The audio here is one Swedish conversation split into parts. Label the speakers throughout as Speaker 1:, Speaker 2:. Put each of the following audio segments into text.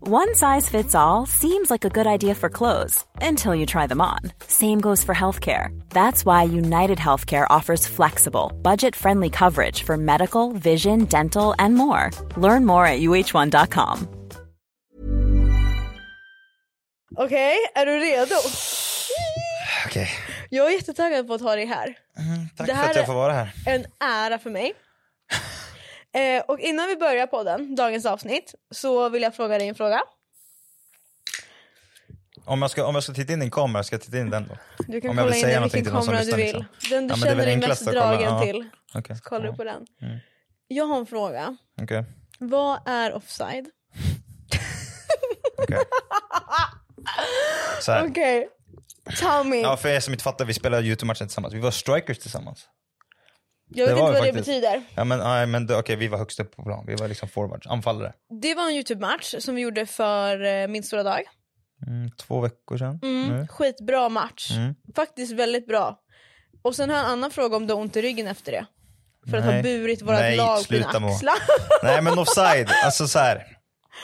Speaker 1: One size fits all seems like a good idea for clothes until you try them on. Same goes for healthcare. That's why United Healthcare offers flexible, budget friendly coverage for medical, vision, dental, and more. Learn more at uh1.com.
Speaker 2: Okej, är du redo?
Speaker 3: Okej.
Speaker 2: Jag är jättetaggad på att ha dig här.
Speaker 3: Tack
Speaker 2: Det
Speaker 3: för
Speaker 2: här
Speaker 3: att jag
Speaker 2: är-
Speaker 3: får vara här.
Speaker 2: En ära för mig. Eh, och innan vi börjar podden, dagens avsnitt, så vill jag fråga dig en fråga.
Speaker 3: Om jag ska, om jag ska titta in din kamera, ska jag titta in den då?
Speaker 2: Du kan
Speaker 3: Om jag vill
Speaker 2: kolla in
Speaker 3: säga
Speaker 2: i
Speaker 3: någonting
Speaker 2: vilken
Speaker 3: till någon som
Speaker 2: kamera du
Speaker 3: lyssnar,
Speaker 2: vill.
Speaker 3: liksom.
Speaker 2: Den du
Speaker 3: Ja, men det är
Speaker 2: känner
Speaker 3: väl
Speaker 2: dig
Speaker 3: enklast
Speaker 2: mest
Speaker 3: att kolla,
Speaker 2: dragen
Speaker 3: ja. Mm.
Speaker 2: till.
Speaker 3: Okej.
Speaker 2: Så kollar du
Speaker 3: Ja,
Speaker 2: på den. Jag har en fråga.
Speaker 3: Okej.
Speaker 2: Vad är offside?
Speaker 3: Okej. Så här.
Speaker 2: Okej, tell me.
Speaker 3: Ja, för er som inte fattar, vi spelade Youtube-matchen tillsammans. Vi var strikers tillsammans.
Speaker 2: jag vet
Speaker 3: det
Speaker 2: inte
Speaker 3: var
Speaker 2: vad
Speaker 3: det
Speaker 2: det
Speaker 3: faktiskt.
Speaker 2: betyder.
Speaker 3: Ja, men, nej, men det- okej, vi var högst upp på plan. Vi var liksom forwards, anfallare.
Speaker 2: Det var en Youtube-match som vi gjorde för eh, Min stora dag.
Speaker 3: Mm, två veckor sedan.
Speaker 2: Mm.
Speaker 3: nu.
Speaker 2: Skitbra match.
Speaker 3: Mm.
Speaker 2: Faktiskt väldigt bra. Och sen har jag en annan fråga om du har ont i ryggen efter det. För att ha
Speaker 3: Nej.
Speaker 2: burit vårat
Speaker 3: Nej,
Speaker 2: lag på
Speaker 3: sluta
Speaker 2: dina
Speaker 3: Moa.
Speaker 2: axlar.
Speaker 3: Nej men offside, alltså så här.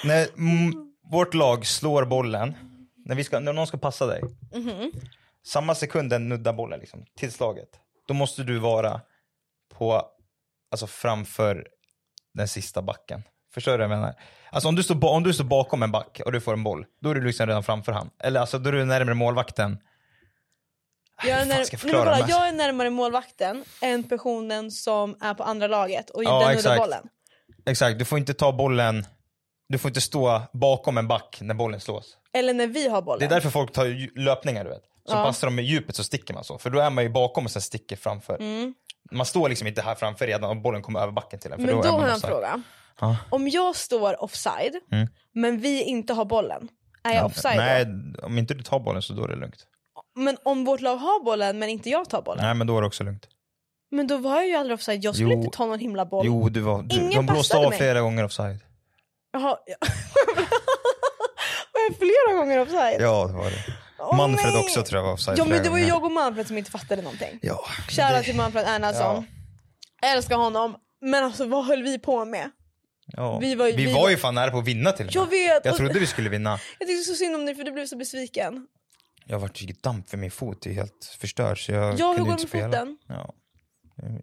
Speaker 3: När mm, vårt lag slår bollen, när, vi ska, när någon ska passa dig. Samma sekund den nuddar bollen liksom, till slaget. Då måste du vara på, alltså framför den sista backen. Förstår du vad jag menar? Alltså om du, står, ba- om du står bakom en back och du får en boll, då är du liksom redan framför han. Eller alltså då är du närmare målvakten.
Speaker 2: Jag är,
Speaker 3: fan
Speaker 2: när...
Speaker 3: ska jag
Speaker 2: Nej, men
Speaker 3: förklara
Speaker 2: kolla,
Speaker 3: den här?
Speaker 2: jag är närmare målvakten än personen som är på andra laget och
Speaker 3: Ja,
Speaker 2: den nuddar
Speaker 3: exakt.
Speaker 2: bollen.
Speaker 3: Exakt, du får inte ta bollen, du får inte stå bakom en back när bollen slås.
Speaker 2: Eller när vi har bollen.
Speaker 3: Det är därför folk tar ju- löpningar du vet. Så
Speaker 2: Ja.
Speaker 3: passar de i djupet så sticker man så. För då är man ju bakom och sen sticker framför.
Speaker 2: Mm.
Speaker 3: Man står liksom inte här framför redan och bollen kommer över backen till en. För
Speaker 2: men då,
Speaker 3: är
Speaker 2: har
Speaker 3: man
Speaker 2: jag en
Speaker 3: offside.
Speaker 2: fråga.
Speaker 3: Ja.
Speaker 2: Om jag står offside,
Speaker 3: Mm.
Speaker 2: men vi inte har bollen, är jag offside
Speaker 3: Nej,
Speaker 2: då?
Speaker 3: om inte du tar bollen så då är det lugnt.
Speaker 2: Men om vårt lag har bollen men inte jag tar bollen,
Speaker 3: Nej men då är det också lugnt.
Speaker 2: men då var jag ju aldrig offside. Jag skulle
Speaker 3: Jo.
Speaker 2: inte ta någon himla boll.
Speaker 3: Jo, du var, du,
Speaker 2: Ingen
Speaker 3: de blåste
Speaker 2: passade
Speaker 3: av
Speaker 2: mig.
Speaker 3: flera gånger offside.
Speaker 2: Jaha. ja. Var jag flera gånger offside?
Speaker 3: Ja, det var det.
Speaker 2: Åh,
Speaker 3: Manfred
Speaker 2: nej.
Speaker 3: också tror jag var offside
Speaker 2: Ja men
Speaker 3: flera
Speaker 2: det var ju
Speaker 3: gånger.
Speaker 2: jag och Manfred som inte fattade någonting.
Speaker 3: Ja.
Speaker 2: Kära till Manfred Erlandsson.
Speaker 3: Ja.
Speaker 2: Jag Älskar honom. Men alltså vad höll vi på med?
Speaker 3: Ja.
Speaker 2: Vi
Speaker 3: Vi,
Speaker 2: var
Speaker 3: var
Speaker 2: ju-
Speaker 3: ju,
Speaker 2: vi var-
Speaker 3: fan nära på att vinna till och
Speaker 2: Jag
Speaker 3: med.
Speaker 2: vet.
Speaker 3: Jag
Speaker 2: och-
Speaker 3: trodde vi skulle vinna.
Speaker 2: jag tyckte så synd om dig för du blev så besviken.
Speaker 3: Jag vart ju damp för min fot, det är helt förstörd. Så jag
Speaker 2: Ja hur
Speaker 3: kunde
Speaker 2: går det
Speaker 3: inte
Speaker 2: med
Speaker 3: spela.
Speaker 2: foten?
Speaker 3: Ja.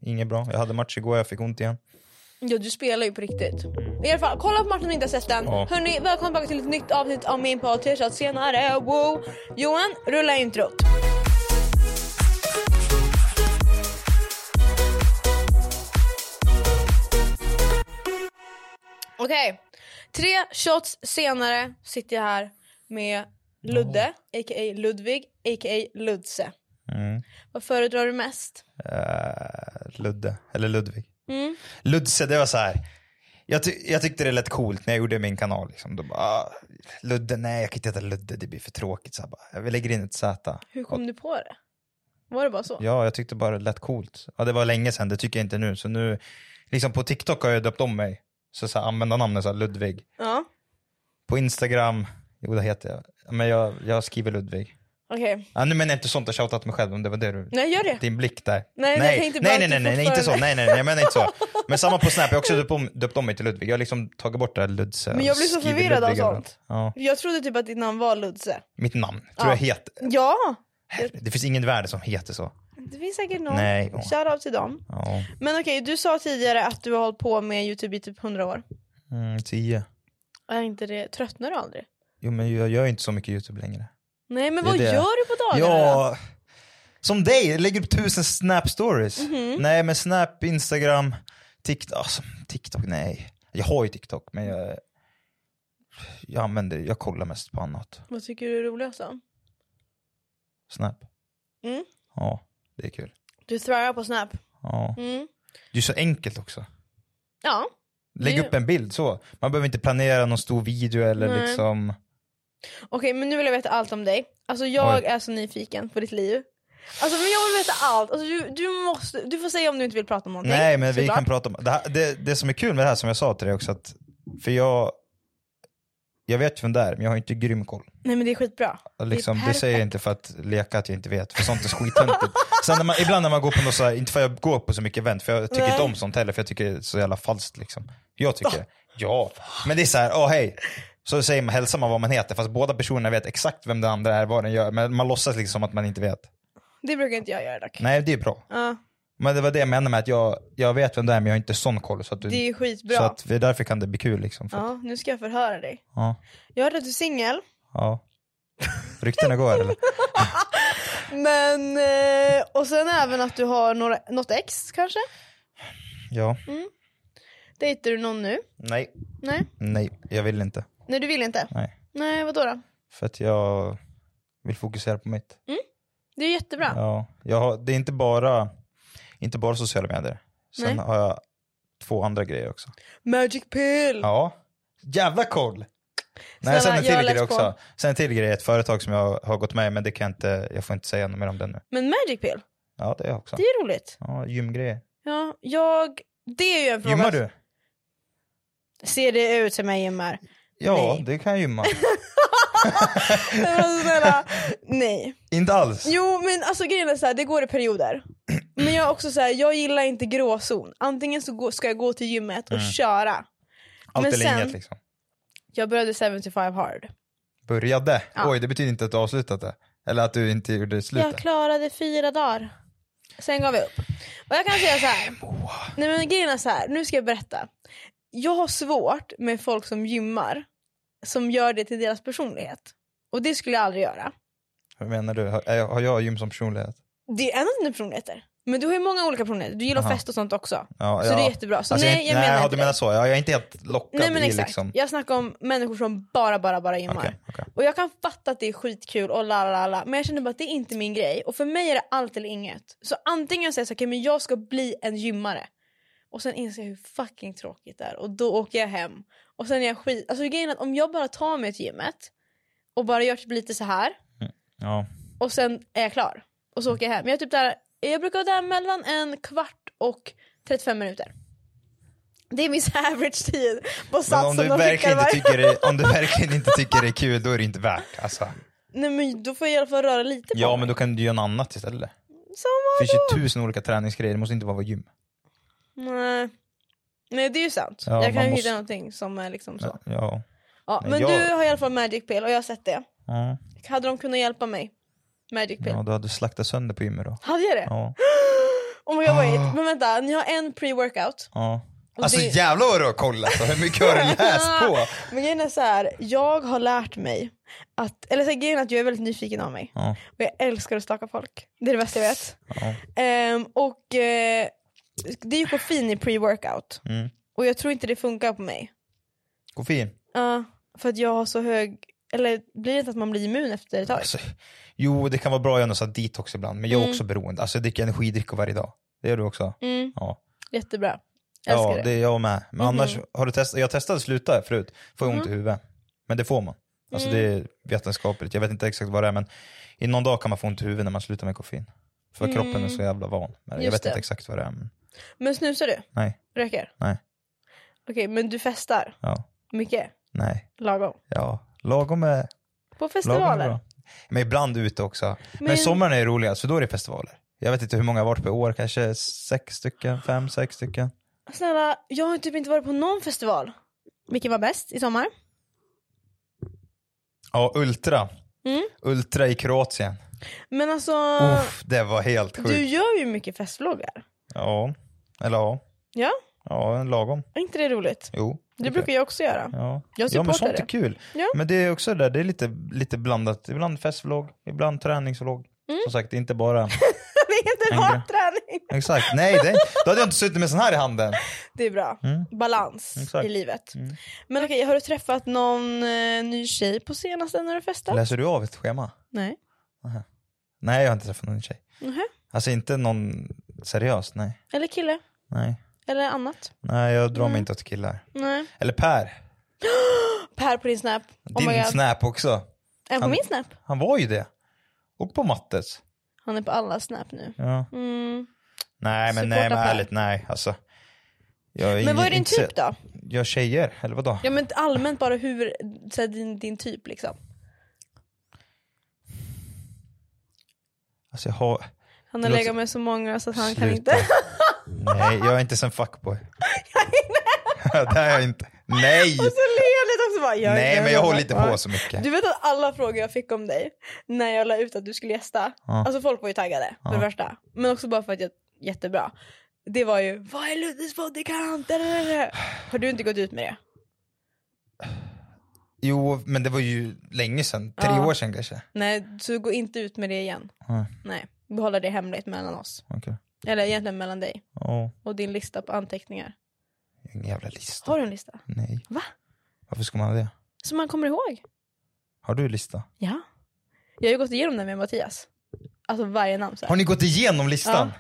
Speaker 3: Inget bra. Jag hade match igår, jag fick ont igen.
Speaker 2: Ja du spelar ju på riktigt. I alla fall kolla på matchen om ni inte har sett den.
Speaker 3: Mm. Ja.
Speaker 2: Hörni välkomna tillbaka till ett nytt avsnitt av min podd. Tre shots senare. Wow. Johan rulla introt. Okej. Tre shots senare sitter jag här med Ludde, a.k.a. Ludvig, a.k.a. Ludse.
Speaker 3: Mm.
Speaker 2: Vad föredrar du mest?
Speaker 3: Eh, Ludde, eller Ludvig.
Speaker 2: Mm.
Speaker 3: Ludse, det var så här. Jag, ty- jag tyckte det lät coolt när jag gjorde min kanal. Liksom. Då bara, ah, Ludde, nej jag kan inte heta Ludde, det blir för tråkigt. Så här, bara, jag lägger in ett Z.
Speaker 2: Hur kom du på det? Var det bara så?
Speaker 3: Ja, jag tyckte bara det lät coolt. Ja, det var länge sedan, det tycker jag inte nu. Så nu, liksom på TikTok har jag döpt om mig. Så, så här, användarnamnet så här, Ludvig.
Speaker 2: ja.
Speaker 3: På Instagram, jo det heter jag. Men jag, jag skriver Ludvig.
Speaker 2: Okej.
Speaker 3: Ja, nu menar jag inte sånt och shoutat mig själv om det var det du...
Speaker 2: Nej gör det.
Speaker 3: Din blick där.
Speaker 2: Nej, men jag
Speaker 3: nej,
Speaker 2: tänkte bara
Speaker 3: nej,
Speaker 2: att
Speaker 3: nej,
Speaker 2: du
Speaker 3: nej, nej, inte så.
Speaker 2: fortfarande-
Speaker 3: Nej, nej, nej, jag menar inte så. Men samma på Snap, jag har också döpt om, döpt om mig till Ludvig. Jag har liksom tagit bort det här Ludse.
Speaker 2: Men
Speaker 3: och
Speaker 2: jag blir så
Speaker 3: skrivit
Speaker 2: förvirrad av
Speaker 3: Ludvig överallt.
Speaker 2: sånt.
Speaker 3: Ja,
Speaker 2: Jag trodde typ att ditt namn var Ludse.
Speaker 3: mitt namn, tror
Speaker 2: Ja.
Speaker 3: jag heter.
Speaker 2: Ja!
Speaker 3: Det finns ingen i världen som heter så.
Speaker 2: Det finns säkert någon.
Speaker 3: Nej.
Speaker 2: Shoutout till dem.
Speaker 3: Ja,
Speaker 2: Men okej, du sa tidigare att du har hållit på med Youtube i typ 100 år.
Speaker 3: mm, tio.
Speaker 2: Är inte det, tröttnar du aldrig?
Speaker 3: Jo, men jag gör ju inte så mycket YouTube längre.
Speaker 2: Nej men
Speaker 3: Det är
Speaker 2: vad
Speaker 3: det.
Speaker 2: gör du på dagarna då?
Speaker 3: Ja, som dig, jag lägger upp tusen Snap stories.
Speaker 2: Mhm. Mm.
Speaker 3: Nej, men Snap, Instagram, TikTok, alltså, TikTok, nej. Jag har ju TikTok, men jag, jag använder, jag kollar mest på annat.
Speaker 2: Vad tycker du är alltså? roligast då?
Speaker 3: Snap.
Speaker 2: Mm.
Speaker 3: Ja, det är kul.
Speaker 2: Du thrivar på Snap.
Speaker 3: Ja.
Speaker 2: Mm.
Speaker 3: Det är så enkelt också.
Speaker 2: Ja.
Speaker 3: Lägg
Speaker 2: Det-
Speaker 3: upp en bild så. Man behöver inte planera någon stor video eller
Speaker 2: Nej.
Speaker 3: liksom.
Speaker 2: Okej men nu vill jag veta allt om dig. Alltså jag
Speaker 3: Oj.
Speaker 2: är så nyfiken på ditt liv. Alltså men jag vill veta allt. Alltså, du, du, måste, du får säga om du inte vill prata om någonting.
Speaker 3: Nej, men vi
Speaker 2: såklart.
Speaker 3: kan prata om det, här, det. Det som är kul med det här som jag sa till dig också att, för jag, jag vet ju vem det är, men jag har inte grym koll.
Speaker 2: Nej men det är skitbra.
Speaker 3: Liksom, det,
Speaker 2: perfekt.
Speaker 3: säger jag inte för att leka att jag inte vet, för sånt är skittöntigt. Sen när man, ibland när man går på något så här, inte för att jag går på så mycket event, för jag tycker
Speaker 2: Nej.
Speaker 3: inte om sånt heller, för jag tycker det är så jävla falskt liksom. Jag tycker det. Ja, men det är så här, åh hej, Så säger man, hälsar man vad man heter fast båda personerna vet exakt vem den andra är, vad den gör. Men man låtsas liksom att man inte vet.
Speaker 2: Det brukar inte jag göra dock.
Speaker 3: Nej, det är bra.
Speaker 2: Ja,
Speaker 3: Men det var det jag menade med att jag, jag vet vem det är men jag har inte sån koll. Så att du,
Speaker 2: det är ju skitbra.
Speaker 3: så att vi, därför kan det bli kul liksom. För, att-
Speaker 2: Ja, nu ska jag förhöra dig.
Speaker 3: ja.
Speaker 2: Jag hörde att du är singel,
Speaker 3: ja. Ryktena går eller?
Speaker 2: men eh, och sen även att du har några, något ex kanske?
Speaker 3: Ja.
Speaker 2: Dejtar du någon nu?
Speaker 3: Nej.
Speaker 2: Nej,
Speaker 3: Nej, jag vill inte.
Speaker 2: nej du vill inte?
Speaker 3: Nej.
Speaker 2: Nej, vadå då?
Speaker 3: För att jag vill fokusera på mitt.
Speaker 2: Det är jättebra.
Speaker 3: Ja, jag har, det är inte bara, inte bara sociala medier. Sen
Speaker 2: Nej.
Speaker 3: har jag två andra grejer också.
Speaker 2: Magic pill!
Speaker 3: Ja. Jävla koll!
Speaker 2: Snälla,
Speaker 3: Nej, sen en
Speaker 2: jag har
Speaker 3: till grej
Speaker 2: läst på.
Speaker 3: också. Sen en till grej, ett företag som jag har gått med i, men det kan jag inte, jag får inte säga något mer om det nu.
Speaker 2: Men magic pill,
Speaker 3: Ja, det är jag också.
Speaker 2: det är roligt.
Speaker 3: Ja, gymgrejer.
Speaker 2: Ja, jag... Det är ju en fråga.
Speaker 3: Gymmar du?
Speaker 2: Ser det ut som jag gymmar?
Speaker 3: Ja,
Speaker 2: Nej.
Speaker 3: det kan jag gymma.
Speaker 2: Nej, men Äh, snälla, nej.
Speaker 3: inte alls.
Speaker 2: Jo men alltså grejen är så här, det går i perioder. Men jag är också så här, jag gillar inte gråzon. Antingen så gå- ska jag gå till gymmet
Speaker 3: Mm.
Speaker 2: och köra.
Speaker 3: Allt
Speaker 2: men
Speaker 3: eller
Speaker 2: sen-
Speaker 3: inget liksom.
Speaker 2: Jag började 75 hard.
Speaker 3: Började.
Speaker 2: Ja.
Speaker 3: Oj, det betyder inte att du avslutat det. Eller att du inte gjorde slutet.
Speaker 2: Jag klarade fyra dagar. Sen gav jag upp. Och jag kan säga så här. Nej men grejen är så här, nu ska jag berätta. Jag har svårt med folk som gymmar, som gör det till deras personlighet. Och det skulle jag aldrig göra.
Speaker 3: Hur menar du? Har, är- har jag gym som personlighet?
Speaker 2: Det är en av dina personligheter. Men du har ju många olika personligheter. Du gillar
Speaker 3: Aha.
Speaker 2: fest och sånt också.
Speaker 3: Ja,
Speaker 2: Så
Speaker 3: ja.
Speaker 2: det är jättebra. Så
Speaker 3: Alltså,
Speaker 2: nej, jag
Speaker 3: nej,
Speaker 2: menar
Speaker 3: ja,
Speaker 2: inte
Speaker 3: du
Speaker 2: dig.
Speaker 3: menar så. Ja, jag är inte helt lockad
Speaker 2: Nej men
Speaker 3: i
Speaker 2: exakt.
Speaker 3: liksom...
Speaker 2: Jag snackar om människor som bara, bara, bara gymmar.
Speaker 3: Okej, okej.
Speaker 2: Och jag kan fatta att det är skitkul och la, la, la, la, men jag känner bara att det är inte min grej. Och för mig är det allt eller inget. Så antingen säger jag så här, "Okej, men jag ska bli en gymmare. Och sen inser jag hur fucking tråkigt det är och då åker jag hem. Och sen är jag skit... Alltså grejen är att om jag bara tar mig till gymmet och bara gör typ lite så här
Speaker 3: Ja.
Speaker 2: och sen är jag klar. Och så åker jag hem. Jag, är typ där, jag brukar vara där mellan en kvart och 35 minuter. Det är min så här average tid på
Speaker 3: Men
Speaker 2: Sats
Speaker 3: om
Speaker 2: som
Speaker 3: du,
Speaker 2: de skickar
Speaker 3: verkligen inte typ-
Speaker 2: varje...
Speaker 3: tycker det, om du verkligen inte tycker det är kul, då är det inte värt. Alltså.
Speaker 2: Nej men då får jag i alla fall röra lite på
Speaker 3: Ja,
Speaker 2: mig.
Speaker 3: men då kan du göra något annat istället.
Speaker 2: Som
Speaker 3: Det finns ju tusen olika träningsgrejer, det måste inte vara gym.
Speaker 2: Nej. Nej det är ju sant.
Speaker 3: Ja,
Speaker 2: jag kan
Speaker 3: man
Speaker 2: ju
Speaker 3: måste-
Speaker 2: hitta någonting som är liksom så.
Speaker 3: Ja. ja.
Speaker 2: Ja,
Speaker 3: men
Speaker 2: men
Speaker 3: jag-
Speaker 2: du har i alla fall magic pill och jag har sett det.
Speaker 3: ja.
Speaker 2: Hade de kunnat hjälpa mig? Magic pill.
Speaker 3: du hade slaktat sönder på gymmet då.
Speaker 2: Hade jag det?
Speaker 3: Ja. Ah.
Speaker 2: Oh my god wait. Men vänta, ni har en pre-workout.
Speaker 3: ja. Alltså
Speaker 2: det-
Speaker 3: jävlar vad du har kollat och hur mycket har du läst på?
Speaker 2: Men grejen är så här, jag har lärt mig att, eller så här, grejen är att jag är väldigt nyfiken av mig.
Speaker 3: Ja.
Speaker 2: Och jag älskar att staka folk. Det är det bästa jag vet.
Speaker 3: Ja.
Speaker 2: Ehm, och eh, det är ju koffein i pre-workout.
Speaker 3: Mm.
Speaker 2: Och jag tror inte det funkar på mig.
Speaker 3: Koffein.
Speaker 2: Ja, för att jag har så hög, eller blir det inte att man blir immun efter ett tag?
Speaker 3: Alltså, jo, det kan vara bra att göra någon sån här detox ibland, men jag är också beroende. Alltså jag dricker energidrycker varje dag. Det gör du också?
Speaker 2: Mm,
Speaker 3: Ja.
Speaker 2: jättebra. Älskar
Speaker 3: ja,
Speaker 2: det. Mhm.
Speaker 3: det är jag med. Men annars, har du testat? Jag testade att sluta förut, får jag ont i huvudet. Men det får man. Alltså det
Speaker 2: Mm.
Speaker 3: är vetenskapligt, jag vet inte exakt vad det är men i någon dag kan man få ont i huvudet när man slutar med koffein. För kroppen är så jävla van. Men jag
Speaker 2: Mm. Just
Speaker 3: vet
Speaker 2: det.
Speaker 3: inte exakt vad det är. Men,
Speaker 2: Men snusar du?
Speaker 3: nej,
Speaker 2: Röker?
Speaker 3: Nej.
Speaker 2: Okej, men du festar?
Speaker 3: ja,
Speaker 2: Mycket?
Speaker 3: nej,
Speaker 2: Lagom?
Speaker 3: ja. Lagom är,
Speaker 2: På
Speaker 3: lagom är
Speaker 2: festivaler?
Speaker 3: bra. Men ibland ute också. Men,
Speaker 2: Men-
Speaker 3: sommaren är roligast för då är det festivaler. Jag vet inte hur många jag har varit på i år, kanske sex stycken, fem, sex stycken.
Speaker 2: Snälla, jag har typ inte varit på någon festival. Vilken var bäst i sommar?
Speaker 3: Ja, Ultra.
Speaker 2: Mm.
Speaker 3: Ultra i Kroatien.
Speaker 2: Men alltså,
Speaker 3: Uff, det var helt sjukt.
Speaker 2: du gör ju mycket festvloggar.
Speaker 3: Ja, eller ja.
Speaker 2: Ja,
Speaker 3: Ja, en lagom.
Speaker 2: är inte det roligt?
Speaker 3: Jo.
Speaker 2: Det brukar jag också göra.
Speaker 3: Ja.
Speaker 2: Jag typ
Speaker 3: ja, men
Speaker 2: supportar
Speaker 3: sånt
Speaker 2: det.
Speaker 3: är kul.
Speaker 2: Ja.
Speaker 3: Men det är också det där, det är lite, lite blandat. Ibland festvlogg, ibland träningsvlogg.
Speaker 2: Mm.
Speaker 3: Som sagt, det är inte bara...
Speaker 2: det är inte
Speaker 3: Tänker.
Speaker 2: bara träning.
Speaker 3: Exakt. Nej, det är... då hade jag inte suttit med sån här i handen.
Speaker 2: Det är bra. Balans
Speaker 3: Mm. Exakt.
Speaker 2: i livet.
Speaker 3: Mm.
Speaker 2: Men okej, har du träffat någon eh, ny tjej på senaste när du festat?
Speaker 3: Läser du av ett schema?
Speaker 2: Nej.
Speaker 3: Nej, jag har inte träffat någon tjej.
Speaker 2: Mhm.
Speaker 3: Alltså inte någon seriöst, nej.
Speaker 2: Eller kille?
Speaker 3: Nej,
Speaker 2: Eller annat?
Speaker 3: nej jag drar
Speaker 2: Mm.
Speaker 3: mig inte åt killar.
Speaker 2: Nej.
Speaker 3: Eller Per,
Speaker 2: Per på din snap.
Speaker 3: din
Speaker 2: Oh my god.
Speaker 3: snap också.
Speaker 2: Är han på
Speaker 3: Han-
Speaker 2: min snap?
Speaker 3: Han var ju det. Och på Mattes.
Speaker 2: Han är på alla snap nu.
Speaker 3: Ja.
Speaker 2: Mm.
Speaker 3: Nej, men,
Speaker 2: Supporta
Speaker 3: nej, men
Speaker 2: Per.
Speaker 3: ärligt, nej. Alltså, jag är
Speaker 2: Men vad är
Speaker 3: ingen-
Speaker 2: din
Speaker 3: inte-
Speaker 2: typ då?
Speaker 3: Jag tjejer, eller vadå?
Speaker 2: Ja men allmänt bara hur, så här, din, din typ liksom.
Speaker 3: Alltså jag har...
Speaker 2: Han har
Speaker 3: Det
Speaker 2: legat
Speaker 3: låter-
Speaker 2: med så många så att han kan
Speaker 3: Sluta.
Speaker 2: inte.
Speaker 3: Nej, jag är inte som fuckboy. jag är det. det är jag inte. Nej!
Speaker 2: Så ler jag lite också bara, jag,
Speaker 3: Nej,
Speaker 2: jag,
Speaker 3: men jag
Speaker 2: bara,
Speaker 3: håller inte
Speaker 2: bara.
Speaker 3: på så mycket.
Speaker 2: Du vet att alla frågor jag fick om dig när jag la ut att du skulle gästa,
Speaker 3: Ja.
Speaker 2: alltså folk var ju taggade för
Speaker 3: Ja.
Speaker 2: det värsta. Men också bara för att jag, jättebra. Det var ju, vad är Luddes bodycount? Dadadada. Har du inte gått ut med det?
Speaker 3: Jo, men det var ju länge sedan. Tre
Speaker 2: Ja.
Speaker 3: år sedan kanske.
Speaker 2: Nej, så gå inte ut med det igen.
Speaker 3: Ja,
Speaker 2: Nej, behålla det hemligt mellan oss.
Speaker 3: okej.
Speaker 2: Eller egentligen mellan dig
Speaker 3: Ja,
Speaker 2: och din lista på anteckningar.
Speaker 3: ingen jävla lista.
Speaker 2: Har du en lista?
Speaker 3: Nej.
Speaker 2: Va?
Speaker 3: Varför ska man ha det?
Speaker 2: Som man kommer ihåg?
Speaker 3: Har du lista?
Speaker 2: Ja. Jag har ju gått igenom den med Mattias. Alltså varje namn så här.
Speaker 3: Har ni gått igenom listan?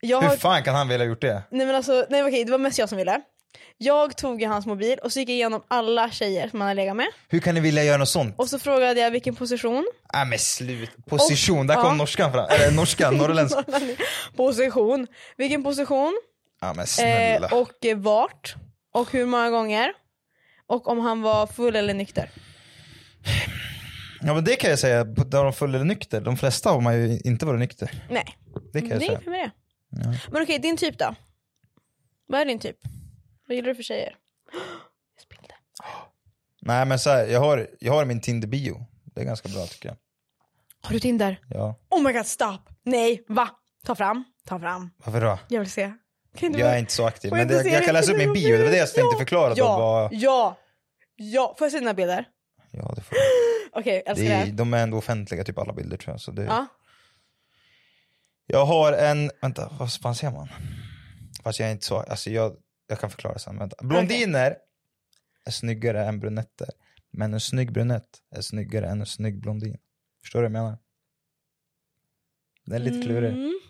Speaker 2: Jag
Speaker 3: Hur
Speaker 2: har...
Speaker 3: fan kan han vilja ha gjort det?
Speaker 2: Nej men alltså, nej okej det var mest jag som ville. Jag tog ju hans mobil och så gick jag igenom alla tjejer som han har legat med.
Speaker 3: Hur kan ni vilja göra något sånt?
Speaker 2: Och så frågade jag vilken position.
Speaker 3: Nej men slut. Position, där
Speaker 2: ja.
Speaker 3: kom norskan fram. Eller norskan, norrländsk.
Speaker 2: position. Vilken position.
Speaker 3: Ja men snälla.
Speaker 2: Eh, och eh, vart. Och hur många gånger. Och om han var full eller nykter.
Speaker 3: Ja men det kan jag säga, på- där de full eller nykter. De flesta har man ju inte varit nykter.
Speaker 2: Nej,
Speaker 3: Det kan jag
Speaker 2: det är
Speaker 3: säga.
Speaker 2: inget med det. Men okej, din typ då? Vad är din typ? Vad gillar du för tjejer? Jag spillde.
Speaker 3: Nej men så här, jag har, jag har min Tinder-bio. Det är ganska bra tycker jag.
Speaker 2: Har du Tinder?
Speaker 3: Ja.
Speaker 2: Oh my god, stop! Nej, va? Ta fram, ta fram.
Speaker 3: Varför då?
Speaker 2: Jag vill se. Kan inte
Speaker 3: Jag
Speaker 2: bara-
Speaker 3: är inte så aktiv.
Speaker 2: Får
Speaker 3: Men
Speaker 2: inte
Speaker 3: det,
Speaker 2: se
Speaker 3: jag
Speaker 2: det?
Speaker 3: kan läsa upp min bio, det var det jag tänkte
Speaker 2: Ja.
Speaker 3: förklara.
Speaker 2: Ja,
Speaker 3: Ja. Bara,
Speaker 2: ja, ja. Får jag se dina bilder?
Speaker 3: ja, det får,
Speaker 2: Okej, älskar
Speaker 3: det
Speaker 2: det.
Speaker 3: är, de är ändå offentliga typ alla bilder tror jag. Så det,
Speaker 2: Ja.
Speaker 3: Jag har en, vänta vad fan ser man? Fast jag är inte så, alltså jag, jag kan förklara sen. Vänta. Blondiner är snyggare än brunetter. Men en snygg brunett är snyggare än en snygg blondin. Förstår du vad jag menar? Det är lite klurigt.
Speaker 2: Mm.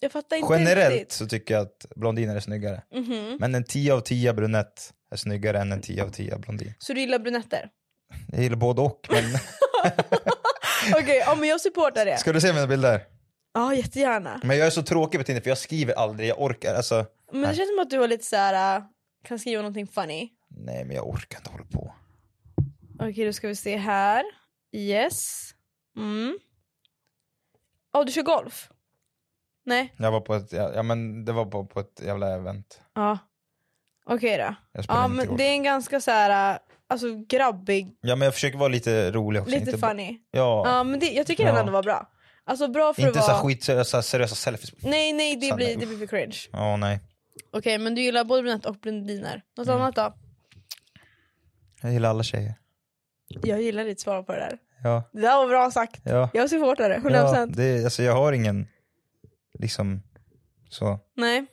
Speaker 2: Jag fattar inte
Speaker 3: Generellt
Speaker 2: riktigt.
Speaker 3: så tycker jag att blondiner är snyggare.
Speaker 2: Mhm.
Speaker 3: Men en 10 av 10 brunett är snyggare än en 10 av 10 blondin.
Speaker 2: Så du gillar brunetter?
Speaker 3: Jag gillar både och. Men
Speaker 2: Okej, ja men jag supportar det.
Speaker 3: ska Mm, du se mina bilder?
Speaker 2: Ja, jättegärna.
Speaker 3: Men jag är så tråkig på Tinder för jag skriver aldrig, jag orkar. Alltså,
Speaker 2: Men det
Speaker 3: Nej.
Speaker 2: känns som att du har lite så här äh, kan skriva någonting funny.
Speaker 3: nej men jag orkar inte hålla på.
Speaker 2: Okej, då ska vi se här. Yes. Mm. Ja, du kör golf? Nej?
Speaker 3: Jag var på ett, ja, ja, men det var på, på ett jävla event.
Speaker 2: Ja. Okej då.
Speaker 3: Jag spelade
Speaker 2: Ja,
Speaker 3: inte
Speaker 2: men
Speaker 3: Typ golf.
Speaker 2: det är en ganska så här, äh, alltså grabbig,
Speaker 3: Ja men jag försöker vara lite rolig också.
Speaker 2: lite
Speaker 3: inte ba-
Speaker 2: funny.
Speaker 3: Ja.
Speaker 2: Ja, men det, jag tycker den
Speaker 3: Ja.
Speaker 2: ändå var bra. Alltså bra för
Speaker 3: inte
Speaker 2: att
Speaker 3: så här
Speaker 2: vara...
Speaker 3: skitseriösa seriösa selfies.
Speaker 2: Nej, nej, det
Speaker 3: Så
Speaker 2: blir,
Speaker 3: nej,
Speaker 2: det blir för cringe.
Speaker 3: Ja nej.
Speaker 2: Okej, men du gillar både brunett och blondiner. Något
Speaker 3: Mm.
Speaker 2: annat då?
Speaker 3: Jag gillar alla tjejer.
Speaker 2: Jag gillar ditt svar på det där.
Speaker 3: Ja.
Speaker 2: Det där var bra sagt.
Speaker 3: Ja.
Speaker 2: Jag supportar det, 100%.
Speaker 3: ja det, alltså jag har ingen, liksom så.
Speaker 2: Nej,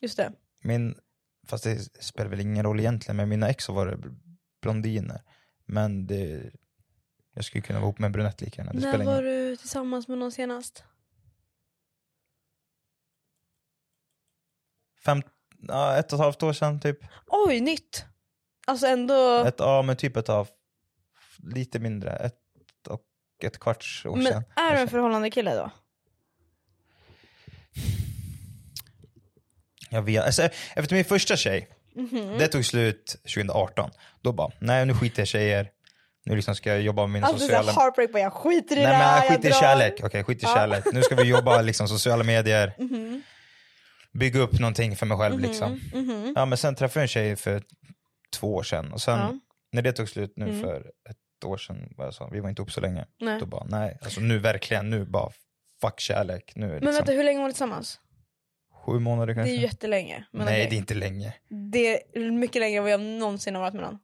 Speaker 2: just det.
Speaker 3: Min, fast det spelar väl ingen roll egentligen, men mina ex har varit br- blondiner. Men det, jag skulle kunna vara ihop med en brunett lika gärna. Det
Speaker 2: När
Speaker 3: spelar ingen
Speaker 2: var
Speaker 3: roll.
Speaker 2: du tillsammans med någon senast?
Speaker 3: Fem, ja, ett och ett halvt år sedan typ.
Speaker 2: Oj, nytt! Alltså ändå...
Speaker 3: Ett, ja men typ ett av lite mindre, ett och ett kvarts år
Speaker 2: men
Speaker 3: sedan.
Speaker 2: är du en förhållande kille då?
Speaker 3: Jag vet, alltså, efter min första tjej,
Speaker 2: Mhm.
Speaker 3: det tog slut 2018. Då bara, nej nu skiter jag i tjejer. Nu liksom ska jag jobba med mina
Speaker 2: Alltså det är
Speaker 3: sociala...
Speaker 2: så heartbreak bara, jag skiter i
Speaker 3: Nej
Speaker 2: det
Speaker 3: men
Speaker 2: här,
Speaker 3: jag skiter i
Speaker 2: drar.
Speaker 3: kärlek. Okej, skit i
Speaker 2: Ja.
Speaker 3: kärlek. Nu ska vi jobba liksom sociala medier.
Speaker 2: Mhm,
Speaker 3: Bygga upp någonting för mig själv liksom.
Speaker 2: mhm.
Speaker 3: Ja men sen träffade jag en tjej för två år sedan. Och sen
Speaker 2: Ja. Mm.
Speaker 3: när det tog slut nu för ett år sedan, var jag så, vi var inte ihop så länge.
Speaker 2: Nej.
Speaker 3: Då bara, nej alltså nu verkligen, nu bara fuck kärlek. Nu är det
Speaker 2: Men
Speaker 3: liksom
Speaker 2: vänta, hur länge var ni tillsammans?
Speaker 3: sju månader
Speaker 2: Det
Speaker 3: kanske.
Speaker 2: är ju jättelänge. Men
Speaker 3: nej
Speaker 2: okej.
Speaker 3: det är inte länge.
Speaker 2: det är mycket längre än vad jag någonsin har varit med någon.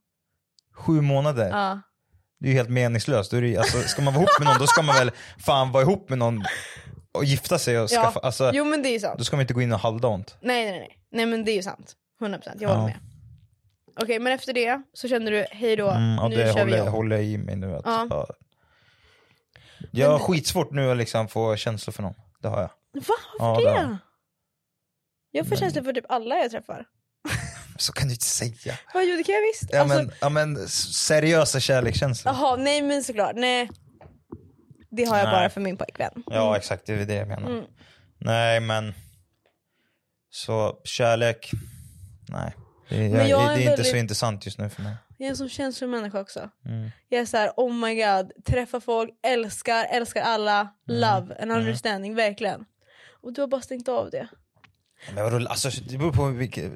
Speaker 3: Sju månader.
Speaker 2: Ja.
Speaker 3: Det är ju helt meningslöst. Då är det, ju- alltså, ska man vara ihop med någon då ska man väl fan vara ihop med någon och gifta sig och skaffa. Alltså,
Speaker 2: Jo men det är ju sant.
Speaker 3: då ska man inte gå in och halvdant.
Speaker 2: Nej, nej, nej. Nej, men det är ju sant. 100 procent. Jag håller
Speaker 3: Ja.
Speaker 2: med. Okej, men efter det så kände du hej då,
Speaker 3: Mm, och
Speaker 2: nu
Speaker 3: det
Speaker 2: kör vi
Speaker 3: håller,
Speaker 2: om.
Speaker 3: håller jag i mig nu. Att,
Speaker 2: Ja.
Speaker 3: ja. Jag har
Speaker 2: Men-
Speaker 3: skitsvårt nu att liksom få känslor för någon. Det har jag.
Speaker 2: Va?
Speaker 3: Ja,
Speaker 2: Varför
Speaker 3: det har
Speaker 2: det? Jag får känslor för typ alla jag träffar.
Speaker 3: Så kan du inte säga.
Speaker 2: Vad jo, det kan jag visst.
Speaker 3: Ja,
Speaker 2: Alltså,
Speaker 3: men, ja, men, s- seriösa kärlekskänslor.
Speaker 2: Jaha, nej men såklart. Nej. Det har jag
Speaker 3: Nej.
Speaker 2: bara för min pojkvän.
Speaker 3: Ja exakt, det är det jag menar.
Speaker 2: Mm.
Speaker 3: Nej men, så kärlek, nej. Det, är-
Speaker 2: Men jag
Speaker 3: det,
Speaker 2: är
Speaker 3: det är inte
Speaker 2: väldigt-
Speaker 3: så intressant just nu för mig.
Speaker 2: Jag är en sån känslomänniska också.
Speaker 3: Mm.
Speaker 2: Jag är så här, oh my god, träffa folk, älskar,
Speaker 3: Mm.
Speaker 2: älskar alla, love and understanding, verkligen. Och du har bara stängt av det.
Speaker 3: Men vadå, alltså, det beror på vilket,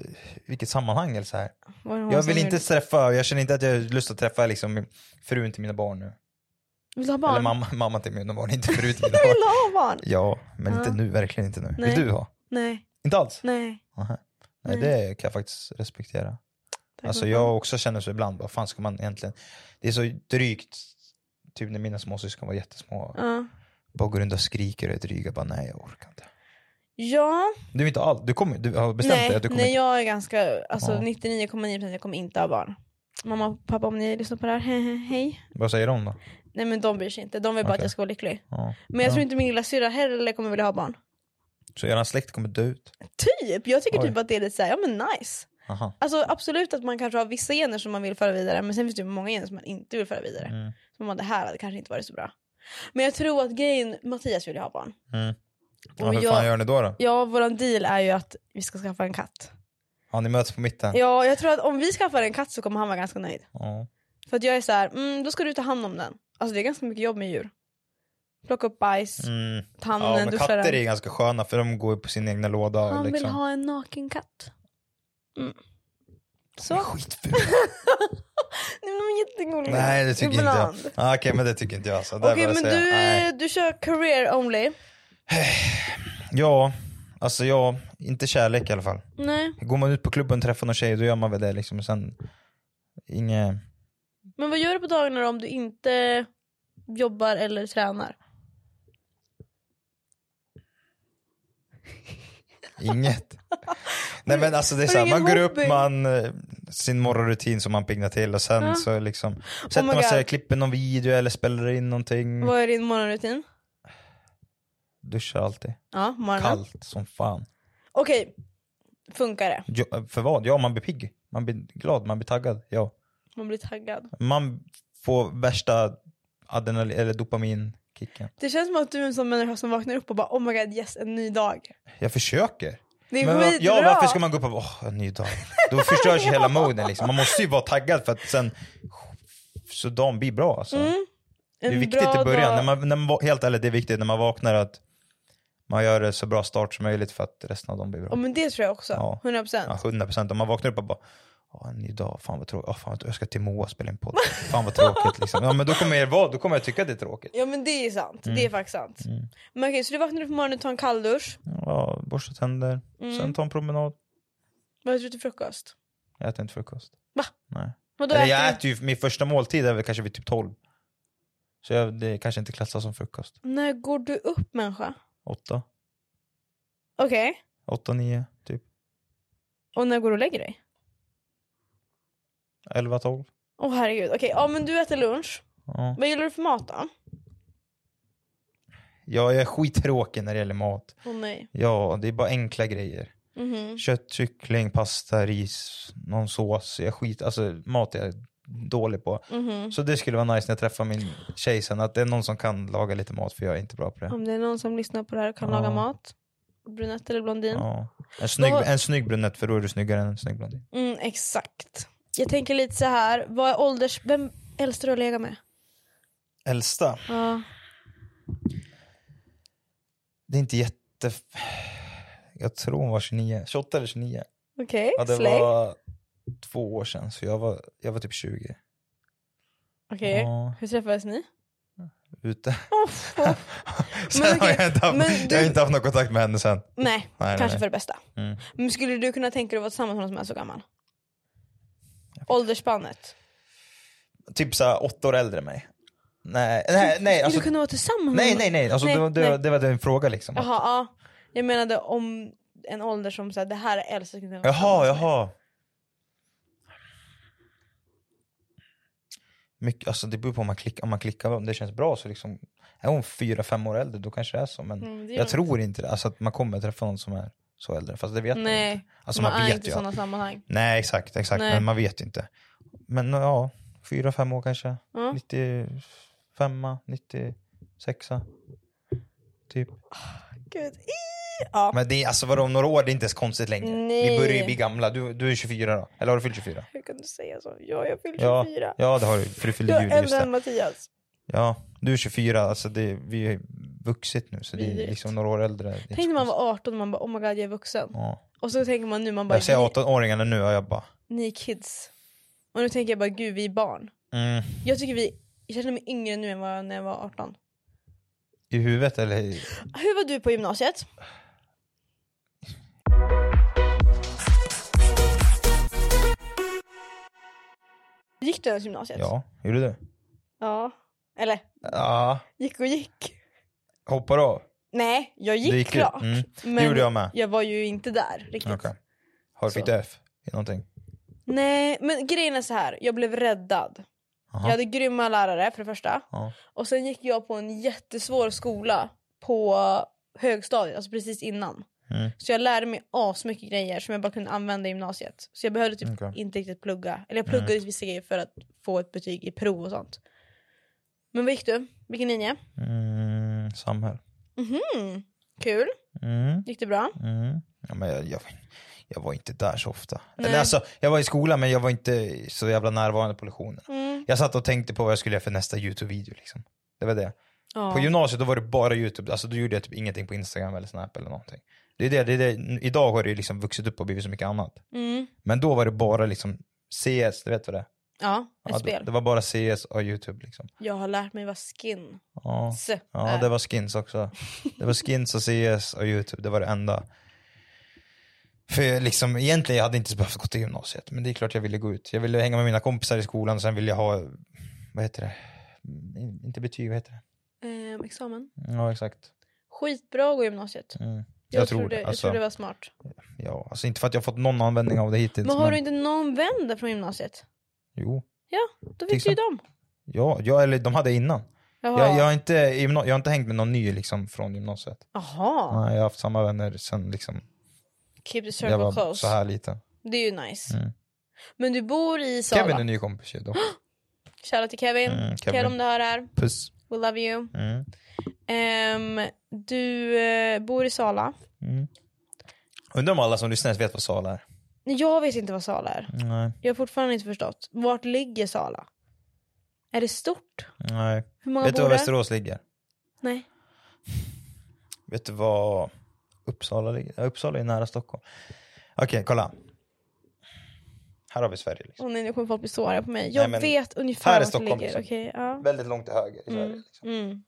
Speaker 3: vilket sammanhang. Eller så här.
Speaker 2: Var det hon
Speaker 3: Jag
Speaker 2: som
Speaker 3: vill
Speaker 2: gjorde-
Speaker 3: inte träffa, jag känner inte att jag har lust att träffa liksom, frun till mina barn nu.
Speaker 2: Vill du ha
Speaker 3: Eller
Speaker 2: barn?
Speaker 3: mamma, mamma till mina barn, inte frun till mina
Speaker 2: Jag
Speaker 3: barn.
Speaker 2: vill ha barn!
Speaker 3: Ja, men
Speaker 2: Ja.
Speaker 3: inte nu, verkligen inte nu.
Speaker 2: Nej.
Speaker 3: Vill du ha?
Speaker 2: Nej,
Speaker 3: Inte alls?
Speaker 2: nej.
Speaker 3: Aha. Nej, det kan jag faktiskt respektera.
Speaker 2: Tack
Speaker 3: Alltså
Speaker 2: för
Speaker 3: jag
Speaker 2: fan.
Speaker 3: också känner så ibland, vad fan ska man egentligen? Det är så drygt, typ när mina småsyskon var jättesmå.
Speaker 2: Ja.
Speaker 3: Bara går runt och skriker och är dryga, bara nej jag orkar inte.
Speaker 2: Ja,
Speaker 3: Du, är inte all, du, kommer, du har bestämt dig
Speaker 2: nej,
Speaker 3: att du kommer
Speaker 2: nej
Speaker 3: inte...
Speaker 2: jag är ganska, alltså
Speaker 3: Ja.
Speaker 2: 99,9% jag kommer inte ha barn. Mamma och pappa om ni lyssnar på det här, he- he- hej.
Speaker 3: Vad säger de då?
Speaker 2: Nej men de bryr sig inte, de vill bara att
Speaker 3: Okej.
Speaker 2: jag ska vara lycklig.
Speaker 3: Ja.
Speaker 2: Men jag
Speaker 3: Ja.
Speaker 2: tror inte min lilla syrra heller kommer vilja ha barn.
Speaker 3: Så eran släkt kommer dö ut?
Speaker 2: Typ, jag tycker
Speaker 3: Oj.
Speaker 2: typ att det är lite såhär, ja men nice.
Speaker 3: Aha.
Speaker 2: Alltså absolut att man kanske har vissa gener som man vill föra vidare men sen finns det ju många gener som man inte vill föra vidare.
Speaker 3: Mm.
Speaker 2: Så man, bara, det här hade kanske inte varit så bra. Men jag tror att grejen, Mattias vill ju ha barn.
Speaker 3: Mm. Ja,
Speaker 2: Och
Speaker 3: hur
Speaker 2: jag-
Speaker 3: fan gör ni då? då?
Speaker 2: Ja, våran deal är ju att vi ska skaffa en katt.
Speaker 3: Ja, ni möts på mitten?
Speaker 2: Ja, jag tror att om vi skaffar en katt så kommer han vara ganska nöjd.
Speaker 3: Ja.
Speaker 2: För att jag är så här, mm, då ska du ta hand om den. Alltså det är ganska mycket jobb med djur. Plocka upp bajs,
Speaker 3: Mm.
Speaker 2: ta hand om
Speaker 3: ja
Speaker 2: den,
Speaker 3: men
Speaker 2: duscha
Speaker 3: katter är
Speaker 2: den.
Speaker 3: ganska sköna för de går ju på sin egna låda. och
Speaker 2: Han vill
Speaker 3: liksom.
Speaker 2: ha en naken katt. Mm. Så.
Speaker 3: De är
Speaker 2: Nej,
Speaker 3: skitfula.
Speaker 2: men de är jättegulliga.
Speaker 3: Nej det tycker inte jag.
Speaker 2: Ibland.
Speaker 3: Ah, Okej men det tycker inte jag. Så där
Speaker 2: Okej
Speaker 3: vill jag
Speaker 2: men
Speaker 3: säga, nej.
Speaker 2: du, du kör career only.
Speaker 3: Ja, alltså ja, inte kärlek i alla fall.
Speaker 2: Nej,
Speaker 3: Går man ut på klubben och träffar någon tjej då gör man väl det liksom. Sen, inget...
Speaker 2: men vad gör du på dagarna då om du inte jobbar eller tränar?
Speaker 3: Inget. Nej men alltså det är
Speaker 2: Har
Speaker 3: så här,
Speaker 2: du ingen
Speaker 3: man går upp,
Speaker 2: hobby?
Speaker 3: man, eh, sin morgonrutin som man piggnar till och sen
Speaker 2: Ja. Oh
Speaker 3: så liksom sätter
Speaker 2: my
Speaker 3: man sig,
Speaker 2: God.
Speaker 3: klipper någon video eller spelar in någonting.
Speaker 2: Vad är din morgonrutin?
Speaker 3: Duschar alltid.
Speaker 2: Ja, morgonen.
Speaker 3: Kallt som fan.
Speaker 2: Okej, funkar det?
Speaker 3: Jo, för vad? Ja man blir pigg. Man blir glad, man blir taggad. Ja.
Speaker 2: Man blir taggad.
Speaker 3: Man får värsta adrenalin eller dopaminkicken.
Speaker 2: Det känns som att du är en sån människa som vaknar upp och bara oh my god yes, en ny dag.
Speaker 3: Jag försöker.
Speaker 2: Det är
Speaker 3: Men, va-
Speaker 2: skitbra.
Speaker 3: ja, varför ska man gå upp och bara, åh, en ny dag. Då förstörs ju hela moden liksom. Man måste ju vara taggad för att sen, så dagen blir bra alltså.
Speaker 2: Mm.
Speaker 3: Det är
Speaker 2: En
Speaker 3: viktigt
Speaker 2: bra
Speaker 3: i början,
Speaker 2: dag.
Speaker 3: när man, när man, va- helt ärligt det är viktigt när man vaknar att man gör det så bra start som möjligt för att resten av dem blir
Speaker 2: Ja
Speaker 3: bra.
Speaker 2: men det tror jag också,
Speaker 3: Ja.
Speaker 2: 100%.
Speaker 3: Ja, 100% om man vaknar upp och bara Åh, en ny dag, fan vad tråkigt, Åh, fan vad tråkigt. jag ska till Moa och spela in podd, fan vad tråkigt liksom. Ja men då kommer jag, vara- då kommer jag tycka att det är tråkigt.
Speaker 2: Ja men det är sant, det är faktiskt sant.
Speaker 3: Mm.
Speaker 2: Men okej, så du vaknar upp på morgonen, tar en kalldusch.
Speaker 3: Ja, borsta tänder,
Speaker 2: Mm.
Speaker 3: sen ta en promenad.
Speaker 2: Vad äter du till frukost?
Speaker 3: Jag äter inte frukost.
Speaker 2: Va?
Speaker 3: Nej.
Speaker 2: Vadå
Speaker 3: Eller
Speaker 2: äter
Speaker 3: jag
Speaker 2: du?
Speaker 3: äter ju, min första måltid är väl kanske vid typ 12. Så jag, det kanske inte klassas som frukost.
Speaker 2: När går du upp människa?
Speaker 3: 8,
Speaker 2: Okej,
Speaker 3: 8, 9, typ
Speaker 2: och när går du och lägger dig?
Speaker 3: 11, 12.
Speaker 2: Åh herregud, okej, ja men du äter lunch.
Speaker 3: Ja.
Speaker 2: Vad gillar du för mat då?
Speaker 3: Ja, jag är skittråkig när det gäller mat.
Speaker 2: Åh nej.
Speaker 3: Ja, det är bara enkla grejer.
Speaker 2: Mhm.
Speaker 3: Kött, kyckling, pasta, ris, någon sås. Jag skit, alltså mat är jag dålig på.
Speaker 2: Mhm.
Speaker 3: Så det skulle vara nice när jag träffar min tjej sen, att det är någon som kan laga lite mat för jag är inte bra på det.
Speaker 2: Om det är någon som lyssnar på det här och kan
Speaker 3: Ja.
Speaker 2: laga mat. Brunett eller blondin.
Speaker 3: Ja. En, snygg,
Speaker 2: Vad-
Speaker 3: en snygg brunett, för då är du snyggare än en snygg blondin.
Speaker 2: Mm, exakt. Jag tänker lite så här. vad är ålders... Vem äldsta du har legat med?
Speaker 3: Äldsta?
Speaker 2: Ja.
Speaker 3: Det är inte jätte... Jag tror hon var 29, 28 eller 29.
Speaker 2: Okej,
Speaker 3: Ja, det
Speaker 2: släng.
Speaker 3: var två år sedan, så jag var, jag var typ 20.
Speaker 2: Okej,
Speaker 3: Ja.
Speaker 2: hur träffades ni?
Speaker 3: Ute.
Speaker 2: Uff, uff.
Speaker 3: Sen
Speaker 2: Men
Speaker 3: har
Speaker 2: okej,
Speaker 3: jag, inte haft,
Speaker 2: men
Speaker 3: jag har
Speaker 2: du-
Speaker 3: inte haft någon kontakt med henne sen.
Speaker 2: Nej,
Speaker 3: nej,
Speaker 2: kanske
Speaker 3: nej.
Speaker 2: för det bästa.
Speaker 3: Mm.
Speaker 2: Men skulle du kunna tänka dig att vara tillsammans med någon som är så gammal? Åldersspannet.
Speaker 3: Typ såhär åtta år äldre än mig. Nej, nej, nej. Alltså,
Speaker 2: Skulle du kunna vara tillsammans med
Speaker 3: nej,
Speaker 2: någon?
Speaker 3: nej, nej. Alltså,
Speaker 2: Nej,
Speaker 3: det, var, det, var-
Speaker 2: nej.
Speaker 3: det var din fråga liksom.
Speaker 2: Jaha, ja. Jag menade om en ålder som så här, det här är äldsta jag skulle kunna vara
Speaker 3: Jaha,
Speaker 2: tillsammans med.
Speaker 3: jaha. Mycket, alltså det beror på om man, klick, om man klickar, om det känns bra så liksom, är hon fyra, fem år äldre då kanske det är så. Men
Speaker 2: Mm, det gör
Speaker 3: jag
Speaker 2: inte.
Speaker 3: tror inte det, alltså att man kommer träffa någon som är så äldre. Fast det vet jag inte.
Speaker 2: Nej,
Speaker 3: Alltså
Speaker 2: man,
Speaker 3: man,
Speaker 2: är
Speaker 3: vet
Speaker 2: inte
Speaker 3: ju.
Speaker 2: i
Speaker 3: att-
Speaker 2: sådana sammanhang.
Speaker 3: Nej exakt, exakt.
Speaker 2: Nej.
Speaker 3: men man vet ju inte. Men ja, fyra, fem år kanske.
Speaker 2: Ja.
Speaker 3: 95, 96 typ.
Speaker 2: Gud. i- Ja.
Speaker 3: Men det är, alltså vadå, om några år, det är inte ens konstigt längre.
Speaker 2: Nej.
Speaker 3: Vi börjar ju bli gamla. Du, du är 24 då? Eller har du fyllt 24?
Speaker 2: Hur kan du säga så? Ja, jag fyller
Speaker 3: Ja,
Speaker 2: 24.
Speaker 3: ja det har du, för du fyllde
Speaker 2: Jag
Speaker 3: juli
Speaker 2: är
Speaker 3: just
Speaker 2: äldre än
Speaker 3: det.
Speaker 2: Mattias.
Speaker 3: Ja, du är 24, alltså det, vi är vuxit nu så det är
Speaker 2: Vidrigt.
Speaker 3: liksom några år äldre. Det är inte
Speaker 2: Tänk när man
Speaker 3: så
Speaker 2: var 18 och man bara oh my god jag är vuxen.
Speaker 3: konstigt.
Speaker 2: Och så tänker man nu, man
Speaker 3: Ja.
Speaker 2: bara
Speaker 3: Jag ser
Speaker 2: ni,
Speaker 3: 18-åringarna nu och jag bara...
Speaker 2: ni är kids. Och nu tänker jag bara gud vi är barn.
Speaker 3: Mm,
Speaker 2: Jag tycker vi, jag känner mig yngre nu än vad jag- när jag var 18.
Speaker 3: I huvudet eller? i-
Speaker 2: Hur var du på gymnasiet? Gick du ens gymnasiet?
Speaker 3: Ja, gjorde du?
Speaker 2: Ja. Eller
Speaker 3: Ja,
Speaker 2: gick och gick.
Speaker 3: hoppar av.
Speaker 2: Nej, jag gick,
Speaker 3: Du gick ut.
Speaker 2: klart.
Speaker 3: Mm.
Speaker 2: Men
Speaker 3: Det gjorde jag med.
Speaker 2: jag var ju inte där riktigt.
Speaker 3: Okej. Har Fick
Speaker 2: Så.
Speaker 3: du F i någonting?
Speaker 2: Nej, men grejen är så här. Jag blev räddad.
Speaker 3: Aha.
Speaker 2: Jag hade grymma lärare för det första.
Speaker 3: Ja.
Speaker 2: Och sen gick jag på en jättesvår skola på högstadiet, alltså precis innan.
Speaker 3: Mm.
Speaker 2: Så jag lärde mig asmycket grejer som jag bara kunde använda i gymnasiet. Så jag behövde typ
Speaker 3: Okej. Mm.
Speaker 2: inte riktigt plugga. Eller jag pluggade vissa grejer för att få ett betyg i prov och sånt. Men vad gick du? Vilken linje?
Speaker 3: Mm, samhäll.
Speaker 2: Mm. Kul.
Speaker 3: Mm,
Speaker 2: Gick det bra?
Speaker 3: mm. Ja, men jag, jag, jag var inte där så ofta.
Speaker 2: Nej.
Speaker 3: Eller alltså, jag var i skolan men jag var inte så jävla närvarande på lektionerna.
Speaker 2: Mm.
Speaker 3: Jag satt och tänkte på vad jag skulle göra för nästa YouTube-video liksom. Det var det.
Speaker 2: Ja.
Speaker 3: På gymnasiet då var det bara YouTube, alltså då gjorde jag typ ingenting på Instagram eller Snap eller någonting. Det är det, det är det. Idag har det ju liksom vuxit upp och blivit så mycket annat.
Speaker 2: Mm.
Speaker 3: Men då var det bara liksom CS, du vet vad det är?
Speaker 2: ja, ett
Speaker 3: Ja,
Speaker 2: spel.
Speaker 3: det, det var bara CS och YouTube liksom.
Speaker 2: Jag har lärt mig vad skins
Speaker 3: Ja. Ja,
Speaker 2: är.
Speaker 3: det var skins också. Det var skins och CS och YouTube, det var det enda. För jag liksom, egentligen jag hade inte behövt gå till gymnasiet, men det är klart jag ville gå ut. Jag ville hänga med mina kompisar i skolan, sen ville jag ha, vad heter det? Mm, Inte betyg, vad heter det?
Speaker 2: Ehm, examen.
Speaker 3: Ja, exakt.
Speaker 2: Skitbra att gå gymnasiet.
Speaker 3: Mm.
Speaker 2: Jag,
Speaker 3: Jag,
Speaker 2: tror
Speaker 3: tror
Speaker 2: det,
Speaker 3: det.
Speaker 2: jag
Speaker 3: Alltså,
Speaker 2: tror det var smart.
Speaker 3: ja, alltså inte för att jag fått någon användning av det hittills.
Speaker 2: Men har du inte någon vän där från gymnasiet?
Speaker 3: Jo.
Speaker 2: Då fick du ju dem.
Speaker 3: Ja, ja, eller de hade innan.
Speaker 2: Jaha.
Speaker 3: Jag, jag, har inte, gymna- jag har inte hängt med någon ny liksom från gymnasiet.
Speaker 2: Jaha.
Speaker 3: Nej, jag har haft samma vänner sen liksom,
Speaker 2: Keep the circle
Speaker 3: jag var
Speaker 2: close.
Speaker 3: så här liten.
Speaker 2: Det är ju nice.
Speaker 3: Mm.
Speaker 2: Men du bor i Sala.
Speaker 3: Kevin är en ny kompis ju dock.
Speaker 2: Shoutout till Kevin. Kevin.
Speaker 3: Mm, Kevin.
Speaker 2: om du hör det här.
Speaker 3: Puss.
Speaker 2: We love you.
Speaker 3: Mm.
Speaker 2: Ehm, du eh, bor i Sala.
Speaker 3: Mm. Undrar om alla som lyssnar ens vet vad Sala är?
Speaker 2: Nej, Jag vet inte vad Sala är.
Speaker 3: Nej.
Speaker 2: Jag har fortfarande inte förstått. Vart ligger Sala? Är det stort?
Speaker 3: Nej.
Speaker 2: Hur många
Speaker 3: Vet
Speaker 2: bor
Speaker 3: du var
Speaker 2: där?
Speaker 3: Västerås ligger?
Speaker 2: Nej.
Speaker 3: Vet du var Uppsala ligger? Ja, Uppsala är nära Stockholm. Okej, kolla. Här har vi Sverige. Liksom.
Speaker 2: Åh nej, nu kommer folk bli så arga på mig. Jag
Speaker 3: men
Speaker 2: vet ungefär
Speaker 3: här är
Speaker 2: vart det
Speaker 3: Stockholm,
Speaker 2: ligger.
Speaker 3: liksom.
Speaker 2: Okej, ja.
Speaker 3: Väldigt långt till höger i Sverige.
Speaker 2: Mm.
Speaker 3: Liksom.
Speaker 2: Mm.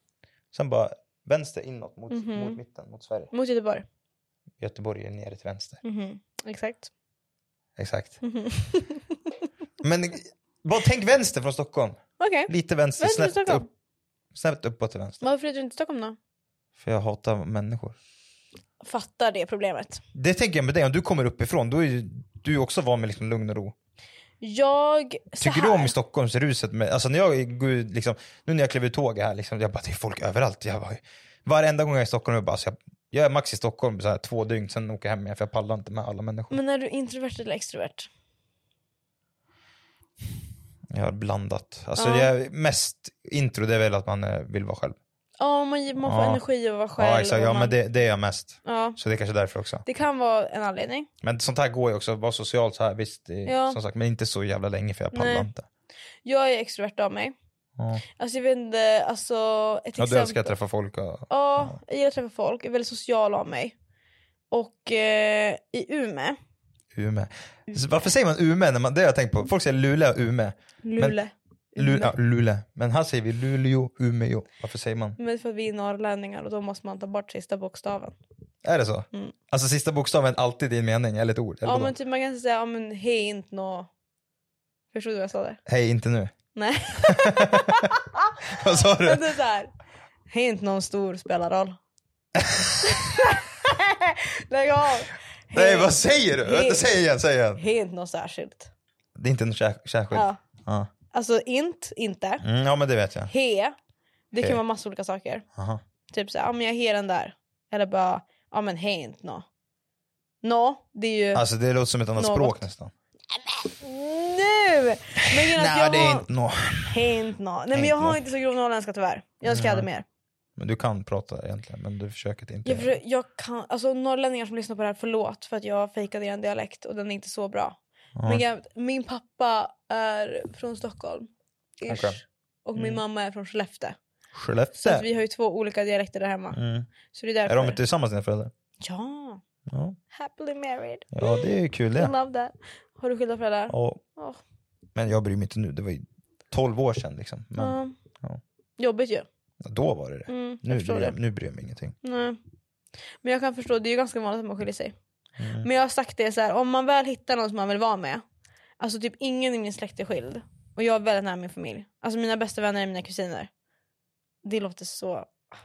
Speaker 3: Sen bara vänster inåt mot,
Speaker 2: Mhm.
Speaker 3: mot mitten, mot Sverige.
Speaker 2: Mot Göteborg.
Speaker 3: Göteborg är nere till vänster.
Speaker 2: Mhm. Exakt.
Speaker 3: Exakt.
Speaker 2: Mhm.
Speaker 3: Men bara tänk vänster från Stockholm.
Speaker 2: Okej.
Speaker 3: Lite vänster,
Speaker 2: Vänster i
Speaker 3: snett,
Speaker 2: Stockholm.
Speaker 3: upp, snett uppåt till vänster.
Speaker 2: Varför flyttar du inte till Stockholm då?
Speaker 3: För jag hatar människor.
Speaker 2: Fattar det problemet.
Speaker 3: Det tänker jag med dig, om du kommer uppifrån, då är ju du också van med liksom lugn och ro.
Speaker 2: Jag... så
Speaker 3: Tycker
Speaker 2: här.
Speaker 3: du om Stockholmsruset? Med, alltså när jag går ut, liksom, nu när jag klev ur tåget här, liksom, jag bara, det är folk överallt. Jag bara, varenda gång jag är i Stockholm, jag bara, alltså, jag, jag är max i Stockholm så här, två dygn, sen åker jag hem igen för jag pallar inte med alla människor.
Speaker 2: Men är du introvert eller extrovert?
Speaker 3: Jag har blandat. Alltså,
Speaker 2: Ja.
Speaker 3: jag, mest intro, det är väl att man eh, vill vara själv.
Speaker 2: Ja, man, man får
Speaker 3: Ja.
Speaker 2: energi av att vara själv.
Speaker 3: Ja, exakt,
Speaker 2: och
Speaker 3: ja
Speaker 2: man,
Speaker 3: men det, det är jag mest.
Speaker 2: ja,
Speaker 3: Så det är kanske därför också.
Speaker 2: det kan vara en anledning.
Speaker 3: Men sånt här går ju också, vara socialt så här, visst, det, är-
Speaker 2: Ja.
Speaker 3: som sagt, men inte så jävla länge för jag pallar
Speaker 2: Nej.
Speaker 3: inte.
Speaker 2: Jag är extrovert av mig.
Speaker 3: Ja.
Speaker 2: Alltså jag vet inte, alltså ett
Speaker 3: Ja,
Speaker 2: exempel.
Speaker 3: du älskar att träffa folk och...
Speaker 2: Ja, jag gillar att träffa folk. Jag är väldigt social av mig. Och eh, i Ume,
Speaker 3: Ume. Varför säger man Ume? När man, det har jag tänkt på. Folk säger Luleå och Ume.
Speaker 2: Luleå.
Speaker 3: Lu, ja, Lule. Men här säger vi Luleå, Umeå. Varför säger man?
Speaker 2: Men för att vi är norrlänningar och då måste man ta bort sista bokstaven.
Speaker 3: Är det så?
Speaker 2: Mm.
Speaker 3: Alltså sista bokstaven alltid i en mening eller ett ord? Eller
Speaker 2: Ja
Speaker 3: vadå?
Speaker 2: men typ man kan säga, ja men hej inte nå. Förstod du vad jag sa där?
Speaker 3: Hej, inte nu.
Speaker 2: Nej.
Speaker 3: Vad sa du?
Speaker 2: Men det är så här, det är inte någon stor spelarroll. Lägg av!
Speaker 3: Nej, vad säger du?
Speaker 2: Hej.
Speaker 3: Vänta, säg igen, säg igen.
Speaker 2: Det är inte något särskilt.
Speaker 3: Det är inte något kär- särskilt.
Speaker 2: Ja.
Speaker 3: Ja. Ja.
Speaker 2: Alltså inte, inte.
Speaker 3: Mm, ja, men det vet jag.
Speaker 2: He, det kan
Speaker 3: He.
Speaker 2: vara massa olika saker.
Speaker 3: Aha.
Speaker 2: Typ så här, ja men jag he den där. Eller bara, ja men he inte nå. Nå, det är ju...
Speaker 3: Alltså det låter som ett annat
Speaker 2: Något.
Speaker 3: språk nästan.
Speaker 2: nu! Men grejen är att
Speaker 3: Nej,
Speaker 2: jag
Speaker 3: det är
Speaker 2: har-
Speaker 3: inte nå.
Speaker 2: He inte nå. Nej men
Speaker 3: He
Speaker 2: jag
Speaker 3: inte
Speaker 2: har
Speaker 3: nå.
Speaker 2: inte så grov norrländska tyvärr. Jag önskar jag hade mer.
Speaker 3: Men du kan prata egentligen, men du försöker inte.
Speaker 2: Jag, försöker, jag kan, alltså norrlänningar som lyssnar på det här, förlåt för att jag fejkade er en dialekt och den är inte så bra.
Speaker 3: Ja.
Speaker 2: Men jag, min pappa är från Stockholm. Ish.
Speaker 3: Okej.
Speaker 2: Och min
Speaker 3: Mm.
Speaker 2: mamma är från Skellefteå. Så att
Speaker 3: Skellefteå.
Speaker 2: vi har ju två olika dialekter där hemma.
Speaker 3: Mm.
Speaker 2: Så det är
Speaker 3: Är
Speaker 2: därför.
Speaker 3: de tillsammans dina föräldrar?
Speaker 2: Ja.
Speaker 3: Ja.
Speaker 2: Happily married.
Speaker 3: ja, det är ju kul det.
Speaker 2: Love that. Har du skilda föräldrar?
Speaker 3: Ja.
Speaker 2: Åh.
Speaker 3: Men jag bryr mig inte nu, det var ju 12 år sedan liksom. Men
Speaker 2: Ja.
Speaker 3: ja.
Speaker 2: Jobbigt ju.
Speaker 3: då var det det.
Speaker 2: Mm, jag
Speaker 3: Nu
Speaker 2: förstår
Speaker 3: bryr
Speaker 2: det.
Speaker 3: jag, nu bryr jag mig ingenting.
Speaker 2: Nej. Men jag kan förstå, det är ju ganska vanligt att man skiljer sig.
Speaker 3: Mm.
Speaker 2: Men jag har sagt det så här, om man väl hittar någon som man vill vara med. Alltså typ ingen i min släkt är skild. Och jag är väldigt nära min familj. Alltså mina bästa vänner är mina kusiner. Det låter så...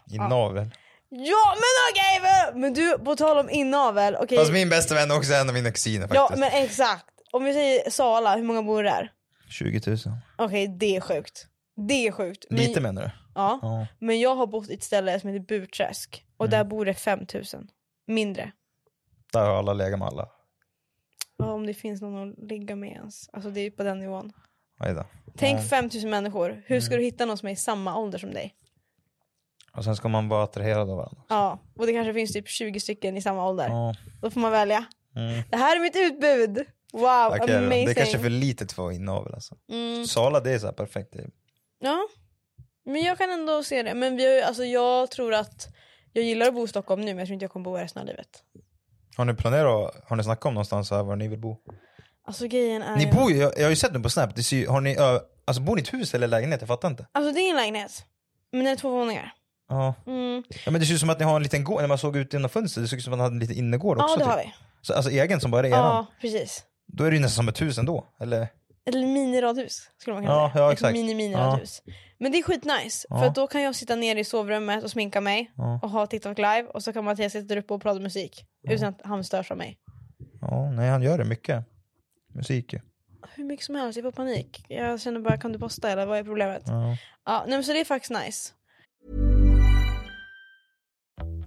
Speaker 3: I
Speaker 2: Ja.
Speaker 3: navel.
Speaker 2: Ja men okej! men- Men du, på tal om inavel. okej.
Speaker 3: Fast min bästa vän är också en av mina kusiner
Speaker 2: ja
Speaker 3: faktiskt.
Speaker 2: men exakt. Om vi säger Sala, hur många bor där?
Speaker 3: 20 000.
Speaker 2: Okej det är sjukt. Det är sjukt. Men-
Speaker 3: Lite menar du?
Speaker 2: Ja.
Speaker 3: Ja.
Speaker 2: Men jag har bott i ett ställe som heter Burträsk.
Speaker 3: Mm.
Speaker 2: Och där bor det 5000. Mindre.
Speaker 3: Där har alla legat med alla.
Speaker 2: Ja, om det finns någon att ligga med ens. Alltså det är ju på den nivån.
Speaker 3: Aj då.
Speaker 2: Tänk
Speaker 3: Ja. Mm.
Speaker 2: 5000 människor. Hur ska du hitta någon som är i samma ålder som dig?
Speaker 3: Och sen ska man vara attraherad av varandra.
Speaker 2: Ja, och det kanske finns typ 20 stycken i samma ålder.
Speaker 3: Ja.
Speaker 2: Då får man välja.
Speaker 3: Mm.
Speaker 2: Det här är mitt utbud! Wow,
Speaker 3: Tack, Aaron.
Speaker 2: amazing!
Speaker 3: det är kanske är för litet för att vara inavel alltså.
Speaker 2: mm.
Speaker 3: Sala det är så här perfekt. Det är-
Speaker 2: Ja, men jag kan ändå se det. Men vi har ju, alltså, jag tror att jag gillar att bo i Stockholm nu men jag tror inte jag kommer bo här resten av livet.
Speaker 3: Har ni planerat, har ni snackat om någonstans här var ni vill bo?
Speaker 2: Alltså grejen är...
Speaker 3: Ni bor ju, jag, jag har ju sett nu på snap, det ser, ju- har ni, ö, alltså bor ni i ett hus eller lägenhet? Jag fattar inte.
Speaker 2: Alltså det är en lägenhet. Men den är två våningar.
Speaker 3: Ja.
Speaker 2: Mm.
Speaker 3: ja men det ser ut som att ni har en liten gård, när man såg ut genom fönstret det såg ut som att man hade en liten innergård också.
Speaker 2: Ja det har
Speaker 3: typ.
Speaker 2: vi.
Speaker 3: Så, alltså egen som bara är eran.
Speaker 2: Ja precis.
Speaker 3: Då är det ju nästan som ett hus ändå. Eller?
Speaker 2: Ett miniradhus skulle man kunna
Speaker 3: Ja,
Speaker 2: säga.
Speaker 3: ja,
Speaker 2: ett
Speaker 3: exakt.
Speaker 2: mini-miniradhus. Men det är skitnice
Speaker 3: Ja.
Speaker 2: för att då kan jag sitta nere i sovrummet och sminka mig
Speaker 3: Ja.
Speaker 2: och ha TikTok live och så kan Mattias sitta där uppe och prata musik utan att han störs av mig.
Speaker 3: Ja, nej han gör det mycket. Musik ju.
Speaker 2: Hur mycket som helst, jag får panik. Jag känner bara kan du posta eller vad är problemet? Ja,
Speaker 3: Ja.
Speaker 2: nej, men så det är faktiskt nice.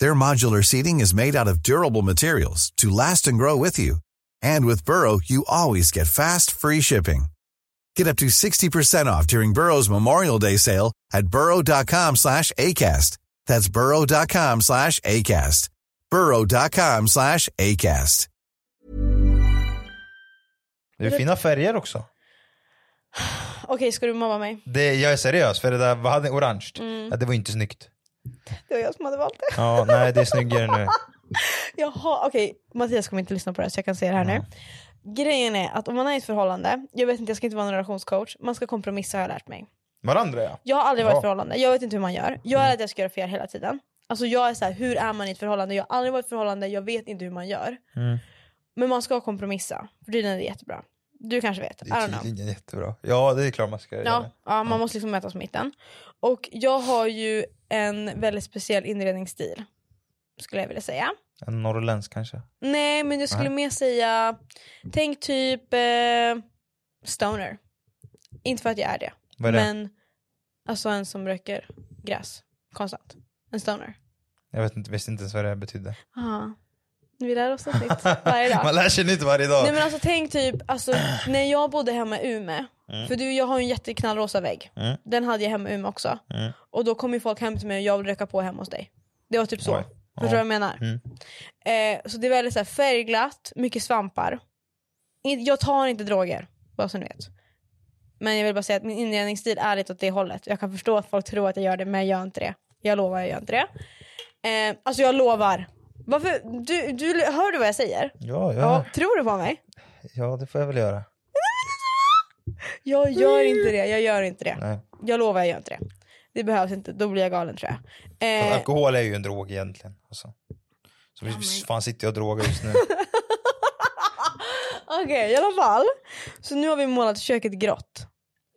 Speaker 4: Their modular seating is made out of durable materials to last and grow with you. And with Burrow, you always get fast, free shipping. Get up to 60% off during Burrow's Memorial Day sale at burrow.com slash ACAST. That's burrow.com slash ACAST. burrow.com slash ACAST.
Speaker 3: Det är fina färger också.
Speaker 2: Okej, ska du mobba mig?
Speaker 3: Det, jag är seriös, för det där, vad hade ni, orange?
Speaker 2: Mm.
Speaker 3: Ja, det var ju inte snyggt.
Speaker 2: Det var jag som hade valt det.
Speaker 3: Ja, nej det är snyggare nu.
Speaker 2: Jaha, okej. Mattias kommer inte lyssna på det här så jag kan säga det här nu. Grejen är att om man är i ett förhållande, jag vet inte, jag ska inte vara någon relationscoach, man ska kompromissa har jag lärt mig.
Speaker 3: Varandra ja.
Speaker 2: Jag har aldrig varit i
Speaker 3: Bra.
Speaker 2: ett förhållande, jag vet inte hur man gör. Jag är att jag ska göra fel hela tiden. Alltså jag är så här, hur är man i ett förhållande? Jag har aldrig varit i ett förhållande, jag vet inte hur man gör. Men man ska kompromissa, för tydligen är det jättebra. Du kanske vet, I
Speaker 3: Det är
Speaker 2: don't know.
Speaker 3: tydligen jättebra. Ja det är klart man ska göra
Speaker 2: Ja,
Speaker 3: det.
Speaker 2: ja, man måste liksom mötas på mitten. Och jag har ju en väldigt speciell inredningsstil, skulle jag vilja säga.
Speaker 3: En norrländsk kanske.
Speaker 2: Nej, men jag skulle
Speaker 3: Nej.
Speaker 2: mer säga, tänk typ eh, stoner. Inte för att jag är det.
Speaker 3: Vad är det?
Speaker 2: men alltså en som röker gräs konstant. En stoner.
Speaker 3: Jag vet inte, visste inte ens vad det här betydde.
Speaker 2: Ja. Vi lär oss något nytt varje dag.
Speaker 3: man lär sig nytt varje dag.
Speaker 2: Nej men alltså tänk typ, alltså, när jag bodde hemma i Umeå, för du, jag har ju en jätteknallrosa vägg.
Speaker 3: Mm.
Speaker 2: Den hade jag hemma i Umeå också.
Speaker 3: Mm.
Speaker 2: Och då kom ju folk hem till mig och jag vill röka på hemma hos dig. Det var typ så.
Speaker 3: Oj.
Speaker 2: Förstår du vad jag menar?
Speaker 3: Mm.
Speaker 2: Eh, så det är väldigt så här, färgglatt, mycket svampar. In, jag tar inte droger, bara så ni vet. Men jag vill bara säga att min inredningsstil är lite åt det hållet. Jag kan förstå att folk tror att jag gör det, men jag gör inte det. Jag lovar, jag gör inte det. Eh, alltså jag lovar. Varför? Du, du, hör du vad jag säger?
Speaker 3: Ja,
Speaker 2: Ja,
Speaker 3: ja,
Speaker 2: tror du på mig?
Speaker 3: ja, det får jag väl göra.
Speaker 2: Jag gör inte det, jag gör inte det.
Speaker 3: Nej.
Speaker 2: Jag lovar jag gör inte det. Det behövs inte, då blir jag galen tror
Speaker 3: Fast
Speaker 2: jag. Eh,
Speaker 3: Alkohol är ju en drog egentligen. Alltså. Så visst fan sitter jag och drogar just nu.
Speaker 2: Okej, i alla fall. Så nu har vi målat köket grått.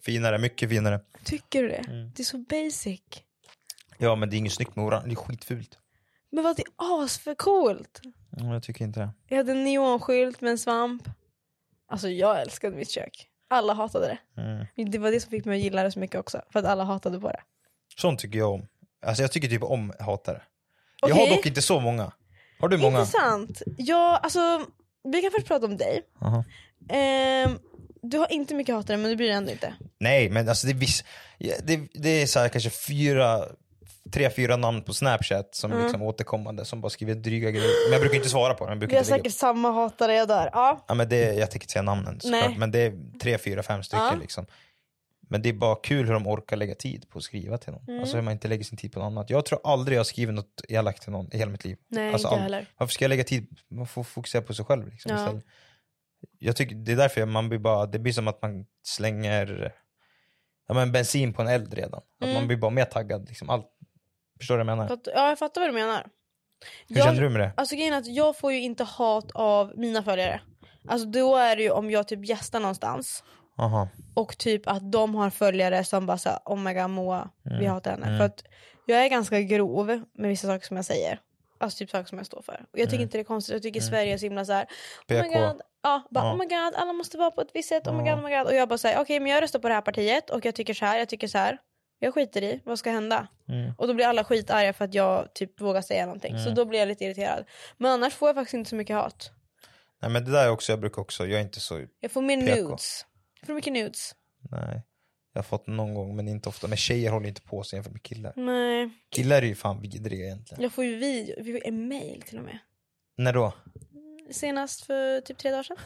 Speaker 3: finare, mycket finare.
Speaker 2: Tycker du det?
Speaker 3: Mm.
Speaker 2: Det är så basic.
Speaker 3: Ja men det är inget snyggt med orange, det är skitfult.
Speaker 2: Men vad det är asförcoolt.
Speaker 3: Ja, jag tycker inte det.
Speaker 2: Jag hade en neonskylt med en svamp. Alltså jag älskade mitt kök. Alla hatade det.
Speaker 3: Mm.
Speaker 2: Det var det som fick mig att gilla det så mycket också. För att alla hatade på det.
Speaker 3: Sånt tycker jag om. Alltså jag tycker typ om hatare. Jag
Speaker 2: Okej.
Speaker 3: har dock inte så många. Har du många?
Speaker 2: Intressant. Ja, alltså, vi kan först prata om dig.
Speaker 3: Aha.
Speaker 2: Ehm, du har inte mycket hatare men du bryr dig ändå inte.
Speaker 3: Nej, men alltså det är, viss, ja, det, det är så här kanske fyra, tre, fyra namn på Snapchat som
Speaker 2: Mm.
Speaker 3: liksom återkommande som bara skriver dryga grejer. Men jag brukar inte svara på dem. Jag brukar
Speaker 2: Vi har
Speaker 3: inte lägga upp.
Speaker 2: säkert samma hatare jag där. Ja.
Speaker 3: Ja, men det, jag tänker inte säga namnen
Speaker 2: Nej.
Speaker 3: såklart, men det är tre, fyra, fem stycken
Speaker 2: Ja.
Speaker 3: liksom. Men det är bara kul hur de orkar lägga tid på att skriva till någon.
Speaker 2: Mm.
Speaker 3: Alltså hur man inte lägger sin tid på något annat. Jag tror aldrig jag har skrivit något elakt till någon i hela mitt liv.
Speaker 2: Nej,
Speaker 3: alltså,
Speaker 2: inte jag
Speaker 3: ald-
Speaker 2: heller.
Speaker 3: Varför ska jag lägga tid? Man får fokusera på sig själv liksom,
Speaker 2: Ja.
Speaker 3: istället. Jag tycker det är därför man blir bara, det blir som att man slänger ja, men bensin på en eld redan. Att
Speaker 2: Mm.
Speaker 3: man blir bara mer taggad. Liksom, allt. Förstår du vad jag menar?
Speaker 2: Fatt- ja, jag fattar vad du menar.
Speaker 3: Hur känner du med det?
Speaker 2: Alltså grejen är att jag får ju inte hat av mina följare. Alltså då är det ju om jag typ gästar någonstans
Speaker 3: Aha.
Speaker 2: och typ att de har följare som bara såhär oh my god Moa, vi hatar henne.
Speaker 3: Mm.
Speaker 2: För att jag är ganska grov med vissa saker som jag säger. Alltså typ saker som jag står för. Och jag
Speaker 3: Mm.
Speaker 2: tycker inte det är konstigt, jag tycker Sverige är så himla såhär oh my
Speaker 3: PK.
Speaker 2: god, ja, bara,
Speaker 3: Ja.
Speaker 2: oh my god, alla måste vara på ett visst sätt, oh my
Speaker 3: Ja.
Speaker 2: god, oh my god. Och jag bara säger okej men jag röstar på det här partiet och jag tycker så här, jag tycker så här. Jag skiter i, vad ska hända?
Speaker 3: Mm.
Speaker 2: Och då blir alla skitarga för att jag typ vågar säga någonting. Så då blir jag lite irriterad. Men annars får jag faktiskt inte så mycket hat.
Speaker 3: Nej men det där är också, jag brukar också, jag är inte så
Speaker 2: Jag får mer
Speaker 3: PK.
Speaker 2: nudes. Jag får mycket nudes.
Speaker 3: Nej. Jag har fått någon gång men inte ofta. Men tjejer håller inte på sig jämfört med killar.
Speaker 2: Nej,
Speaker 3: Killar är ju fan vidriga egentligen.
Speaker 2: jag får ju video, vi får en mail till och med.
Speaker 3: När då?
Speaker 2: Senast för typ tre dagar sedan.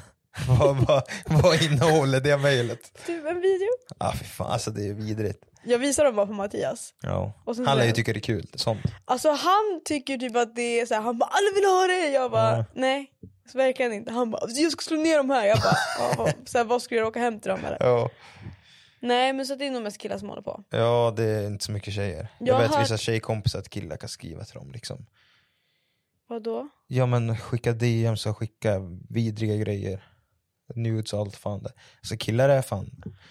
Speaker 3: vad, vad, vad innehåller det mejlet?
Speaker 2: Typ en video.
Speaker 3: Ah, fy fan, alltså det är vidrigt.
Speaker 2: Jag visar dem bara för Mattias.
Speaker 3: Ja.
Speaker 2: Och sen
Speaker 3: Han lär ju
Speaker 2: så-
Speaker 3: tycka det är kul. Sånt.
Speaker 2: Alltså han tycker typ att det är såhär, han bara alla vill ha det. Jag bara
Speaker 3: Ja.
Speaker 2: nej. Så verkligen inte. Han bara jag ska slå ner dem här. Jag bara ja, vad- så här, vad skulle jag åka hem till dem eller?
Speaker 3: Ja.
Speaker 2: Nej men så det är nog mest killar som håller på.
Speaker 3: ja, det är inte så mycket tjejer. Jag,
Speaker 2: Jag har
Speaker 3: vet
Speaker 2: hört-
Speaker 3: vissa tjejkompisar att killar kan skriva till dem. Liksom.
Speaker 2: Vadå?
Speaker 3: Ja men skicka DMs och skicka vidriga grejer. Nudes och allt fan det. Alltså killar är fan.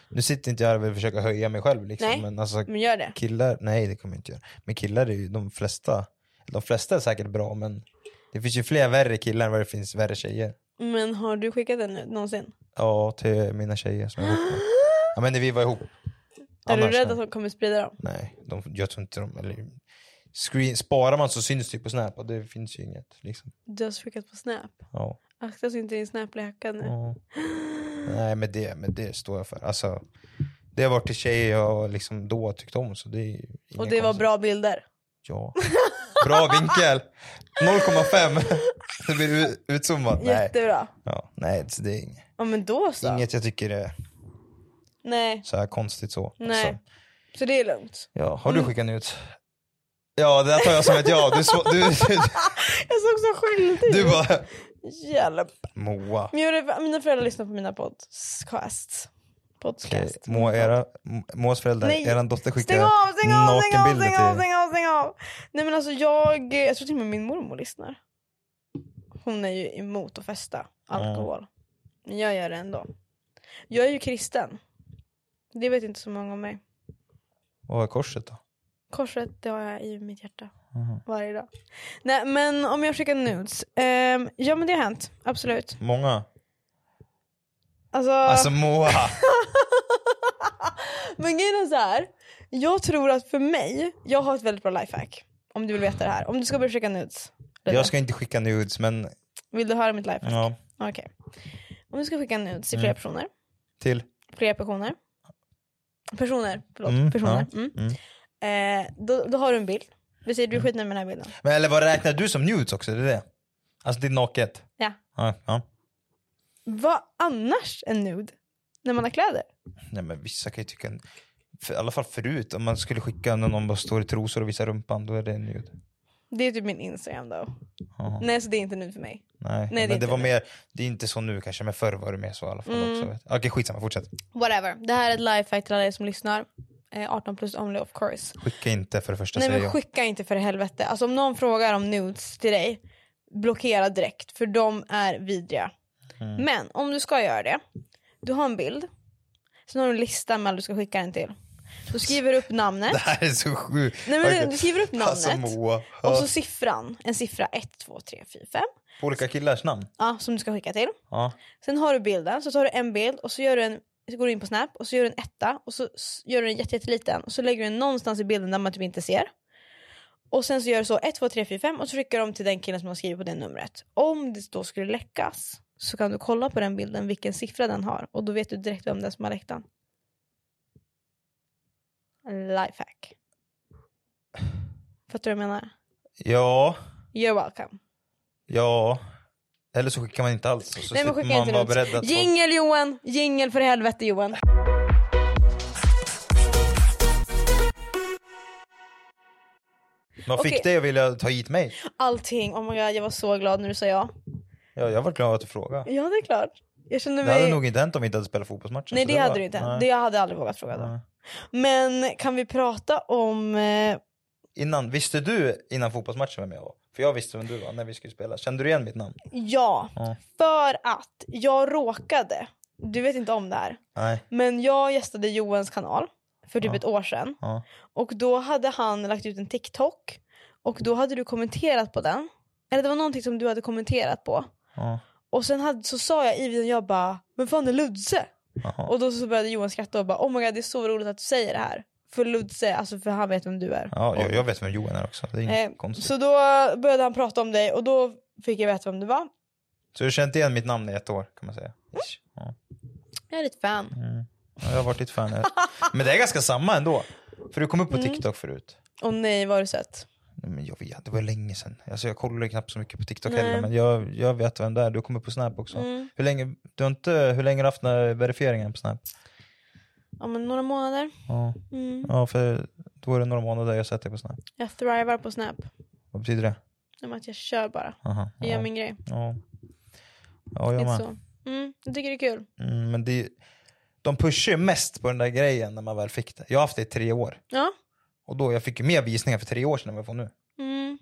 Speaker 3: Nu sitter inte jag här och vill försöka höja mig själv liksom.
Speaker 2: Nej. Mm.
Speaker 3: Men alltså
Speaker 2: Men gör det.
Speaker 3: Killar, nej det kommer jag inte göra. Men killar är ju de flesta, de flesta är säkert bra men det finns ju fler värre killar än vad det finns värre tjejer.
Speaker 2: Men har du skickat den nu, någonsin?
Speaker 3: Ja, till mina tjejer som jag var ihop med. Ja men när vi var ihop.
Speaker 2: Är du
Speaker 3: Annars,
Speaker 2: rädd att de kommer sprida dem?
Speaker 3: Nej, de, jag tror inte de, eller screen, sparar man så syns det ju på snap och det finns ju inget liksom.
Speaker 2: Du har skickat på Snap.
Speaker 3: Ja.
Speaker 2: Akta så inte din Snap blir hackad nu.
Speaker 3: ja. Nej men det, men det står jag för. Alltså, det har varit till tjejer jag liksom då har tyckt om så det är ju inga
Speaker 2: Och det var
Speaker 3: konstigt.
Speaker 2: bra bilder.
Speaker 3: Ja. Bra vinkel! 0,5. Det blir u- utzoomat. Nej.
Speaker 2: Jättebra.
Speaker 3: Ja, nej, så det är inget,
Speaker 2: Ja men då så.
Speaker 3: inget jag tycker är
Speaker 2: Nej.
Speaker 3: så här konstigt så.
Speaker 2: Nej. Mm.
Speaker 3: Alltså,
Speaker 2: Så det är lugnt.
Speaker 3: ja, har du skickat ut? Ja, det där tar jag som ett ja. Du, sv- du, du,
Speaker 2: Jag såg så skyldig ut.
Speaker 3: du bara...
Speaker 2: Hjälp.
Speaker 3: Moa.
Speaker 2: Men jag gjorde- Mina föräldrar lyssnar på mina podcasts.
Speaker 3: Okej,
Speaker 2: Podcast.
Speaker 3: Moa, era, M- Moas föräldrar,
Speaker 2: Nej.
Speaker 3: er dotter skickar
Speaker 2: Stäng av, stäng av, stäng av,
Speaker 3: nakenbilder
Speaker 2: stäng av,
Speaker 3: till
Speaker 2: stäng av, stäng av. Nej men alltså jag, jag tror till och med min mormor lyssnar. Hon är ju emot att festa alkohol. Men jag gör det ändå. Jag är ju kristen. Det vet inte så många om mig.
Speaker 3: Vad är korset då?
Speaker 2: Korset det har jag i mitt hjärta.
Speaker 3: Mhm.
Speaker 2: Varje dag. Nej men om jag skickar nudes. Ehm, ja men det har hänt. Absolut.
Speaker 3: Många?
Speaker 2: Alltså,
Speaker 3: Alltså Moa!
Speaker 2: Men grejen är så här. Jag tror att för mig, jag har ett väldigt bra lifehack. Om du vill veta det här. Om du ska börja skicka nudes. Ludde,
Speaker 3: Jag ska inte skicka nudes men
Speaker 2: Vill du höra mitt lifehack?
Speaker 3: ja,
Speaker 2: Okej. Om du ska skicka nudes till
Speaker 3: Mm.
Speaker 2: flera personer.
Speaker 3: till.
Speaker 2: Flera personer. Personer, förlåt.
Speaker 3: Mm, Mm.
Speaker 2: personer.
Speaker 3: ja,
Speaker 2: Mm. Eh, då, då har du en bild. Vi säger du är skitnöjd med den här bilden.
Speaker 3: Men eller vad räknar du som nudes också? Är Det är det. Alltså det är naket.
Speaker 2: Ja.
Speaker 3: Ja, ja.
Speaker 2: Vad annars en nude? När man har kläder?
Speaker 3: Nej men vissa kan ju tycka, för, i alla fall förut, om man skulle skicka när någon bara står i trosor och visar rumpan, då är det en nude.
Speaker 2: Det är typ min Instagram då.
Speaker 3: Ja.
Speaker 2: Nej så det är inte nude för mig.
Speaker 3: Nej,
Speaker 2: det är
Speaker 3: men det
Speaker 2: inte
Speaker 3: var
Speaker 2: det. Mm.
Speaker 3: mer, det är inte så nu kanske, men förr var det mer så i alla fall också. Vet. Okej skitsamma, fortsätt.
Speaker 2: Whatever. Det här är ett lifehack till alla er som lyssnar. Eh, 18 plus only of course.
Speaker 3: Skicka inte för det första
Speaker 2: Nej
Speaker 3: säger
Speaker 2: men
Speaker 3: Alltså, jag.
Speaker 2: skicka inte för helvete. Alltså om någon frågar om nudes till dig, blockera direkt för de är vidriga.
Speaker 3: Mm.
Speaker 2: Men om du ska göra det, du har en bild, sen har du en lista med alla du ska skicka den till. Du skriver upp namnet,
Speaker 3: Det här är så sjukt.
Speaker 2: Nej, men
Speaker 3: Okej.
Speaker 2: du skriver upp namnet.
Speaker 3: Alltså Moa.
Speaker 2: och
Speaker 3: Ja.
Speaker 2: så siffran, en siffra 1, 2, 3, 4, 5,
Speaker 3: På olika killars namn.
Speaker 2: ja, som du ska skicka till.
Speaker 3: Ja.
Speaker 2: Sen har du bilden, så tar du en bild och så gör du en så går du in på Snap och så gör du en etta och så s- gör du den jätte- jätteliten och så lägger du den någonstans i bilden där man typ inte ser. Och sen så gör du så 1, 2, 3, 4, 5 och så skickar de till den killen som har skrivit på det numret. Om det då skulle läckas så kan du kolla på den bilden vilken siffra den har och då vet du direkt vem det är som har läckt den. Lifehack. Fattar du vad jag menar?
Speaker 3: Ja,
Speaker 2: You're welcome.
Speaker 3: ja. Eller så skickar man inte alls. Och så
Speaker 2: Nej men
Speaker 3: slipper
Speaker 2: skicka
Speaker 3: man
Speaker 2: inte
Speaker 3: vara beredd att...
Speaker 2: runt. Jingel Johan! Jingel för helvete Johan.
Speaker 3: Man fick
Speaker 2: Okej.
Speaker 3: dig att vilja ta hit mig.
Speaker 2: Allting. Oh my god jag var så glad när du sa ja.
Speaker 3: Ja, jag var glad att du frågade.
Speaker 2: Ja det är klart. Jag kände
Speaker 3: Det hade
Speaker 2: mig...
Speaker 3: nog inte hänt om vi inte hade spelat fotbollsmatchen.
Speaker 2: Nej
Speaker 3: så
Speaker 2: det hade
Speaker 3: var-
Speaker 2: du inte.
Speaker 3: Nej.
Speaker 2: Det jag hade aldrig vågat fråga då.
Speaker 3: Nej.
Speaker 2: Men kan vi prata om... eh,
Speaker 3: Innan, visste du innan fotbollsmatchen vem jag var? För jag visste vem du var när vi skulle spela. Kände du igen mitt namn?
Speaker 2: Ja,
Speaker 3: Ja.
Speaker 2: för att jag råkade, du vet inte om det här,
Speaker 3: Nej.
Speaker 2: men jag gästade Johans kanal för typ
Speaker 3: Ja.
Speaker 2: ett år sedan.
Speaker 3: Ja.
Speaker 2: Och då hade han lagt ut en TikTok och då hade du kommenterat på den. Eller det var någonting som du hade kommenterat på.
Speaker 3: Ja.
Speaker 2: Och sen hade, så sa jag i videon, jag bara, men fan är Ludse?
Speaker 3: Jaha.
Speaker 2: Och då så började Johan skratta och bara, oh my god det är så roligt att du säger det här. För Ludse, alltså för han vet vem du är.
Speaker 3: Ja,
Speaker 2: Och-
Speaker 3: jag, jag vet vem Johan är också. Det är inget
Speaker 2: Eh,
Speaker 3: konstigt. Så...
Speaker 2: Så då började han prata om dig och då fick jag veta vem du var.
Speaker 3: du har känt igen mitt namn i ett år kan man säga. Ish. Ja.
Speaker 2: Jag är ditt fan.
Speaker 3: Ja, jag har varit ditt fan. Men det är ganska samma ändå. För du kom
Speaker 2: Mm.
Speaker 3: upp på TikTok förut.
Speaker 2: Och nej, vad har du sett?
Speaker 3: Nej, men jag vet, det var länge sedan. Alltså, jag kollar ju knappt så mycket på TikTok
Speaker 2: Nej.
Speaker 3: heller. Men jag, jag vet vem det är. Du kommer på Snap också.
Speaker 2: Mm.
Speaker 3: Hur länge, du har inte, hur länge har du haft den här verifieringen på Snap?
Speaker 2: Ja, men några månader.
Speaker 3: Ja.
Speaker 2: Mm.
Speaker 3: ja, för då är det några månader jag sett dig på Snap.
Speaker 2: Jag thrivar på Snap.
Speaker 3: Vad betyder det?
Speaker 2: Det är att jag kör bara.
Speaker 3: Aha,
Speaker 2: Jag
Speaker 3: ja.
Speaker 2: gör min grej.
Speaker 3: Ja, ja jag
Speaker 2: Lite
Speaker 3: med.
Speaker 2: så. Mm, jag tycker det är kul.
Speaker 3: Mm, men det, de pushar ju mest på den där grejen när man väl fick det. Jag har haft det i tre år.
Speaker 2: Ja.
Speaker 3: Och då, jag fick ju mer visningar för tre år sedan än vad jag får nu.
Speaker 2: Mm.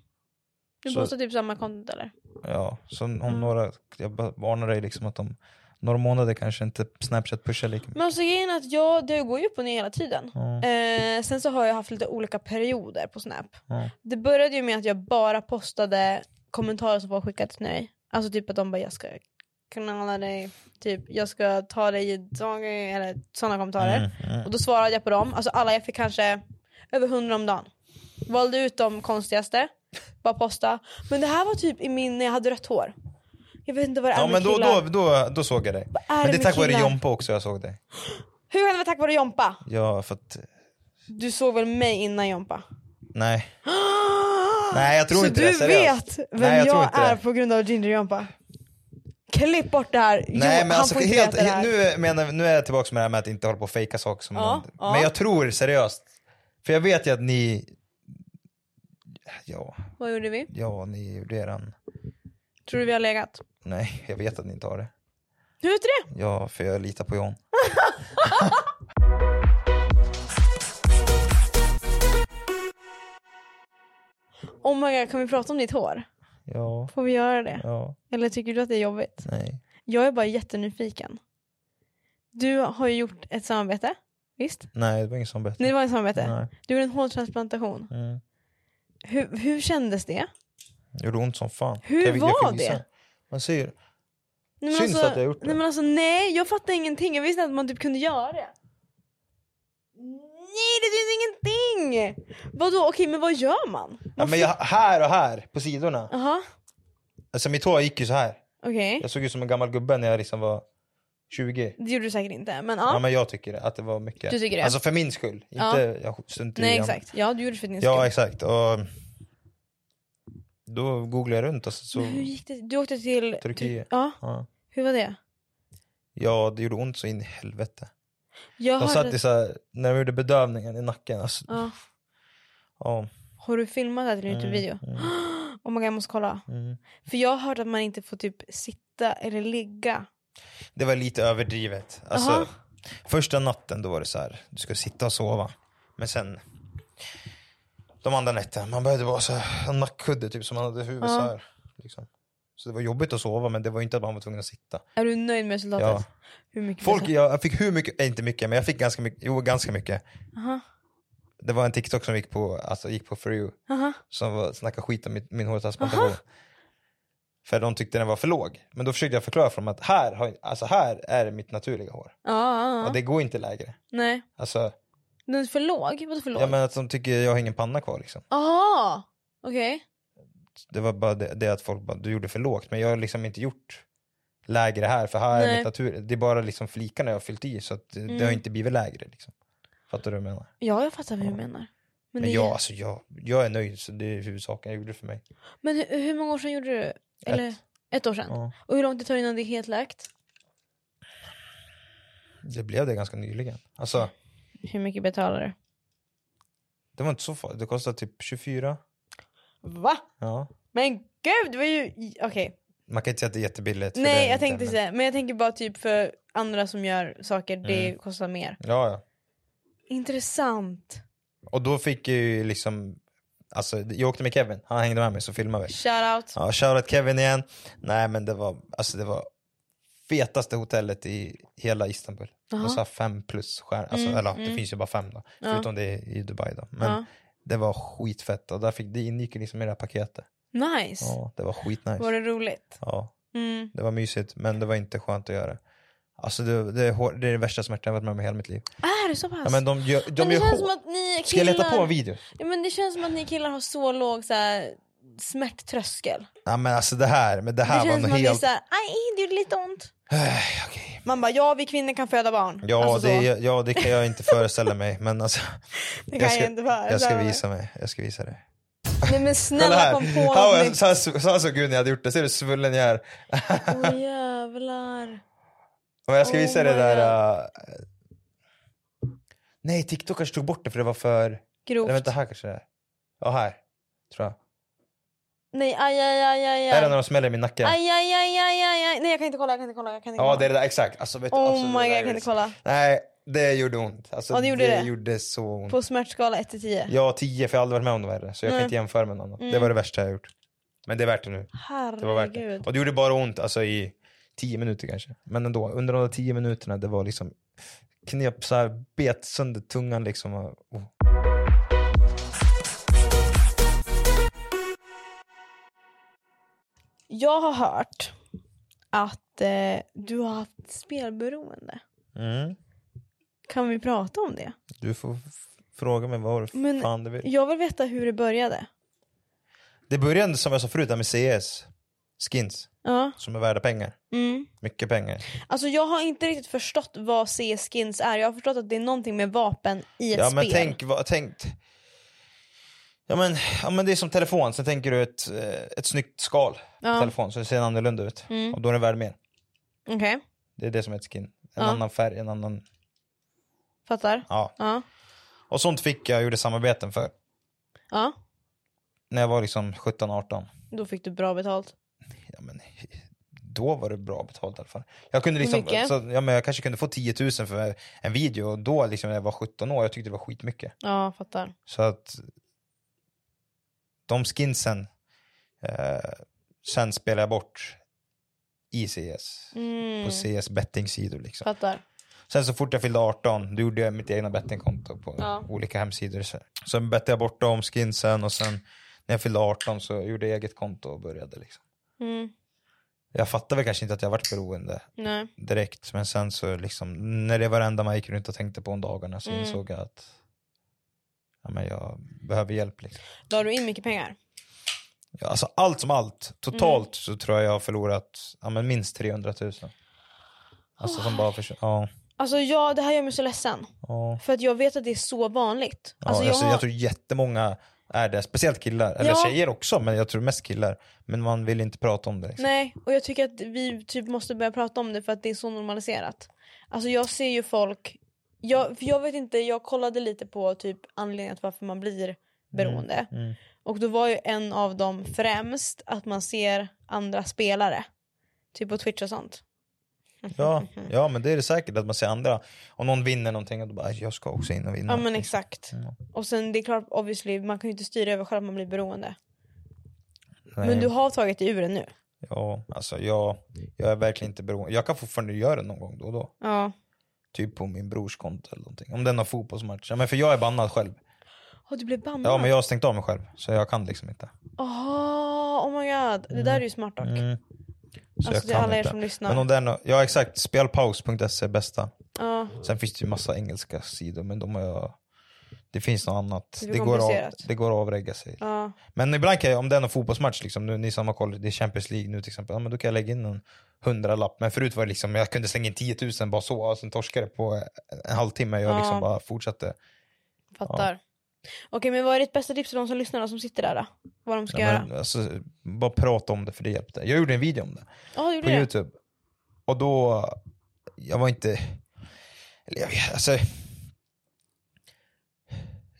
Speaker 2: Du
Speaker 3: Så-
Speaker 2: postar typ samma content eller?
Speaker 3: Ja, så om
Speaker 2: Mm.
Speaker 3: några, jag bara varnar dig liksom att om några månader kanske inte Snapchat pushar lika mycket.
Speaker 2: Men alltså grejen är att jag, det går ju upp och ner hela tiden.
Speaker 3: Ja,
Speaker 2: Eh, sen så har jag haft lite olika perioder på Snap.
Speaker 3: ja,
Speaker 2: Det började ju med att jag bara postade kommentarer som folk skickat till mig. Alltså typ att de bara jag ska knalla dig, typ jag ska ta dig i dagen eller sådana kommentarer.
Speaker 3: Mm, mm.
Speaker 2: Och då svarade jag på dem. Alltså alla, jag fick kanske över 100 om dagen. Valde ut de konstigaste. Bara posta. Men det här var typ i min, när jag hade rött hår. Jag vet inte vad det är
Speaker 3: ja
Speaker 2: med
Speaker 3: men då,
Speaker 2: killar.
Speaker 3: då, då, då såg jag dig.
Speaker 2: är det
Speaker 3: men det är
Speaker 2: med
Speaker 3: tack vare
Speaker 2: killar?
Speaker 3: Jompa också jag såg dig.
Speaker 2: Hur kan det vara tack vare Jompa?
Speaker 3: Ja, för att,
Speaker 2: Du såg väl mig innan Jompa?
Speaker 3: nej. Nej jag tror
Speaker 2: Så
Speaker 3: inte
Speaker 2: du
Speaker 3: det,
Speaker 2: vet
Speaker 3: seriöst.
Speaker 2: vem jag,
Speaker 3: Nej, jag tror inte
Speaker 2: är
Speaker 3: det.
Speaker 2: på grund av Ginger Jompa? Klipp bort det här. jo,
Speaker 3: Nej, men
Speaker 2: han
Speaker 3: alltså,
Speaker 2: får inte
Speaker 3: helt,
Speaker 2: veta det här.
Speaker 3: nu, är- menar, nu är jag tillbaka med det här med att inte hålla på och fejka saker. Som
Speaker 2: Ja,
Speaker 3: man,
Speaker 2: ja.
Speaker 3: Men jag tror seriöst, för jag vet ju att ni, ja,
Speaker 2: Vad gjorde vi?
Speaker 3: ja ni gjorde eran,
Speaker 2: Tror du vi har legat?
Speaker 3: nej jag vet att ni inte har det.
Speaker 2: Hur vet du det?
Speaker 3: Ja, för jag litar på John.
Speaker 2: Oh my god, kan vi prata om ditt hår?
Speaker 3: Ja,
Speaker 2: Får vi göra det?
Speaker 3: ja,
Speaker 2: Eller tycker du att det är jobbigt?
Speaker 3: nej.
Speaker 2: Jag är bara jättenyfiken. Du har ju gjort ett samarbete, visst?
Speaker 3: Nej, det var inget sånt bättre.
Speaker 2: Nej, det var ett samarbete.
Speaker 3: Nej.
Speaker 2: Du gjorde en håltransplantation.
Speaker 3: Mm.
Speaker 2: Hur, hur kändes det?
Speaker 3: Det gjorde ont som fan.
Speaker 2: Hur
Speaker 3: jag, jag
Speaker 2: var
Speaker 3: fick visa.
Speaker 2: det?
Speaker 3: Man ser
Speaker 2: Nej, men
Speaker 3: Syns att jag har gjort det?
Speaker 2: Nej, men alltså, nej, jag fattar ingenting. Jag visste inte att man typ kunde göra det. Nej, det syns ingenting! Vadå, okej, men vad gör man?
Speaker 3: ja, men jag, här och här på sidorna.
Speaker 2: Jaha,
Speaker 3: Alltså mitt hår gick ju så här.
Speaker 2: okej.
Speaker 3: Jag såg ut som en gammal gubbe när jag liksom var 20.
Speaker 2: Det gjorde du säkert inte, men ja.
Speaker 3: Ja. men jag tycker det, att det var mycket.
Speaker 2: Du tycker det?
Speaker 3: Alltså för min skull.
Speaker 2: Ja.
Speaker 3: Inte, jag struntar i
Speaker 2: nej,
Speaker 3: om-
Speaker 2: exakt. Ja, du gjorde det för din
Speaker 3: Ja
Speaker 2: skull.
Speaker 3: exakt. Och då googlade jag runt och så... så
Speaker 2: Men hur gick det? Du åkte till... typ-
Speaker 3: Turkiet.
Speaker 2: Ja,
Speaker 3: ja.
Speaker 2: hur var det?
Speaker 3: ja det gjorde ont så in i helvete.
Speaker 2: Jag
Speaker 3: Jag
Speaker 2: hörde...
Speaker 3: satt i så här, när de gjorde bedövningen i nacken. Alltså,
Speaker 2: ja.
Speaker 3: ja.
Speaker 2: Har du filmat det här till en
Speaker 3: Mm,
Speaker 2: Youtube-video?
Speaker 3: mm.
Speaker 2: Oh my god, jag måste kolla.
Speaker 3: Mm.
Speaker 2: För jag har hört att man inte får typ sitta eller ligga.
Speaker 3: Det var lite överdrivet. Alltså,
Speaker 2: Aha.
Speaker 3: Första natten då var det så här, du ska sitta och sova. Men sen, de andra nätterna, man började vara så här, en nackkudde typ som man hade huvudet så här. Liksom. Så det var jobbigt att sova men det var inte att man var tvungen att sitta.
Speaker 2: Är du nöjd med resultatet?
Speaker 3: Ja.
Speaker 2: Hur mycket
Speaker 3: Folk,
Speaker 2: procent?
Speaker 3: jag, jag fick hur mycket, eh, inte mycket men jag fick ganska mycket, jo ganska mycket.
Speaker 2: Aha.
Speaker 3: Det var en TikTok som gick på, alltså gick på for you,
Speaker 2: Aha.
Speaker 3: som var, snackade skit om min, min hårtransplantation. För de tyckte den var för låg. Men då försökte jag förklara för dem att här, har, alltså här är mitt naturliga hår.
Speaker 2: Ja, ja, ja.
Speaker 3: Och det går inte lägre.
Speaker 2: Nej.
Speaker 3: Alltså,
Speaker 2: Den är för låg? Vadå för låg?
Speaker 3: Ja men att de tycker jag har ingen panna kvar liksom.
Speaker 2: Aha! Okej.
Speaker 3: Det var bara det, det att folk bara, du gjorde för lågt. Men jag har liksom inte gjort lägre här, för här är
Speaker 2: Nej.
Speaker 3: mitt natur. Det är bara liksom flikarna jag har fyllt i, så att det, det har
Speaker 2: Mm.
Speaker 3: inte blivit lägre. Liksom. Fattar du vad jag menar?
Speaker 2: Ja, jag fattar vad du menar. Men,
Speaker 3: Men
Speaker 2: det,
Speaker 3: jag, alltså, jag, jag är nöjd, så det är huvudsaken jag gjorde för mig.
Speaker 2: men hur, hur många år sedan gjorde du? Eller, ett. år sedan?
Speaker 3: Ja.
Speaker 2: Och hur långt det tar innan det är helt läkt?
Speaker 3: Det blev det ganska nyligen. Alltså,
Speaker 2: Hur mycket betalar du?
Speaker 3: det var inte så farligt. Det kostade typ 24.
Speaker 2: Va?
Speaker 3: Ja.
Speaker 2: Men gud, det var ju... Okej.
Speaker 3: Man kan inte säga att det är jättebilligt. för det är
Speaker 2: Nej,
Speaker 3: det
Speaker 2: jag
Speaker 3: inte,
Speaker 2: tänkte
Speaker 3: men-
Speaker 2: säga. Men jag tänker bara typ för andra som gör saker, det
Speaker 3: Mm.
Speaker 2: kostar mer.
Speaker 3: Ja, ja.
Speaker 2: Intressant.
Speaker 3: Och då fick jag ju liksom, alltså jag åkte med Kevin, han hängde med mig så filmade vi.
Speaker 2: Shoutout.
Speaker 3: Ja, shoutout Kevin igen. Nej men det var, alltså det var fetaste hotellet i hela Istanbul. Det var
Speaker 2: Jaha.
Speaker 3: så här fem plus stjärnor, alltså,
Speaker 2: Mm,
Speaker 3: eller det
Speaker 2: mm.
Speaker 3: finns ju bara fem då,
Speaker 2: Ja.
Speaker 3: förutom det i Dubai då. Men
Speaker 2: Ja.
Speaker 3: det var skitfett och där fick, det ingick ju liksom i det här paketet.
Speaker 2: Nice.
Speaker 3: Ja, det var skitnice.
Speaker 2: Var det roligt?
Speaker 3: Ja,
Speaker 2: Mm.
Speaker 3: det var mysigt men det var inte skönt att göra. Alltså det, det, är, hår, det är den värsta smärtan jag varit med om i hela mitt liv.
Speaker 2: Äh, Är det så pass?
Speaker 3: Ja, men de gör, de
Speaker 2: Men det
Speaker 3: gör
Speaker 2: känns
Speaker 3: hår.
Speaker 2: som att ni killar...
Speaker 3: Ska jag leta på en video?
Speaker 2: ja, men det känns som att ni killar har så låg så här, smärttröskel.
Speaker 3: Ja men alltså det här, men det
Speaker 2: Det
Speaker 3: här var
Speaker 2: känns
Speaker 3: nog
Speaker 2: som att ni är
Speaker 3: helt...
Speaker 2: såhär, aj det gjorde lite ont.
Speaker 3: Eh, okej.
Speaker 2: Man bara, ja vi kvinnor kan föda barn.
Speaker 3: Ja,
Speaker 2: Alltså så.
Speaker 3: det, ja det kan jag inte föreställa mig men alltså.
Speaker 2: det
Speaker 3: jag
Speaker 2: kan
Speaker 3: ska,
Speaker 2: jag inte föra.
Speaker 3: jag ska visa mig, jag ska visa dig.
Speaker 2: Nej men
Speaker 3: Kolla
Speaker 2: snälla
Speaker 3: här,
Speaker 2: kom på
Speaker 3: Här var
Speaker 2: något
Speaker 3: jag-
Speaker 2: nytt.
Speaker 3: så här så- så här såg ut när jag hade gjort det, ser du svullen jag är?
Speaker 2: Åh jävlar.
Speaker 3: Men jag ska
Speaker 2: Oh
Speaker 3: visa dig
Speaker 2: my
Speaker 3: det där... eh, Nej TikTok kanske tog bort det för det var för...
Speaker 2: Grovt.
Speaker 3: Eller vänta här kanske det är. Ja här, tror jag.
Speaker 2: Nej aj aj aj aj
Speaker 3: Är det
Speaker 2: aj.
Speaker 3: när de smäller i min nacke?
Speaker 2: Aj, aj, aj, aj, aj, aj. Nej jag kan inte kolla, jag kan inte kolla. Jag kan inte
Speaker 3: Ja
Speaker 2: kolla.
Speaker 3: det är det där, exakt. Alltså, vet, du,
Speaker 2: Oh
Speaker 3: alltså, det
Speaker 2: my
Speaker 3: där
Speaker 2: god, jag
Speaker 3: är-
Speaker 2: kan inte kolla.
Speaker 3: Nej, det gjorde ont. Alltså,
Speaker 2: Ja, det gjorde det.
Speaker 3: gjorde så ont.
Speaker 2: På smärtskala 1 till 10.
Speaker 3: Ja, 10 för jag har aldrig varit med om något värre. Så
Speaker 2: Mm.
Speaker 3: jag kan inte jämföra med någon annan. Det var det värsta jag har gjort. Men det är värt det nu. Det var värt det.
Speaker 2: Herregud.
Speaker 3: Och det gjorde bara ont alltså, i 10 minuter kanske. Men ändå, under de där 10 minuterna det var liksom knep så här, bet sönder tungan liksom. Och, oh.
Speaker 2: Jag har hört att eh, du har haft spelberoende.
Speaker 3: mm.
Speaker 2: Kan vi prata om det?
Speaker 3: Du får f- fråga mig vad
Speaker 2: Men-
Speaker 3: fan du vill.
Speaker 2: Jag vill veta hur det började.
Speaker 3: Det började som jag sa förut där med CS. Skins.
Speaker 2: Ja.
Speaker 3: Som är värda pengar.
Speaker 2: Mm.
Speaker 3: Mycket pengar.
Speaker 2: Alltså jag har inte riktigt förstått vad CS-skins är. Jag har förstått att det är någonting med vapen i ett
Speaker 3: ja,
Speaker 2: spel.
Speaker 3: Men tänk, vad, tänk, ja, men, ja men det är som telefon, sen tänker du ett, eh, ett snyggt skal på
Speaker 2: Ja.
Speaker 3: telefon så det ser annorlunda ut.
Speaker 2: Mm.
Speaker 3: Och då är den värd mer.
Speaker 2: Okej,
Speaker 3: Det är det som är ett skin. En
Speaker 2: Ja.
Speaker 3: annan färg, en annan...
Speaker 2: fattar.
Speaker 3: Ja.
Speaker 2: Ja.
Speaker 3: Och sånt fick jag, jag gjorde samarbeten för.
Speaker 2: ja,
Speaker 3: När jag var liksom 17-18.
Speaker 2: då fick du bra betalt.
Speaker 3: Ja, men, då var det bra betalt i alla fall. Jag, kunde liksom,
Speaker 2: mycket?
Speaker 3: så, ja, men jag kanske kunde få 10 000 för en video. Och då liksom, när jag var 17 år, jag tyckte det var skitmycket.
Speaker 2: Ja, fattar.
Speaker 3: Så att de skinsen eh, sen spelar jag bort i CS.
Speaker 2: Mm.
Speaker 3: På CS bettingsidor liksom.
Speaker 2: Fattar.
Speaker 3: Sen så fort jag fyllde 18 då gjorde jag mitt egna bettingkonto på
Speaker 2: Ja.
Speaker 3: olika hemsidor. Så- Sen bettade jag bort de skinsen och sen när jag fyllde 18 så gjorde jag eget konto och började liksom.
Speaker 2: Mm.
Speaker 3: Jag fattade väl kanske inte att jag varit beroende
Speaker 2: Nej.
Speaker 3: direkt men sen så liksom när det var det enda man gick runt och tänkte på om dagarna så
Speaker 2: Mm.
Speaker 3: insåg jag att ja, men jag behöver hjälp liksom.
Speaker 2: La du in mycket pengar?
Speaker 3: Ja, Alltså allt som allt, totalt
Speaker 2: Mm.
Speaker 3: så tror jag jag har förlorat ja, men minst 300 000. Alltså
Speaker 2: Ah.
Speaker 3: som bara försvann. Ja,
Speaker 2: Alltså ja, det här gör mig så ledsen.
Speaker 3: ja,
Speaker 2: För att jag vet att det är så vanligt.
Speaker 3: ja. Alltså,
Speaker 2: Alltså,
Speaker 3: jag,
Speaker 2: har-
Speaker 3: tror jättemånga är det, speciellt killar. Eller
Speaker 2: Ja.
Speaker 3: tjejer också, men jag tror mest killar. Men man vill inte prata om det. Liksom.
Speaker 2: Nej, och jag tycker att vi typ måste börja prata om det för att det är så normaliserat. Alltså jag ser ju folk, jag, för jag vet inte, jag kollade lite på typ anledningen till varför man blir beroende.
Speaker 3: mm.
Speaker 2: Och då var ju en av dem främst att man ser andra spelare. Typ på Twitch och sånt.
Speaker 3: Ja, ja, men det är det säkert att man ser andra. Om någon vinner någonting och då bara, jag ska också in och vinna. Mm.
Speaker 2: Ja men exakt.
Speaker 3: Ja.
Speaker 2: Och sen det är klart obviously man kan ju inte styra över själv att man blir beroende.
Speaker 3: Nej.
Speaker 2: Men du har tagit dig ur det nu.
Speaker 3: Ja, alltså jag, jag är verkligen inte beroende. Jag kan fortfarande göra det någon gång då och då.
Speaker 2: Ja.
Speaker 3: Typ på min brors konto eller någonting. Om den har fotbollsmatch. Ja, men för jag är bannad själv.
Speaker 2: Åh, du blev bannad.
Speaker 3: Ja, men jag har stängt av mig själv. Så jag kan liksom inte.
Speaker 2: Aha, oh my god. Det där är ju smart dock.
Speaker 3: Mm. Så
Speaker 2: Alltså
Speaker 3: jag
Speaker 2: till
Speaker 3: kan
Speaker 2: alla er
Speaker 3: inte.
Speaker 2: som lyssnar.
Speaker 3: Men om det är nå- ja exakt, spelpaus.se är bästa.
Speaker 2: Ja.
Speaker 3: Sen finns det ju massa engelska sidor men de har jag Det finns något annat.
Speaker 2: Det blir
Speaker 3: Det går, av,
Speaker 2: komplicerat.
Speaker 3: det går att avregga sig.
Speaker 2: Ja.
Speaker 3: Men ibland kan jag, om det är någon fotbollsmatch, liksom, nu, ni som har koll, det är Champions League nu till exempel, ja, men då kan jag lägga in en hundralapp. Men förut var det liksom, jag kunde slänga in 10 000 bara så, och sen torskade det på en halvtimme. Jag
Speaker 2: Ja.
Speaker 3: liksom bara fortsatte.
Speaker 2: Fattar. Okej, men vad är ditt bästa tips till de som lyssnar och som sitter där då? Vad de ska
Speaker 3: Ja,
Speaker 2: göra?
Speaker 3: men, alltså, bara prata om det för det hjälpte. Jag gjorde en video om det
Speaker 2: Ja, du
Speaker 3: på
Speaker 2: gjorde det?
Speaker 3: Youtube. Och då, jag var inte, eller jag vet, alltså.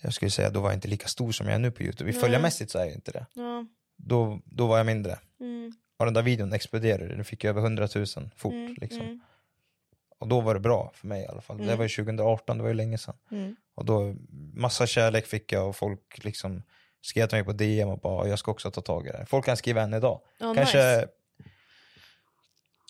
Speaker 3: Jag skulle säga då var jag inte lika stor som jag är nu på Youtube. I
Speaker 2: Nej.
Speaker 3: följarmässigt så är jag inte det.
Speaker 2: Ja.
Speaker 3: Då, då var jag mindre.
Speaker 2: Mm,
Speaker 3: Och den där videon exploderade, den fick ju över 100 000 fort.
Speaker 2: mm,
Speaker 3: liksom.
Speaker 2: mm,
Speaker 3: Och då var det bra för mig i alla fall. Det
Speaker 2: Mm.
Speaker 3: var ju 2018, det var ju länge sedan.
Speaker 2: mm.
Speaker 3: Och då, massa kärlek fick jag och folk liksom skrev till mig på DM och bara jag ska också ta tag i det här. Folk kan skriva än idag.
Speaker 2: Ja,
Speaker 3: kanske
Speaker 2: nice.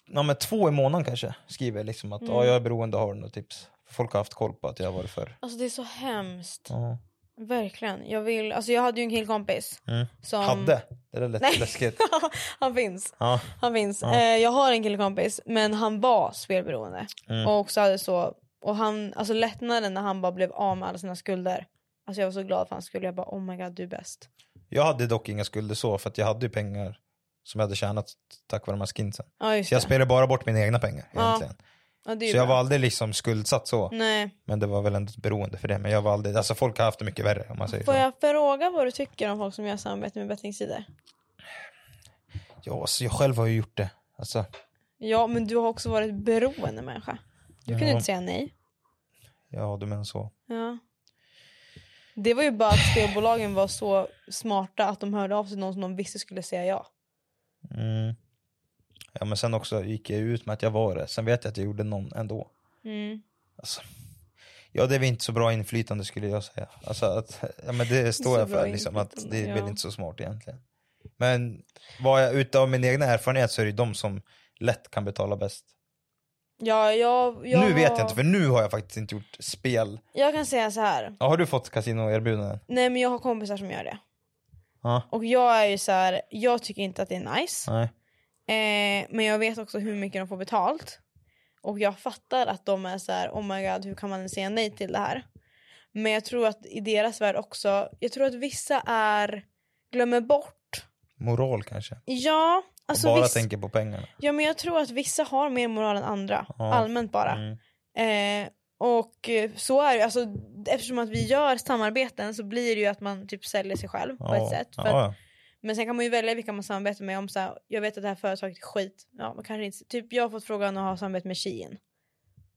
Speaker 3: ja, men två i månaden kanske skriver liksom att
Speaker 2: Mm.
Speaker 3: ja, jag är beroende, har du något tips? Folk har haft koll på att jag har varit förr.
Speaker 2: Alltså det är så hemskt.
Speaker 3: Ja.
Speaker 2: Verkligen. Jag, vill, alltså, jag hade ju en killkompis.
Speaker 3: Mm.
Speaker 2: Som...
Speaker 3: Hade? Det där lät
Speaker 2: Nej.
Speaker 3: läskigt.
Speaker 2: han finns.
Speaker 3: Ja.
Speaker 2: Han finns.
Speaker 3: Ja.
Speaker 2: Eh, jag har en killkompis men han var spelberoende.
Speaker 3: Mm.
Speaker 2: Och också hade så, och han, alltså lättnaden när han bara blev av med alla sina skulder. Alltså jag var så glad för hans skull. Jag bara oh my god du är bäst.
Speaker 3: Jag hade dock inga skulder så för att jag hade ju pengar som jag hade tjänat tack vare de här skinsen.
Speaker 2: Ja just
Speaker 3: Så jag
Speaker 2: det.
Speaker 3: spelade bara bort mina egna pengar
Speaker 2: Ja,
Speaker 3: egentligen.
Speaker 2: Ja, det är ju
Speaker 3: så jag
Speaker 2: bra. Mm.
Speaker 3: var aldrig liksom skuldsatt så.
Speaker 2: Nej.
Speaker 3: Men det var väl ändå ett beroende för det. Men jag var aldrig, alltså folk har haft det mycket värre om man säger
Speaker 2: Får
Speaker 3: så.
Speaker 2: jag fråga vad du tycker om folk som gör samarbete med bettingsidor?
Speaker 3: Ja, alltså, jag själv har ju gjort det. Alltså,
Speaker 2: Ja men du har också varit beroende människa. Du kunde
Speaker 3: Ja.
Speaker 2: inte säga nej.
Speaker 3: ja du menar så.
Speaker 2: Ja. Det var ju bara att spelbolagen var så smarta att de hörde av sig till någon som de visste skulle säga ja.
Speaker 3: Mm. Ja men sen också gick jag ut med att jag var det. Sen vet jag att jag gjorde någon ändå.
Speaker 2: Mm.
Speaker 3: Alltså, ja det är väl inte så bra inflytande skulle jag säga. Alltså, att, ja, men det står
Speaker 2: Så
Speaker 3: jag
Speaker 2: bra
Speaker 3: för liksom, att det
Speaker 2: inflytande,
Speaker 3: är väl
Speaker 2: ja.
Speaker 3: inte så smart egentligen. Men vad jag utav min egna erfarenhet så är det ju de som lätt kan betala bäst.
Speaker 2: Ja, jag, jag
Speaker 3: Nu vet
Speaker 2: var-
Speaker 3: jag inte för nu har jag faktiskt inte gjort spel.
Speaker 2: Jag kan säga så här.
Speaker 3: Ja, har du fått kasinoerbjudanden?
Speaker 2: Nej men jag har kompisar som gör det.
Speaker 3: Ja.
Speaker 2: Och jag är ju så här, jag tycker inte att det är nice.
Speaker 3: Nej.
Speaker 2: Eh, men jag vet också hur mycket de får betalt. Och jag fattar att de är så här, oh my god hur kan man säga nej till det här? Men jag tror att i deras värld också, jag tror att vissa är, glömmer bort.
Speaker 3: Moral kanske.
Speaker 2: Ja,
Speaker 3: Och
Speaker 2: alltså
Speaker 3: bara
Speaker 2: viss,
Speaker 3: tänker på pengarna.
Speaker 2: ja, men jag tror att vissa har mer moral än andra.
Speaker 3: Ja.
Speaker 2: Allmänt bara.
Speaker 3: Mm.
Speaker 2: Eh, och eh, så är det ju. alltså, eftersom att vi gör samarbeten så blir det ju att man typ säljer sig själv på ett sätt. För
Speaker 3: Ja,
Speaker 2: att
Speaker 3: ja.
Speaker 2: Men sen kan man ju välja vilka man samarbetar med. Om så här, jag vet att det här företaget är skit. Ja, man kanske inte, typ jag har fått frågan att ha samarbete med Shein.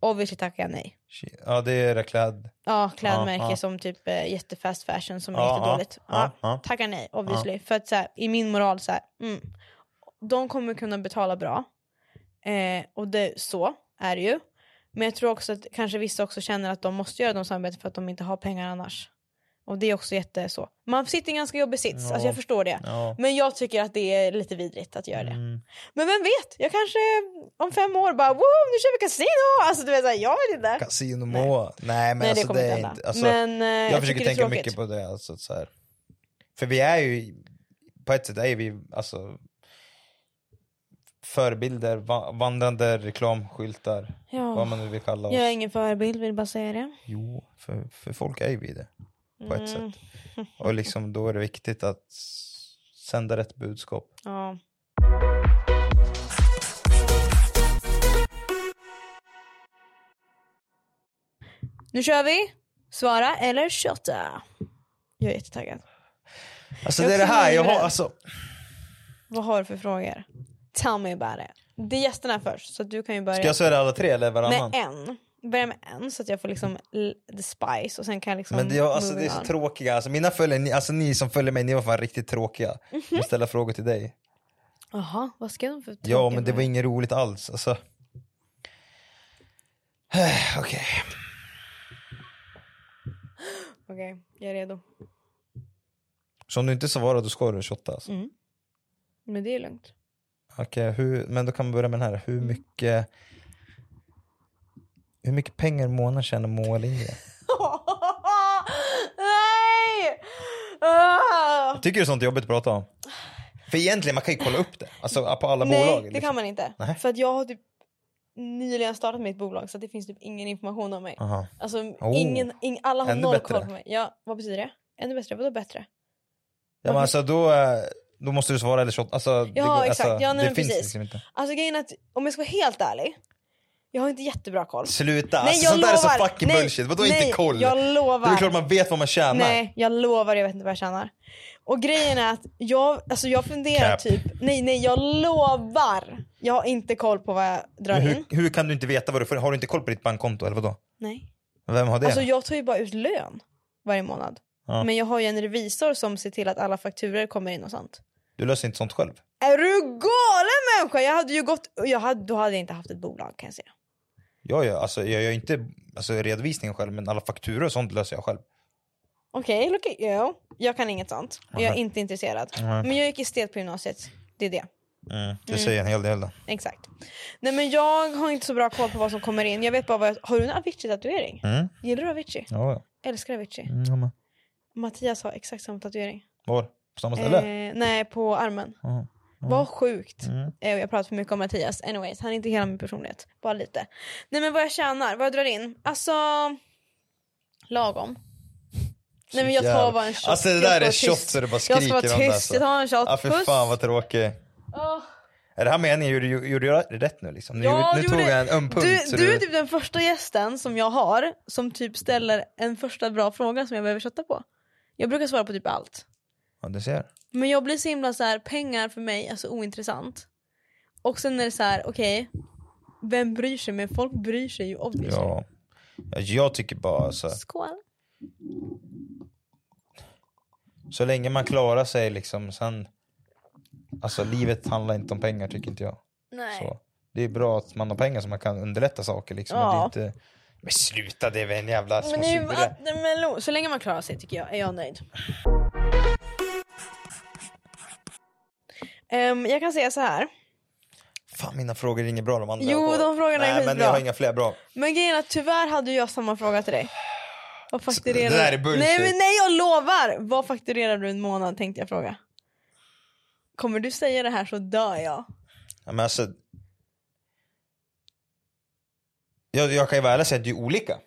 Speaker 2: Obviously tackar jag nej.
Speaker 3: Shit. ja det är rekläd.
Speaker 2: Ja, klädmärke
Speaker 3: Ja, ja.
Speaker 2: som typ eh, jättefast fashion som är
Speaker 3: Ja,
Speaker 2: jättedåligt.
Speaker 3: ja,
Speaker 2: Ja,
Speaker 3: ja, ja.
Speaker 2: Tackar nej obviously. För att så här, i min moral så här, mm, de kommer kunna betala bra. Eh, och det, så är det ju. Men jag tror också att kanske vissa också känner att de måste göra de samarbeten för att de inte har pengar annars. Och det är också jätte så. Man sitter i en ganska jobbig sits,
Speaker 3: Ja.
Speaker 2: alltså jag förstår det.
Speaker 3: Ja.
Speaker 2: Men jag tycker att det är lite vidrigt att göra det.
Speaker 3: Mm.
Speaker 2: Men vem vet, jag kanske om fem år bara wow, nu kör vi kasino! Alltså du vet såhär, jag vet inte.
Speaker 3: Casino Moa. Nej. men
Speaker 2: Nej det
Speaker 3: alltså
Speaker 2: kommer
Speaker 3: det
Speaker 2: inte
Speaker 3: är
Speaker 2: hända.
Speaker 3: inte. Alltså,
Speaker 2: men eh,
Speaker 3: jag,
Speaker 2: jag
Speaker 3: försöker
Speaker 2: tycker det är
Speaker 3: tänka
Speaker 2: tråkigt.
Speaker 3: mycket på det. Alltså, så här. För vi är ju, på ett sätt är vi alltså förebilder, va- vandrande reklamskyltar. Vad
Speaker 2: Ja.
Speaker 3: man nu vill kalla oss.
Speaker 2: Jag är ingen förebild, vill bara säga det.
Speaker 3: Jo, för, för folk är ju vi det. På ett
Speaker 2: Mm.
Speaker 3: sätt. Och liksom, då är det viktigt att s- sända rätt budskap.
Speaker 2: Ja. Nu kör vi! Svara eller kötta. Jag är jättetaggad.
Speaker 3: Alltså
Speaker 2: Jag
Speaker 3: det är det
Speaker 2: också
Speaker 3: här jag har,
Speaker 2: livrädd.
Speaker 3: alltså.
Speaker 2: Vad har du för frågor? Tell me about it. Det är gästerna först, så att du kan ju börja.
Speaker 3: Ska jag säga det alla tre eller varannan?
Speaker 2: med en. Börja med en så att jag får liksom l- the spice och sen kan jag liksom
Speaker 3: Men det, jag, alltså,
Speaker 2: move
Speaker 3: det är så
Speaker 2: on.
Speaker 3: tråkiga, alltså, mina följare, ni, alltså, ni som följer mig, ni var fan riktigt tråkiga.
Speaker 2: Mhm.
Speaker 3: Jag ställer frågor till dig.
Speaker 2: Jaha, vad ska de för
Speaker 3: Ja
Speaker 2: tråkiga
Speaker 3: men det var
Speaker 2: frågor?
Speaker 3: inget roligt alls. Alltså. Okej,
Speaker 2: Okej, jag är redo.
Speaker 3: så om du inte svarar då ska du 28 alltså.
Speaker 2: Mm. Men det är lugnt.
Speaker 3: Okej, hur, men då kan vi börja med den här.
Speaker 2: Mm.
Speaker 3: Hur mycket, hur mycket pengar i månaden tjänar Moa Lindgren?
Speaker 2: Nej! Ah!
Speaker 3: Tycker du sånt är jobbigt att prata om? För egentligen man kan ju kolla upp det, alltså på alla
Speaker 2: Nej,
Speaker 3: bolag.
Speaker 2: det
Speaker 3: liksom.
Speaker 2: kan man inte.
Speaker 3: Nej.
Speaker 2: För att jag har typ nyligen startat mitt bolag så det finns typ ingen information om mig.
Speaker 3: Aha.
Speaker 2: Alltså,
Speaker 3: Oh.
Speaker 2: ingen, ing, alla har
Speaker 3: Ännu
Speaker 2: noll
Speaker 3: bättre.
Speaker 2: koll på mig. Ja, vad betyder det? Ännu bättre? Vadå bättre?
Speaker 3: Ja, men alltså då, eh, då måste du svara eller shot. Alltså, det,
Speaker 2: Ja, exakt.
Speaker 3: Alltså,
Speaker 2: Ja, nej,
Speaker 3: det
Speaker 2: men
Speaker 3: finns
Speaker 2: precis.
Speaker 3: liksom inte.
Speaker 2: Alltså grejen är att om jag ska vara helt ärlig. Jag har inte jättebra koll.
Speaker 3: Sluta!
Speaker 2: Nej,
Speaker 3: alltså,
Speaker 2: jag
Speaker 3: sånt där är så
Speaker 2: lovar.
Speaker 3: fucking
Speaker 2: Nej,
Speaker 3: bullshit. Vadå
Speaker 2: nej,
Speaker 3: inte koll?
Speaker 2: Jag
Speaker 3: Det är
Speaker 2: lovar.
Speaker 3: väl klart man vet vad man tjänar.
Speaker 2: nej, jag lovar. Jag vet inte vad jag tjänar. Och grejen är att jag, alltså jag funderar
Speaker 3: Cap.
Speaker 2: typ. Nej, nej, jag lovar. Jag har inte koll på vad jag drar
Speaker 3: Men
Speaker 2: in.
Speaker 3: hur, hur kan du inte veta vad du får? Har du inte koll på ditt bankkonto eller vadå?
Speaker 2: Nej.
Speaker 3: Vem har det?
Speaker 2: Alltså jag tar ju bara ut lön varje månad.
Speaker 3: Ja.
Speaker 2: Men jag har ju en revisor som ser till att alla fakturer kommer in och sånt.
Speaker 3: Du löser inte sånt själv.
Speaker 2: Är du galen människa? Jag hade ju gått, jag hade, då hade jag inte haft ett bolag kan jag säga.
Speaker 3: Jag gör, alltså, jag gör inte alltså, redovisningen själv men alla fakturor och sånt löser jag själv.
Speaker 2: Okej, look at you. Jag kan inget sånt. Och jag är
Speaker 3: Nej.
Speaker 2: inte intresserad.
Speaker 3: Nej.
Speaker 2: Men jag gick estet på gymnasiet. Det är det.
Speaker 3: Mm, Det
Speaker 2: Mm.
Speaker 3: säger en hel del då.
Speaker 2: Exakt. Nej men jag har inte så bra koll på vad som kommer in. Jag vet bara vad jag... Har du en Avicii-tatuering?
Speaker 3: Mm.
Speaker 2: Gillar du Avicii?
Speaker 3: Ja, ja.
Speaker 2: Älskar Avicii.
Speaker 3: Mm, jag med.
Speaker 2: Mattias har exakt samma tatuering.
Speaker 3: Var? På samma ställe?
Speaker 2: Eh, nej, på armen.
Speaker 3: Jaha.
Speaker 2: Vad sjukt.
Speaker 3: Mm.
Speaker 2: Eh, Jag pratar för mycket om Mattias. Anyways, han är inte hela min personlighet. Bara lite. Nej men vad jag tjänar, vad jag drar in. Alltså, lagom. Nej men jag tar
Speaker 3: Jävlar.
Speaker 2: bara en shot.
Speaker 3: Alltså det
Speaker 2: Jag ska
Speaker 3: där
Speaker 2: vara
Speaker 3: är shot
Speaker 2: tyst.
Speaker 3: så det bara
Speaker 2: Jag
Speaker 3: skriker
Speaker 2: ska vara
Speaker 3: om det,
Speaker 2: tyst,
Speaker 3: alltså.
Speaker 2: jag tar en shot.
Speaker 3: Ja, för
Speaker 2: Puss.
Speaker 3: fan vad tråkig.
Speaker 2: Åh.
Speaker 3: Är det här meningen? Gjorde, gjorde jag rätt nu liksom? Nu,
Speaker 2: Ja,
Speaker 3: nu
Speaker 2: du
Speaker 3: tog
Speaker 2: gjorde-
Speaker 3: jag en öm punkt.
Speaker 2: Du,
Speaker 3: så
Speaker 2: du är typ den första gästen som jag har som typ ställer en första bra fråga som jag behöver chatta på. Jag brukar svara på typ allt.
Speaker 3: Ja, du ser.
Speaker 2: Men jag blir så himla så här, pengar för mig alltså ointressant. Och sen är det så här, okej, vem bryr sig? Men folk bryr sig ju obviously.
Speaker 3: Ja. Ja, Jag tycker bara alltså,
Speaker 2: Skål.
Speaker 3: så länge man klarar sig liksom sen. Alltså livet handlar inte om pengar tycker inte jag.
Speaker 2: Nej.
Speaker 3: Så. Det är bra att man har pengar så man kan underlätta saker liksom.
Speaker 2: Ja.
Speaker 3: Och Det är inte... Men sluta det är väl en jävla små
Speaker 2: Men det är ju
Speaker 3: sura.
Speaker 2: vattenmelon. Så länge man klarar sig tycker jag är jag nöjd. Ehm, jag kan säga så här.
Speaker 3: Fan mina frågor är inget bra de andra.
Speaker 2: Jo,
Speaker 3: har.
Speaker 2: de frågorna är
Speaker 3: Nej, men
Speaker 2: skitbra.
Speaker 3: jag har inga fler bra.
Speaker 2: Men grejen är att tyvärr hade jag samma fråga till dig. Vad fakturerar
Speaker 3: Det där är bullshit.
Speaker 2: Nej men nej jag lovar! Vad fakturerar du en månad tänkte jag fråga. Kommer du säga det här så dör jag.
Speaker 3: Ja, men alltså... jag, jag kan ju vara ärlig och säga att det är olika.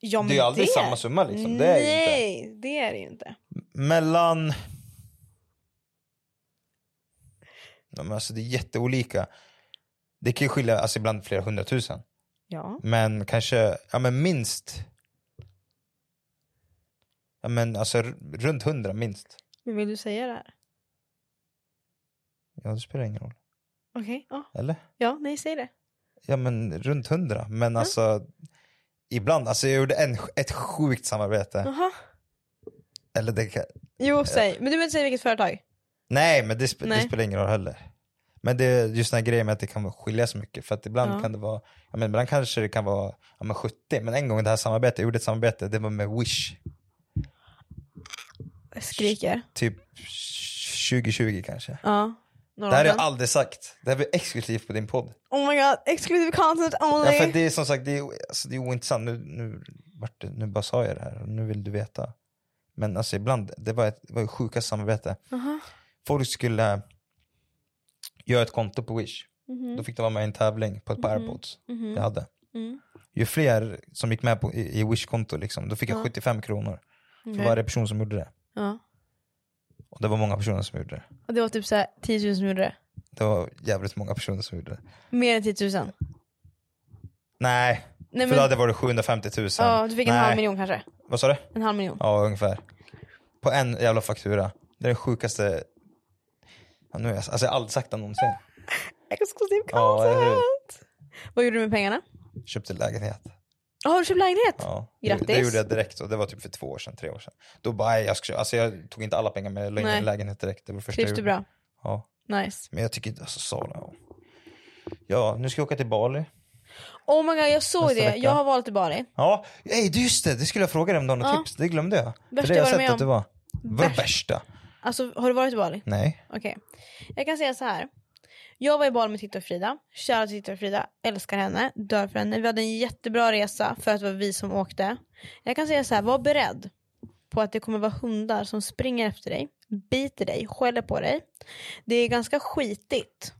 Speaker 2: Ja,
Speaker 3: Det är ju
Speaker 2: men
Speaker 3: aldrig samma summa, liksom. Det är ju inte.
Speaker 2: nej, det är det ju inte.
Speaker 3: Mellan... Ja, men alltså, det är jätteolika. Det kan ju skilja alltså, ibland flera hundratusen.
Speaker 2: Ja.
Speaker 3: Men kanske ja, men minst... Ja, men alltså, r- runt hundra minst.
Speaker 2: Men vill du säga det här?
Speaker 3: Ja, det spelar ingen roll.
Speaker 2: Okej, ja.
Speaker 3: Eller?
Speaker 2: ja, nej säg det.
Speaker 3: Ja men runt hundra. Men
Speaker 2: Mm.
Speaker 3: alltså ibland, alltså jag gjorde en, ett sjukt samarbete.
Speaker 2: Jaha.
Speaker 3: Eller det kan, Eh.
Speaker 2: Jo säg, men du vill inte säga vilket företag?
Speaker 3: nej men det, sp-
Speaker 2: Nej.
Speaker 3: det spelar ingen roll heller. Men det är just den här grejen med att det kan skilja så mycket. För att ibland
Speaker 2: Ja.
Speaker 3: kan det vara, ja, men ibland kanske det kan vara ja, men 70. Men en gång det här samarbetet, jag gjorde ett samarbete, det var med Wish.
Speaker 2: Jag skriker.
Speaker 3: Typ 2020 kanske.
Speaker 2: Ja. Några
Speaker 3: Det här har
Speaker 2: av
Speaker 3: jag
Speaker 2: dem.
Speaker 3: aldrig sagt. Det här blir exklusivt på din podd.
Speaker 2: Oh my god, exclusive content
Speaker 3: Ja,
Speaker 2: only.
Speaker 3: för det är som sagt det är, alltså, det är ointressant. Nu, nu, vart det, nu bara sa jag det här och nu vill du veta. Men alltså ibland, det var ett, det var ju sjuka samarbete.
Speaker 2: Jaha.
Speaker 3: Folk skulle göra ett konto på Wish.
Speaker 2: Mhm.
Speaker 3: Då fick de vara med i en tävling på ett par
Speaker 2: Mhm.
Speaker 3: airpods
Speaker 2: Mhm.
Speaker 3: jag hade.
Speaker 2: Mm.
Speaker 3: Ju fler som gick med på, i, i Wish-konto, liksom, då fick jag 75 kronor för
Speaker 2: Okej.
Speaker 3: varje person som gjorde det.
Speaker 2: Ja.
Speaker 3: Och det var många personer som gjorde det.
Speaker 2: Och det var typ så här 10 000 som gjorde det.
Speaker 3: Det var jävligt många personer som gjorde det.
Speaker 2: Mer än 10 000.
Speaker 3: Nej,
Speaker 2: Nej,
Speaker 3: för då hade det varit 750 000.
Speaker 2: ja, du fick en
Speaker 3: Nej.
Speaker 2: halv miljon kanske.
Speaker 3: Vad sa du?
Speaker 2: En halv miljon.
Speaker 3: Ja, ungefär. På en jävla faktura. Det är den sjukaste... Ja, nu är jag... Alltså, jag har aldrig sagt det någonsin.
Speaker 2: Exklusiv
Speaker 3: Ja, eller hur?
Speaker 2: content! Vad gjorde du med pengarna?
Speaker 3: Köpte lägenhet.
Speaker 2: Ja, har du köpt lägenhet?
Speaker 3: Ja.
Speaker 2: Grattis.
Speaker 3: Det, det gjorde jag direkt och det var typ för två år sedan, tre år sedan. Då bara, nej, jag, ska, köpa- alltså, jag tog inte alla pengar men jag la in
Speaker 2: Nej.
Speaker 3: en lägenhet direkt. Det var det första
Speaker 2: Trivs
Speaker 3: jag
Speaker 2: du
Speaker 3: gjorde.
Speaker 2: bra?
Speaker 3: Ja.
Speaker 2: Nice.
Speaker 3: Men jag tycker inte, alltså Sala. Ja. ja, nu ska jag åka till Bali.
Speaker 2: Oh my god, jag såg
Speaker 3: Nästa
Speaker 2: det.
Speaker 3: vecka.
Speaker 2: Jag har valt Bali.
Speaker 3: Ja, Ey, det- just det, det skulle jag fråga dig om du har något
Speaker 2: Ja.
Speaker 3: tips. Det glömde jag. För
Speaker 2: Värsta
Speaker 3: det har
Speaker 2: jag varit
Speaker 3: jag
Speaker 2: med
Speaker 3: sett
Speaker 2: om.
Speaker 3: att det var. Vad
Speaker 2: Värst-
Speaker 3: värsta?
Speaker 2: Alltså, har du varit i Bali?
Speaker 3: Nej.
Speaker 2: Okej. Jag kan säga så här. Jag var i Bali med Titta och Frida. Kära Titta och Frida. Älskar henne. Dör för henne. Vi hade en jättebra resa för att det var vi som åkte. Jag kan säga så här. Var beredd på att det kommer vara hundar som springer efter dig. Biter dig. Skäller på dig. Det är ganska skitigt.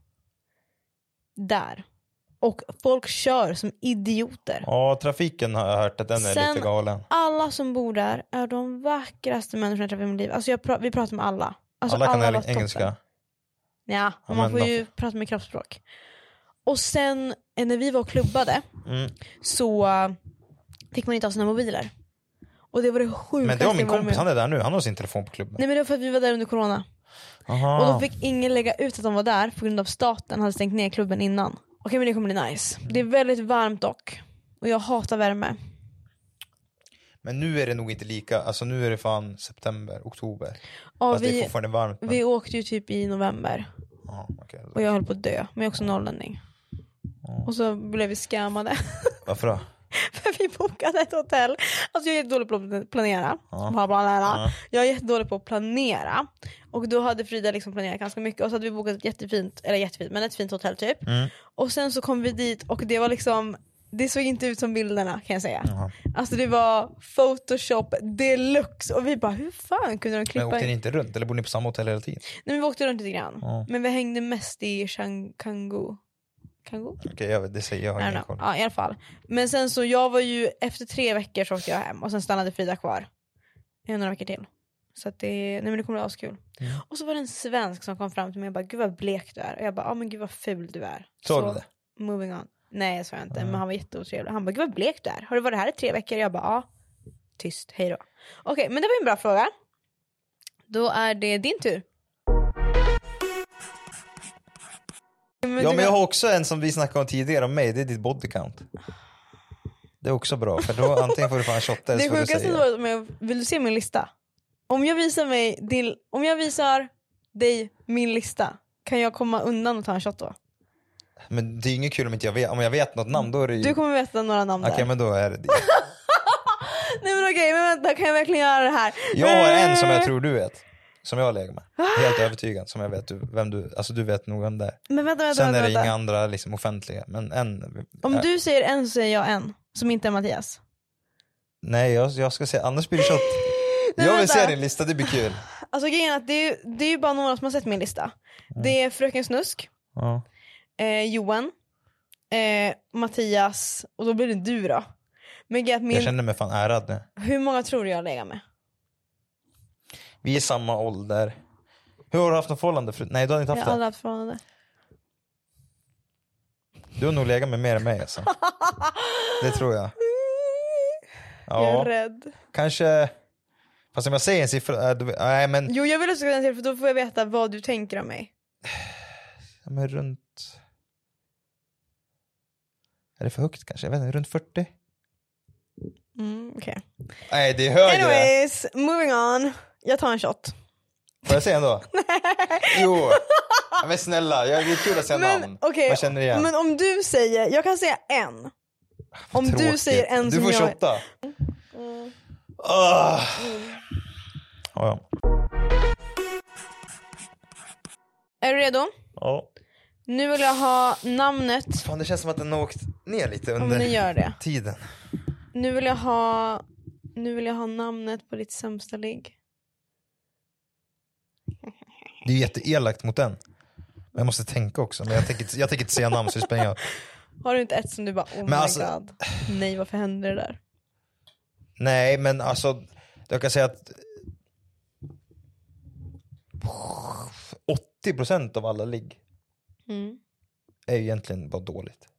Speaker 2: Där. Och folk kör som idioter.
Speaker 3: Ja, trafiken har jag hört att den är
Speaker 2: Sen-
Speaker 3: lite galen.
Speaker 2: Alla som bor där är de vackraste människorna jag träffat i mitt liv. Alltså jag pra- vi pratar med alla. Alltså
Speaker 3: alla kan
Speaker 2: var
Speaker 3: alla
Speaker 2: toppen.
Speaker 3: engelska.
Speaker 2: Ja,
Speaker 3: Ja,
Speaker 2: och man
Speaker 3: men
Speaker 2: får
Speaker 3: de-
Speaker 2: ju prata med kroppsspråk. Och sen eh, när vi var och klubbade
Speaker 3: Mm.
Speaker 2: så eh, fick man inte ha sina mobiler. Och det var det sjukaste
Speaker 3: Men det var min
Speaker 2: jag varit
Speaker 3: kompis,
Speaker 2: med om.
Speaker 3: han är där nu. Han har sin telefon på klubben.
Speaker 2: Nej men det var för att vi var där under corona.
Speaker 3: Aha.
Speaker 2: Och då fick ingen lägga ut att de var där på grund av staten hade stängt ner klubben innan. Okej men det kommer bli nice. Det är
Speaker 3: Mm.
Speaker 2: väldigt varmt dock. Och jag hatar värme.
Speaker 3: Men nu är det nog inte lika. Alltså nu är det fan september, oktober.
Speaker 2: Ja,
Speaker 3: Fast det är
Speaker 2: vi,
Speaker 3: fortfarande varmt. Men...
Speaker 2: vi åkte ju typ i november
Speaker 3: Aha, okej.
Speaker 2: och jag höll på att dö. Men jag är också norrlänning.
Speaker 3: Mm.
Speaker 2: Och så blev vi scammade.
Speaker 3: Varför då?
Speaker 2: För vi bokade ett hotell. Alltså jag är jättedålig på att planera. Bla, bla, bla, bla. Jag är jättedålig på att planera. Och då hade Frida liksom planerat ganska mycket. Och så hade vi bokat ett jättefint, eller jättefint, men ett fint hotell typ.
Speaker 3: Mm.
Speaker 2: Och sen så kom vi dit och det var liksom, det såg inte ut som bilderna kan jag säga. Alltså det var photoshop deluxe. Och vi bara hur fan kunde de
Speaker 3: Men
Speaker 2: klippa
Speaker 3: åkte ni
Speaker 2: in?
Speaker 3: inte runt? Eller bor ni på samma hotell hela tiden?
Speaker 2: Nej, men vi åkte runt lite grann. Men vi hängde mest i Shang- Kangu. Kangu?
Speaker 3: Okej, jag vet, det säger jag.
Speaker 2: I don't
Speaker 3: har ingen
Speaker 2: know.
Speaker 3: koll.
Speaker 2: Ja, i alla fall. Men sen så jag var ju, efter tre veckor så åkte jag hem och sen stannade Frida kvar i några veckor till. Så att det, nej men det kommer bli askul.
Speaker 3: Mm.
Speaker 2: Och så var det en svensk som kom fram till mig och bara gud vad blek du är. Och jag bara ja men gud vad ful du är.
Speaker 3: Sa
Speaker 2: Så,
Speaker 3: du det?
Speaker 2: Moving on. Nej jag sa jag inte men han var jätteotrevlig. Han bara gud vad blek du är. Har du varit här i tre veckor? Jag bara ja. Tyst, hej då. Okej men det var ju en bra fråga. Då är det din tur.
Speaker 3: Ja,
Speaker 2: du-
Speaker 3: men jag har också en som vi snackade om tidigare om mig. Det är ditt body count. Det är också bra, för då antingen får du fan shotta eller
Speaker 2: Det
Speaker 3: så får du
Speaker 2: sjukaste
Speaker 3: säga.
Speaker 2: var att om jag, vill du se min lista? Om jag visar mig din, om jag visar dig min lista, kan jag komma undan och ta en shot
Speaker 3: Mm.
Speaker 2: då?
Speaker 3: Men det är inget kul om inte jag vet, om jag vet något namn. Då är det ju...
Speaker 2: Du kommer veta några namn
Speaker 3: Okej,
Speaker 2: där.
Speaker 3: men då är det det.
Speaker 2: Nej men okej, men vänta kan jag verkligen göra det här?
Speaker 3: Jag har en som jag
Speaker 2: Eh.
Speaker 3: tror du vet. Som jag lägger med. Helt övertygad. Som jag vet du, vem du, alltså du vet nog vem det är.
Speaker 2: Men vänta, vänta,
Speaker 3: Sen
Speaker 2: vänta.
Speaker 3: är det
Speaker 2: vänta.
Speaker 3: inga andra liksom offentliga. Men en.
Speaker 2: Om
Speaker 3: äh,
Speaker 2: du säger en så säger jag en, som inte är Mattias.
Speaker 3: Nej, jag, jag ska säga, annars blir det shot.
Speaker 2: Nej,
Speaker 3: jag vill
Speaker 2: vänta.
Speaker 3: se din lista, det blir kul.
Speaker 2: Alltså grejen är att det är, ju- det är ju bara några som har sett min lista.
Speaker 3: Mm.
Speaker 2: Det är Fröken Snusk,
Speaker 3: Ja.
Speaker 2: eh, Johan, eh, Mattias och då blir det du då. Men grejen är att min,
Speaker 3: Jag känner mig fan ärad nu.
Speaker 2: hur många tror du jag lägger med?
Speaker 3: Vi är samma ålder. Hur har du haft något förhållande? förut? Nej, du har inte
Speaker 2: Jag
Speaker 3: haft
Speaker 2: har aldrig
Speaker 3: det.
Speaker 2: haft förhållande.
Speaker 3: Du har nog legat med mer än mig alltså. Det tror jag.
Speaker 2: Jag är
Speaker 3: Ja,
Speaker 2: rädd.
Speaker 3: kanske. Fast om jag säger en siffra, äh, du, nej men,
Speaker 2: Jo jag vill också den till för då får jag veta vad du tänker om mig.
Speaker 3: ja, men runt. Är det för högt kanske? Jag vet inte, runt 40?
Speaker 2: Mm, okej.
Speaker 3: Nej, det är högre.
Speaker 2: Anyways, moving on. Jag tar en shot.
Speaker 3: Får jag säga ändå? jo. Ja, Men snälla, jag- det är kul att säga namn.
Speaker 2: Men okej,
Speaker 3: Jag känner igen. Ah,
Speaker 2: men om du säger, jag kan säga en. Om du
Speaker 3: Tråkigt.
Speaker 2: säger en
Speaker 3: Du
Speaker 2: som
Speaker 3: får
Speaker 2: jag...
Speaker 3: shotta. Ah. Ja, ja.
Speaker 2: Är du redo?
Speaker 3: Ja.
Speaker 2: Nu vill jag ha namnet.
Speaker 3: Fan, det känns som att den har åkt ner lite
Speaker 2: Om den
Speaker 3: under
Speaker 2: gör det.
Speaker 3: tiden.
Speaker 2: Nu vill jag ha... Nu vill jag ha namnet på ditt sämsta ligg.
Speaker 3: Det är jätteelakt mot den. Men jag måste tänka också. Men jag tänker, inte- jag tänker inte säga namn så det spelar ingen roll.
Speaker 2: Har du inte ett som du bara oh my
Speaker 3: alltså-
Speaker 2: god. Nej varför hände det där?
Speaker 3: Nej, men alltså. Jag kan säga att 80% av alla ligg
Speaker 2: Mm.
Speaker 3: är ju egentligen bara dåligt. Tycker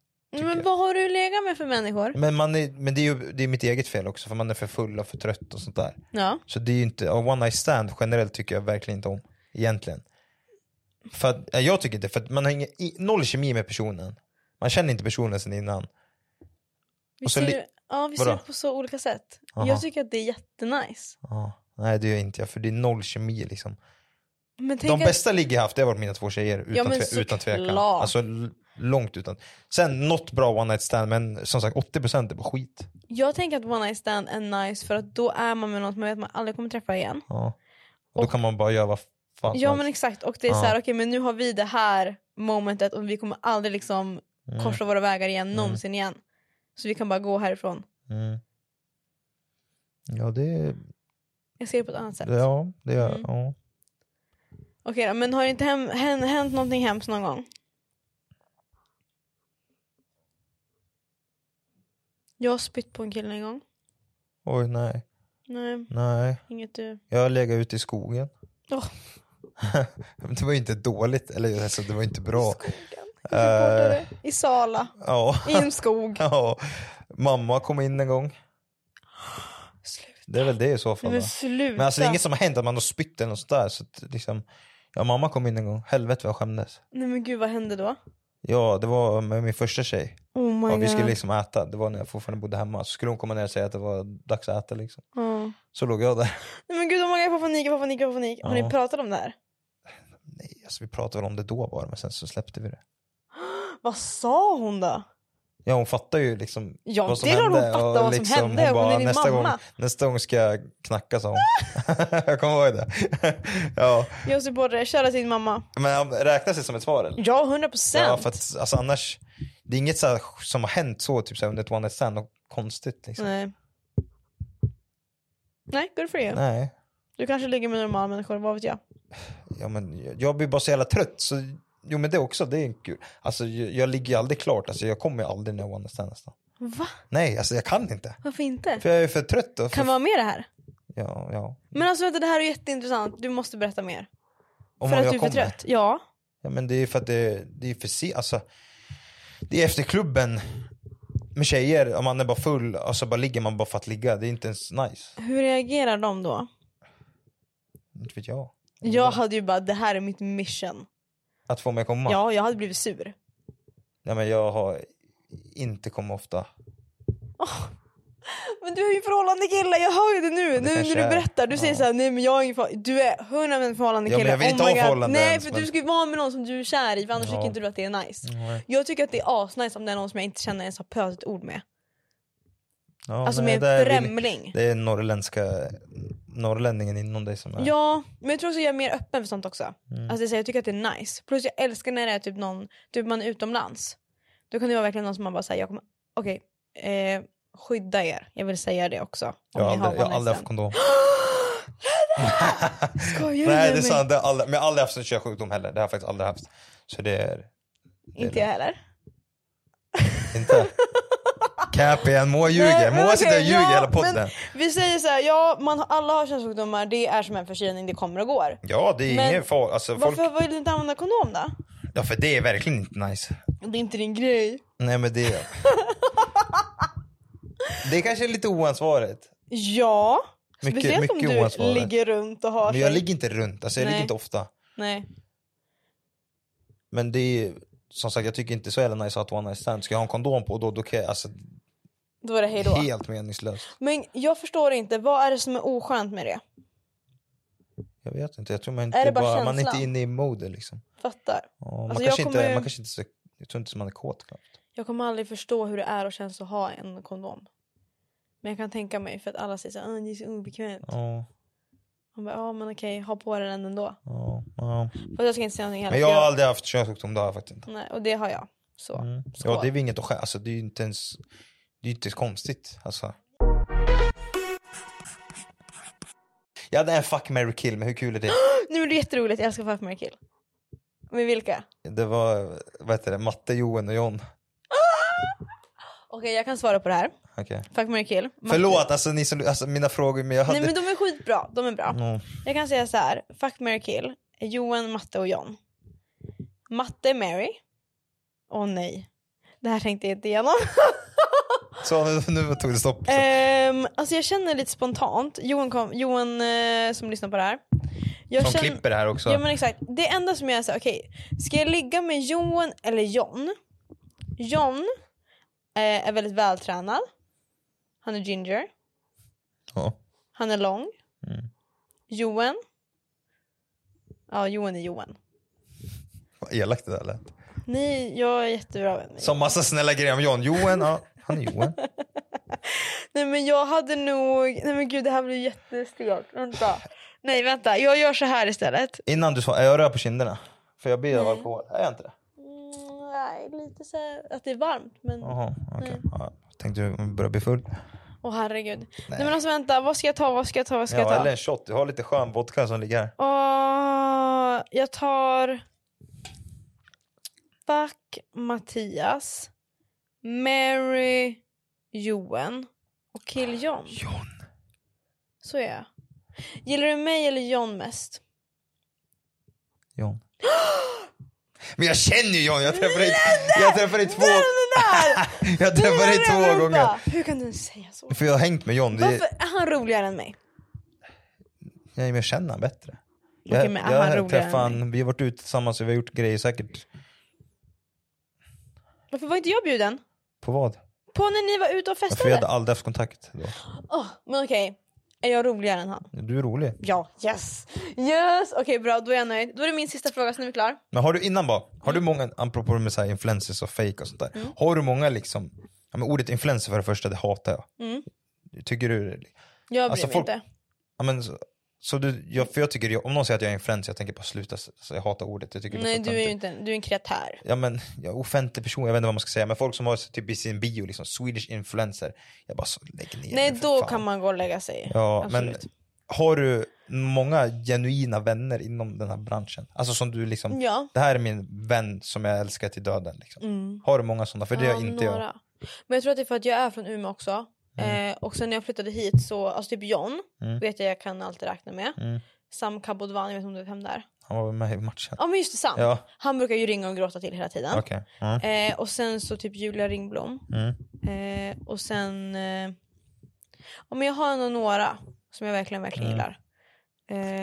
Speaker 2: Men
Speaker 3: jag. Mm.
Speaker 2: vad har du legat med för människor?
Speaker 3: Men, man är, men det är ju det är mitt eget fel också för man är för full och för trött och sånt där.
Speaker 2: Ja.
Speaker 3: Så det är ju inte, ja, one night stand generellt tycker jag verkligen inte om egentligen. För att, ja, jag tycker inte, för att man har ingen, i- noll kemi med personen. Man känner inte personen sen innan.
Speaker 2: Vi
Speaker 3: Och så
Speaker 2: ser,
Speaker 3: li-
Speaker 2: ja, vi ser
Speaker 3: Vadå?
Speaker 2: det på så olika sätt.
Speaker 3: Aha.
Speaker 2: Jag tycker att det är jättenice.
Speaker 3: Ja, nej det gör jag inte jag, för det är noll kemi liksom.
Speaker 2: Men tänk
Speaker 3: De bästa ligg jag haft det har varit mina två tjejer utan,
Speaker 2: Ja, men
Speaker 3: tve, utan tvekan.
Speaker 2: såklart.
Speaker 3: Alltså l- långt utan. Sen något bra one night stand men som sagt 80% är bara skit.
Speaker 2: Att, jag tänker att one night stand är nice för att då är man med någon som man vet att man aldrig kommer träffa igen.
Speaker 3: Ja. Och då kan man bara göra vad fan som
Speaker 2: Ja
Speaker 3: helst.
Speaker 2: men exakt och det är
Speaker 3: Ja.
Speaker 2: så här, okej men nu har vi det här momentet och vi kommer aldrig liksom
Speaker 3: Mm.
Speaker 2: korsa våra vägar igen någonsin igen. Så vi kan bara gå härifrån.
Speaker 3: Mm. Ja det,
Speaker 2: Jag ser det på ett annat sätt.
Speaker 3: ja, det gör
Speaker 2: Mm.
Speaker 3: ja.
Speaker 2: Okej då, men har det inte hem, hän- hänt någonting hemskt någon gång? Jag har spytt på en kille en gång.
Speaker 3: Oj, nej.
Speaker 2: Nej,
Speaker 3: Nej.
Speaker 2: inget du.
Speaker 3: Jag har legat ute i skogen.
Speaker 2: Åh.
Speaker 3: Men det var ju inte dåligt, eller alltså, det var ju inte bra. Eh,
Speaker 2: Skogen. Djurgårdare. I Sala.
Speaker 3: Ja.
Speaker 2: I en skog.
Speaker 3: ja. Mamma kom in en gång.
Speaker 2: Sluta.
Speaker 3: Det är väl det i så fall.
Speaker 2: Men
Speaker 3: va?
Speaker 2: sluta.
Speaker 3: Men alltså det är inget som har hänt att man har spytt eller något sånt där. Så att, liksom, ja, mamma kom in en gång, helvete vad jag skämdes.
Speaker 2: Nej men gud vad hände då?
Speaker 3: Ja, det var med min första tjej.
Speaker 2: Oh my
Speaker 3: Ja,
Speaker 2: god.
Speaker 3: vi skulle liksom äta, det var när jag fortfarande bodde hemma. Så skulle hon komma ner och säga att det var dags att äta liksom.
Speaker 2: Ja.
Speaker 3: Så låg jag där.
Speaker 2: Nej men gud oh my god, jag får panik, jag får panik, jag får panik. Har
Speaker 3: Ja.
Speaker 2: ni pratat om det här?
Speaker 3: Nej, alltså, vi pratade väl om det då bara, men sen så släppte vi det.
Speaker 2: Vad sa hon då?
Speaker 3: Ja, hon fattar ju liksom
Speaker 2: Ja,
Speaker 3: vad som
Speaker 2: det är klart hon
Speaker 3: hände. liksom
Speaker 2: fattar vad som hände. Hon är din
Speaker 3: nästa
Speaker 2: mamma."
Speaker 3: Gång, nästa gång ska jag knacka, sa hon. jag kommer ihåg det. ja,
Speaker 2: Jag supportrar, köra till din mamma.
Speaker 3: men räknas det som ett svar eller?
Speaker 2: Ja, 100 procent.
Speaker 3: Ja, för att, alltså, annars, det är inget så här, som har hänt så, typ, så här, under ett one night stand, och konstigt. Liksom.
Speaker 2: Nej. Nej, good for you.
Speaker 3: Nej.
Speaker 2: Du kanske ligger med normala människor, vad vet jag.
Speaker 3: Ja, men, jag- jag blir bara så jävla trött. Så, jo men det också, det är kul. Alltså, jag, jag ligger ju aldrig klart, alltså, jag kommer ju aldrig när jag one night stand nästan.
Speaker 2: Va?
Speaker 3: Nej, alltså jag kan inte.
Speaker 2: Varför inte?
Speaker 3: För jag är för trött. Och för,
Speaker 2: Kan vi ha med det här?
Speaker 3: ja, ja.
Speaker 2: Men alltså vänta, det här är jätteintressant. Du måste berätta mer.
Speaker 3: Om
Speaker 2: för att
Speaker 3: jag
Speaker 2: du är för
Speaker 3: Oh kommer.
Speaker 2: trött. Ja.
Speaker 3: Ja, men det är för att det, det är för se, alltså, det är efter klubben med tjejer, om man är bara full, alltså bara ligger man bara för att ligga. Det är inte ens nice.
Speaker 2: Hur reagerar de då?
Speaker 3: Mm. Inte vet jag.
Speaker 2: Jag hade ju bara, det här är mitt mission.
Speaker 3: Att få mig komma.
Speaker 2: Ja, jag hade blivit sur.
Speaker 3: Nej, men jag har inte kommit ofta.
Speaker 2: Men du är ju förhållande kille, jag hör ju det nu. nu
Speaker 3: kanske
Speaker 2: när du
Speaker 3: är.
Speaker 2: berättar, du säger såhär, nej men jag är ingen förhållande. Du är 100% förhållande
Speaker 3: Ja,
Speaker 2: kille. Oh
Speaker 3: men jag vill inte
Speaker 2: my
Speaker 3: ha
Speaker 2: god.
Speaker 3: förhållande
Speaker 2: Nej
Speaker 3: ens,
Speaker 2: för
Speaker 3: men-
Speaker 2: du ska ju vara med någon som du är kär i för annars
Speaker 3: Ja.
Speaker 2: tycker inte du att det är nice.
Speaker 3: Nej.
Speaker 2: Jag tycker att det är asnice om det är någon som jag inte känner ens har pösat ett ord med.
Speaker 3: Ja,
Speaker 2: Alltså
Speaker 3: nej,
Speaker 2: med
Speaker 3: det är
Speaker 2: en
Speaker 3: vill-
Speaker 2: främling.
Speaker 3: Det är norrländska, norrlänningen inom dig som är...
Speaker 2: Ja, men jag tror också jag är mer öppen för sånt också.
Speaker 3: Mm.
Speaker 2: Alltså det är så här, jag tycker att det är nice. Plus jag älskar när det är typ någon, typ man är utomlands. Då kan det vara verkligen någon som man bara säger, jag kommer, okej, eh, skydda er. Jag vill säga det också. Om
Speaker 3: jag har aldrig, jag har aldrig haft
Speaker 2: haft
Speaker 3: kondom.
Speaker 2: Skojar du med
Speaker 3: Nej det är
Speaker 2: mig?
Speaker 3: sant, det har aldrig, men jag har aldrig haft sån körsjukdom heller. Det har jag faktiskt aldrig haft. Så det är
Speaker 2: Inte jag heller.
Speaker 3: inte... Cap igen, Moa ljuger.
Speaker 2: Nej, men
Speaker 3: Moa sitter och
Speaker 2: okej,
Speaker 3: ljuger i
Speaker 2: ja,
Speaker 3: hela podden.
Speaker 2: men Vi säger så här, ja, man, har- alla har könssjukdomar, det är som en förkylning, det kommer och går.
Speaker 3: Ja, det är
Speaker 2: Men
Speaker 3: ingen fara. Alltså, folk...
Speaker 2: Varför vill du inte använda kondom då?
Speaker 3: Ja, för det är verkligen inte nice.
Speaker 2: Det är inte din grej.
Speaker 3: Nej, men det... det kanske är lite oansvarigt.
Speaker 2: Ja,
Speaker 3: Mycket-
Speaker 2: speciellt om
Speaker 3: mycket
Speaker 2: du
Speaker 3: oansvarigt.
Speaker 2: ligger runt och har
Speaker 3: Men jag
Speaker 2: sig-
Speaker 3: ligger inte runt, alltså jag
Speaker 2: Nej.
Speaker 3: ligger inte ofta.
Speaker 2: Nej.
Speaker 3: Men det är som sagt, jag tycker inte så jävla nice att ha ett one night stand. Ska jag ha en kondom på då, då kan jag, alltså,
Speaker 2: Då är det hejdå.
Speaker 3: helt meningslöst.
Speaker 2: Men jag förstår inte, vad är det som är oskönt med det?
Speaker 3: Jag vet inte, jag tror man inte
Speaker 2: Är det bara
Speaker 3: bara, man är
Speaker 2: känslan?
Speaker 3: inte inne i mode liksom.
Speaker 2: Fattar.
Speaker 3: Ja, man,
Speaker 2: Alltså, jag
Speaker 3: kanske inte,
Speaker 2: kommer-
Speaker 3: man kanske inte, så- jag tror inte som man är kåt knappt.
Speaker 2: Jag kommer aldrig förstå hur det är och känns att ha en kondom. Men jag kan tänka mig för att alla säger så här, "Ah, det är så obekvämt.
Speaker 3: Ja,
Speaker 2: Man bara, ja men okej, ha på dig den ändå.
Speaker 3: ja, ja.
Speaker 2: Fast jag ska inte säga någonting heller.
Speaker 3: Men jag
Speaker 2: för
Speaker 3: har aldrig haft könssjukdom, det har jag faktiskt inte.
Speaker 2: Nej, och det har jag. Så.
Speaker 3: Mm.
Speaker 2: Skål.
Speaker 3: Ja, det är väl inget att skämmas alltså, det är ju inte ens, det är ju inte ens konstigt. Alltså. Jag hade en fuck, marry, kill, men hur kul är det?
Speaker 2: Nu är det jätteroligt, jag älskar Five Mary Kill. Med vilka?
Speaker 3: Det var, vad heter det, Matte, Johan och John.
Speaker 2: Okej, jag kan svara på det här.
Speaker 3: Okej.
Speaker 2: Five Mary Kill. Martin-
Speaker 3: Förlåt, alltså, ni som, alltså mina frågor, men jag hade...
Speaker 2: Nej men de är skitbra, de är bra.
Speaker 3: Ja.
Speaker 2: Jag kan säga så här, Fuck, Mary kill, Johan, Matte och John. Matte, Mary. Åh nej, det här tänkte jag inte igenom.
Speaker 3: Så nu, nu tog det stopp.
Speaker 2: Ehm, alltså jag känner lite spontant, Johan, kom, Johan eh, som lyssnar på det här. Jag
Speaker 3: Som
Speaker 2: känner-
Speaker 3: klipper det här också.
Speaker 2: Ja men exakt. Det enda som jag är såhär, okej. ska jag ligga med Johan eller John? John eh, är väldigt vältränad. Han är ginger.
Speaker 3: Ja.
Speaker 2: Han är lång.
Speaker 3: Mm.
Speaker 2: Johan. Ja, Johan är Johan.
Speaker 3: Vad elakt det där lät.
Speaker 2: Nej, jag är jättebra vän med
Speaker 3: Som massa snälla grejer om John. Johan, ja, han är Johan.
Speaker 2: Nej men jag hade nog... Nej men gud det här blir jättestelt. Vänta. Nej vänta, jag gör så här istället.
Speaker 3: Innan du svarar, är jag röd på kinderna? För jag blir av alkohol. Är jag inte det?
Speaker 2: Mm, nej, lite så här, att det är varmt men... Åh
Speaker 3: Jaha, okej. Ja, jag tänkte du börjar bli full.
Speaker 2: herregud. Nej. men alltså vänta, vad ska jag ta, vad ska jag ta, vad ska jag
Speaker 3: Ja,
Speaker 2: ta?
Speaker 3: eller en shot. Du har lite skön vodka som ligger här.
Speaker 2: Åh, jag tar... Fuck Mattias. Mary Joen och Kill John. Så är jag. Gillar du mig eller John mest?
Speaker 3: John. Men jag känner ju John, jag träffade dig, jag träffade dig två,
Speaker 2: Där!
Speaker 3: jag träffade dig
Speaker 2: Vänta,
Speaker 3: två
Speaker 2: vänta.
Speaker 3: gånger.
Speaker 2: Hur kan du säga så?
Speaker 3: För jag har hängt med John, det,
Speaker 2: Varför är han roligare än mig?
Speaker 3: jag, jag känner honom bättre.
Speaker 2: Okej,
Speaker 3: Jag,
Speaker 2: men är han
Speaker 3: jag
Speaker 2: roligare
Speaker 3: träffade
Speaker 2: än
Speaker 3: han, vi har varit ute tillsammans och vi har gjort grejer säkert,
Speaker 2: Varför var inte jag bjuden?
Speaker 3: på vad?
Speaker 2: På när ni var ute och
Speaker 3: För vi hade
Speaker 2: festade?
Speaker 3: aldrig haft kontakt då.
Speaker 2: Åh, men okej, är jag roligare än han?
Speaker 3: Du är rolig.
Speaker 2: Ja, yes! Yes! Okej bra, då är jag nöjd. Då är det min sista fråga, så nu är vi klara.
Speaker 3: Men har du innan bara, har
Speaker 2: Mm.
Speaker 3: du många, apropå med så här influencers och fake och sånt där. Har du många liksom, ja, men ordet influencer för det första, det hatar jag.
Speaker 2: Mm.
Speaker 3: Tycker du,
Speaker 2: Jag bryr
Speaker 3: Alltså,
Speaker 2: mig
Speaker 3: folk-
Speaker 2: inte.
Speaker 3: ja men så, så du, jag, för jag tycker, om någon säger att jag är influencer, jag tänker på sluta, så jag hatar ordet. Jag tycker det
Speaker 2: Nej
Speaker 3: så
Speaker 2: du är ju
Speaker 3: töntigt.
Speaker 2: inte en, du är en kreatär.
Speaker 3: Ja men, jag är offentlig person, jag vet inte vad man ska säga, men folk som har typ i sin bio liksom, Swedish influencer. Jag bara, så, lägg ner
Speaker 2: Nej
Speaker 3: det, för
Speaker 2: då
Speaker 3: fan.
Speaker 2: kan man gå och lägga sig.
Speaker 3: Ja, men
Speaker 2: Absolut.
Speaker 3: har du många genuina vänner inom den här branschen? Alltså som du liksom,
Speaker 2: Ja.
Speaker 3: det här är min vän som jag älskar till döden. Liksom. Har du många sådana? För det har inte jag.
Speaker 2: Mm. några. Men jag tror att det är för att jag är från Umeå också. Eh, och sen när jag flyttade hit så, alltså typ John
Speaker 3: Mm.
Speaker 2: vet jag jag kan alltid räkna med.
Speaker 3: Mm.
Speaker 2: Sam Kabodvan, jag vet inte om du vet vem det är.
Speaker 3: Han var med i matchen.
Speaker 2: Ja men just det, Sam.
Speaker 3: Ja,
Speaker 2: Han brukar ju ringa och gråta till hela tiden.
Speaker 3: okej. Mm.
Speaker 2: Eh, och sen så typ Julia Ringblom.
Speaker 3: Mm.
Speaker 2: Eh, och sen... Eh, ja, men jag har ändå några som jag verkligen, verkligen
Speaker 3: Mm.
Speaker 2: gillar.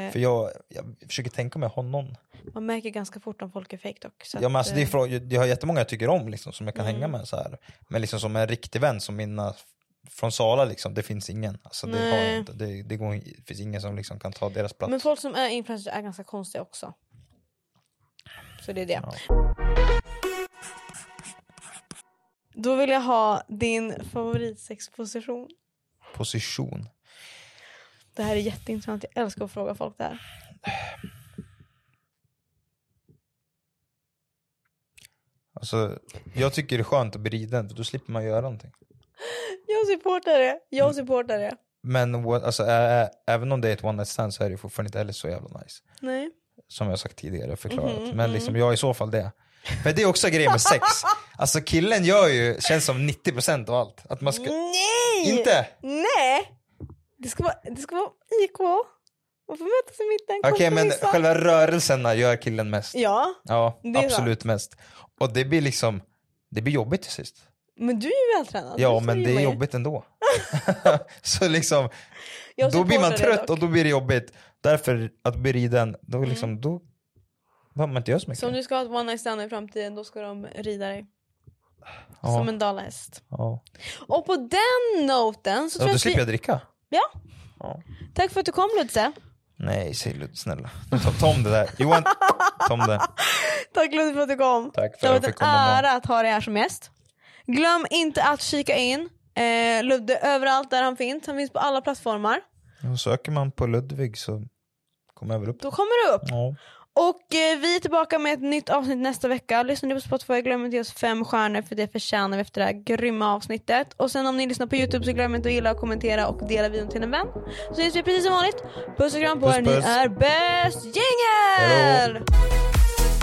Speaker 2: Eh,
Speaker 3: För jag, jag försöker tänka mig ha någon.
Speaker 2: man märker ganska fort om folk är fake dock. Så
Speaker 3: Ja,
Speaker 2: att,
Speaker 3: men alltså, det är
Speaker 2: eh, Mm.
Speaker 3: från, jag har jättemånga jag tycker om liksom, som jag kan hänga med. så här. Men liksom som en riktig vän som mina från Sala liksom, det finns ingen. Alltså, det, har jag
Speaker 2: Nej.
Speaker 3: inte. Det, det, går, det finns ingen som liksom kan ta deras plats.
Speaker 2: men folk som är influencers är ganska konstiga också. Så det är det. Då vill jag ha din favoritsexposition.
Speaker 3: Position.
Speaker 2: Det här är jätteintressant. Jag älskar att fråga folk det här.
Speaker 3: Alltså, jag tycker det är skönt att bli riden, för då slipper man göra någonting.
Speaker 2: Jag supportar det.
Speaker 3: Mm.
Speaker 2: Jag supportar det.
Speaker 3: Men what, alltså, ä, ä, även om det är ett one night stand så är det ju fortfarande inte heller så jävla nice.
Speaker 2: Nej.
Speaker 3: Som jag sagt tidigare och förklarat.
Speaker 2: Mhm,
Speaker 3: Men liksom, jag är i så fall det. Men det är också grejen med sex. Alltså killen gör ju, känns som 90% av allt. Att man ska...
Speaker 2: Nej!
Speaker 3: Inte?
Speaker 2: Nej! Det ska vara, det ska vara IK. Man får mötas i mitten.
Speaker 3: Okej men
Speaker 2: kompromissa.
Speaker 3: själva rörelserna gör killen mest.
Speaker 2: Ja,
Speaker 3: Ja,
Speaker 2: Det är
Speaker 3: absolut mest. Och det blir liksom, det blir jobbigt till sist.
Speaker 2: men du är ju vältränad.
Speaker 3: Ja
Speaker 2: Du får
Speaker 3: men
Speaker 2: ju
Speaker 3: det är
Speaker 2: mig.
Speaker 3: jobbigt ändå. så liksom,
Speaker 2: Jag
Speaker 3: då blir man
Speaker 2: supportar det
Speaker 3: trött
Speaker 2: dock.
Speaker 3: och då blir det jobbigt. Därför att bli riden, då liksom, då behöver man inte göra så mycket.
Speaker 2: Så om du ska ha ett one night stand i framtiden då ska de rida dig.
Speaker 3: Ja.
Speaker 2: Som en dalahäst.
Speaker 3: Ja.
Speaker 2: Och på den noten så
Speaker 3: Ja,
Speaker 2: tror
Speaker 3: då
Speaker 2: jag att
Speaker 3: slipper
Speaker 2: vi...
Speaker 3: jag dricka.
Speaker 2: Ja.
Speaker 3: Ja.
Speaker 2: Tack för att du kom Ludse.
Speaker 3: Nej, säg Ludde snälla. Ta, ta om det där. Johan, ta om det.
Speaker 2: Tack Ludde för att du kom.
Speaker 3: Tack
Speaker 2: Det
Speaker 3: för
Speaker 2: har
Speaker 3: att jag
Speaker 2: varit en
Speaker 3: fick komma. med.
Speaker 2: ära att ha dig här som gäst. Glöm inte att kika in eh, Ludde överallt där han finns. Han finns på alla plattformar.
Speaker 3: Och Söker man på Ludvig så kommer jag väl upp.
Speaker 2: Då kommer du upp.
Speaker 3: Ja.
Speaker 2: Och eh, vi är tillbaka med ett nytt avsnitt nästa vecka. Lyssnar ni på Spotify, glöm inte att ge oss fem stjärnor för det förtjänar vi efter det här grymma avsnittet. Och sen om ni lyssnar på YouTube så glöm inte att gilla, och kommentera och dela videon till en vän. Så syns vi precis som vanligt. Puss och kram på
Speaker 3: Puss,
Speaker 2: er, ni
Speaker 3: puss.
Speaker 2: är bäst! Jingel!
Speaker 3: Hej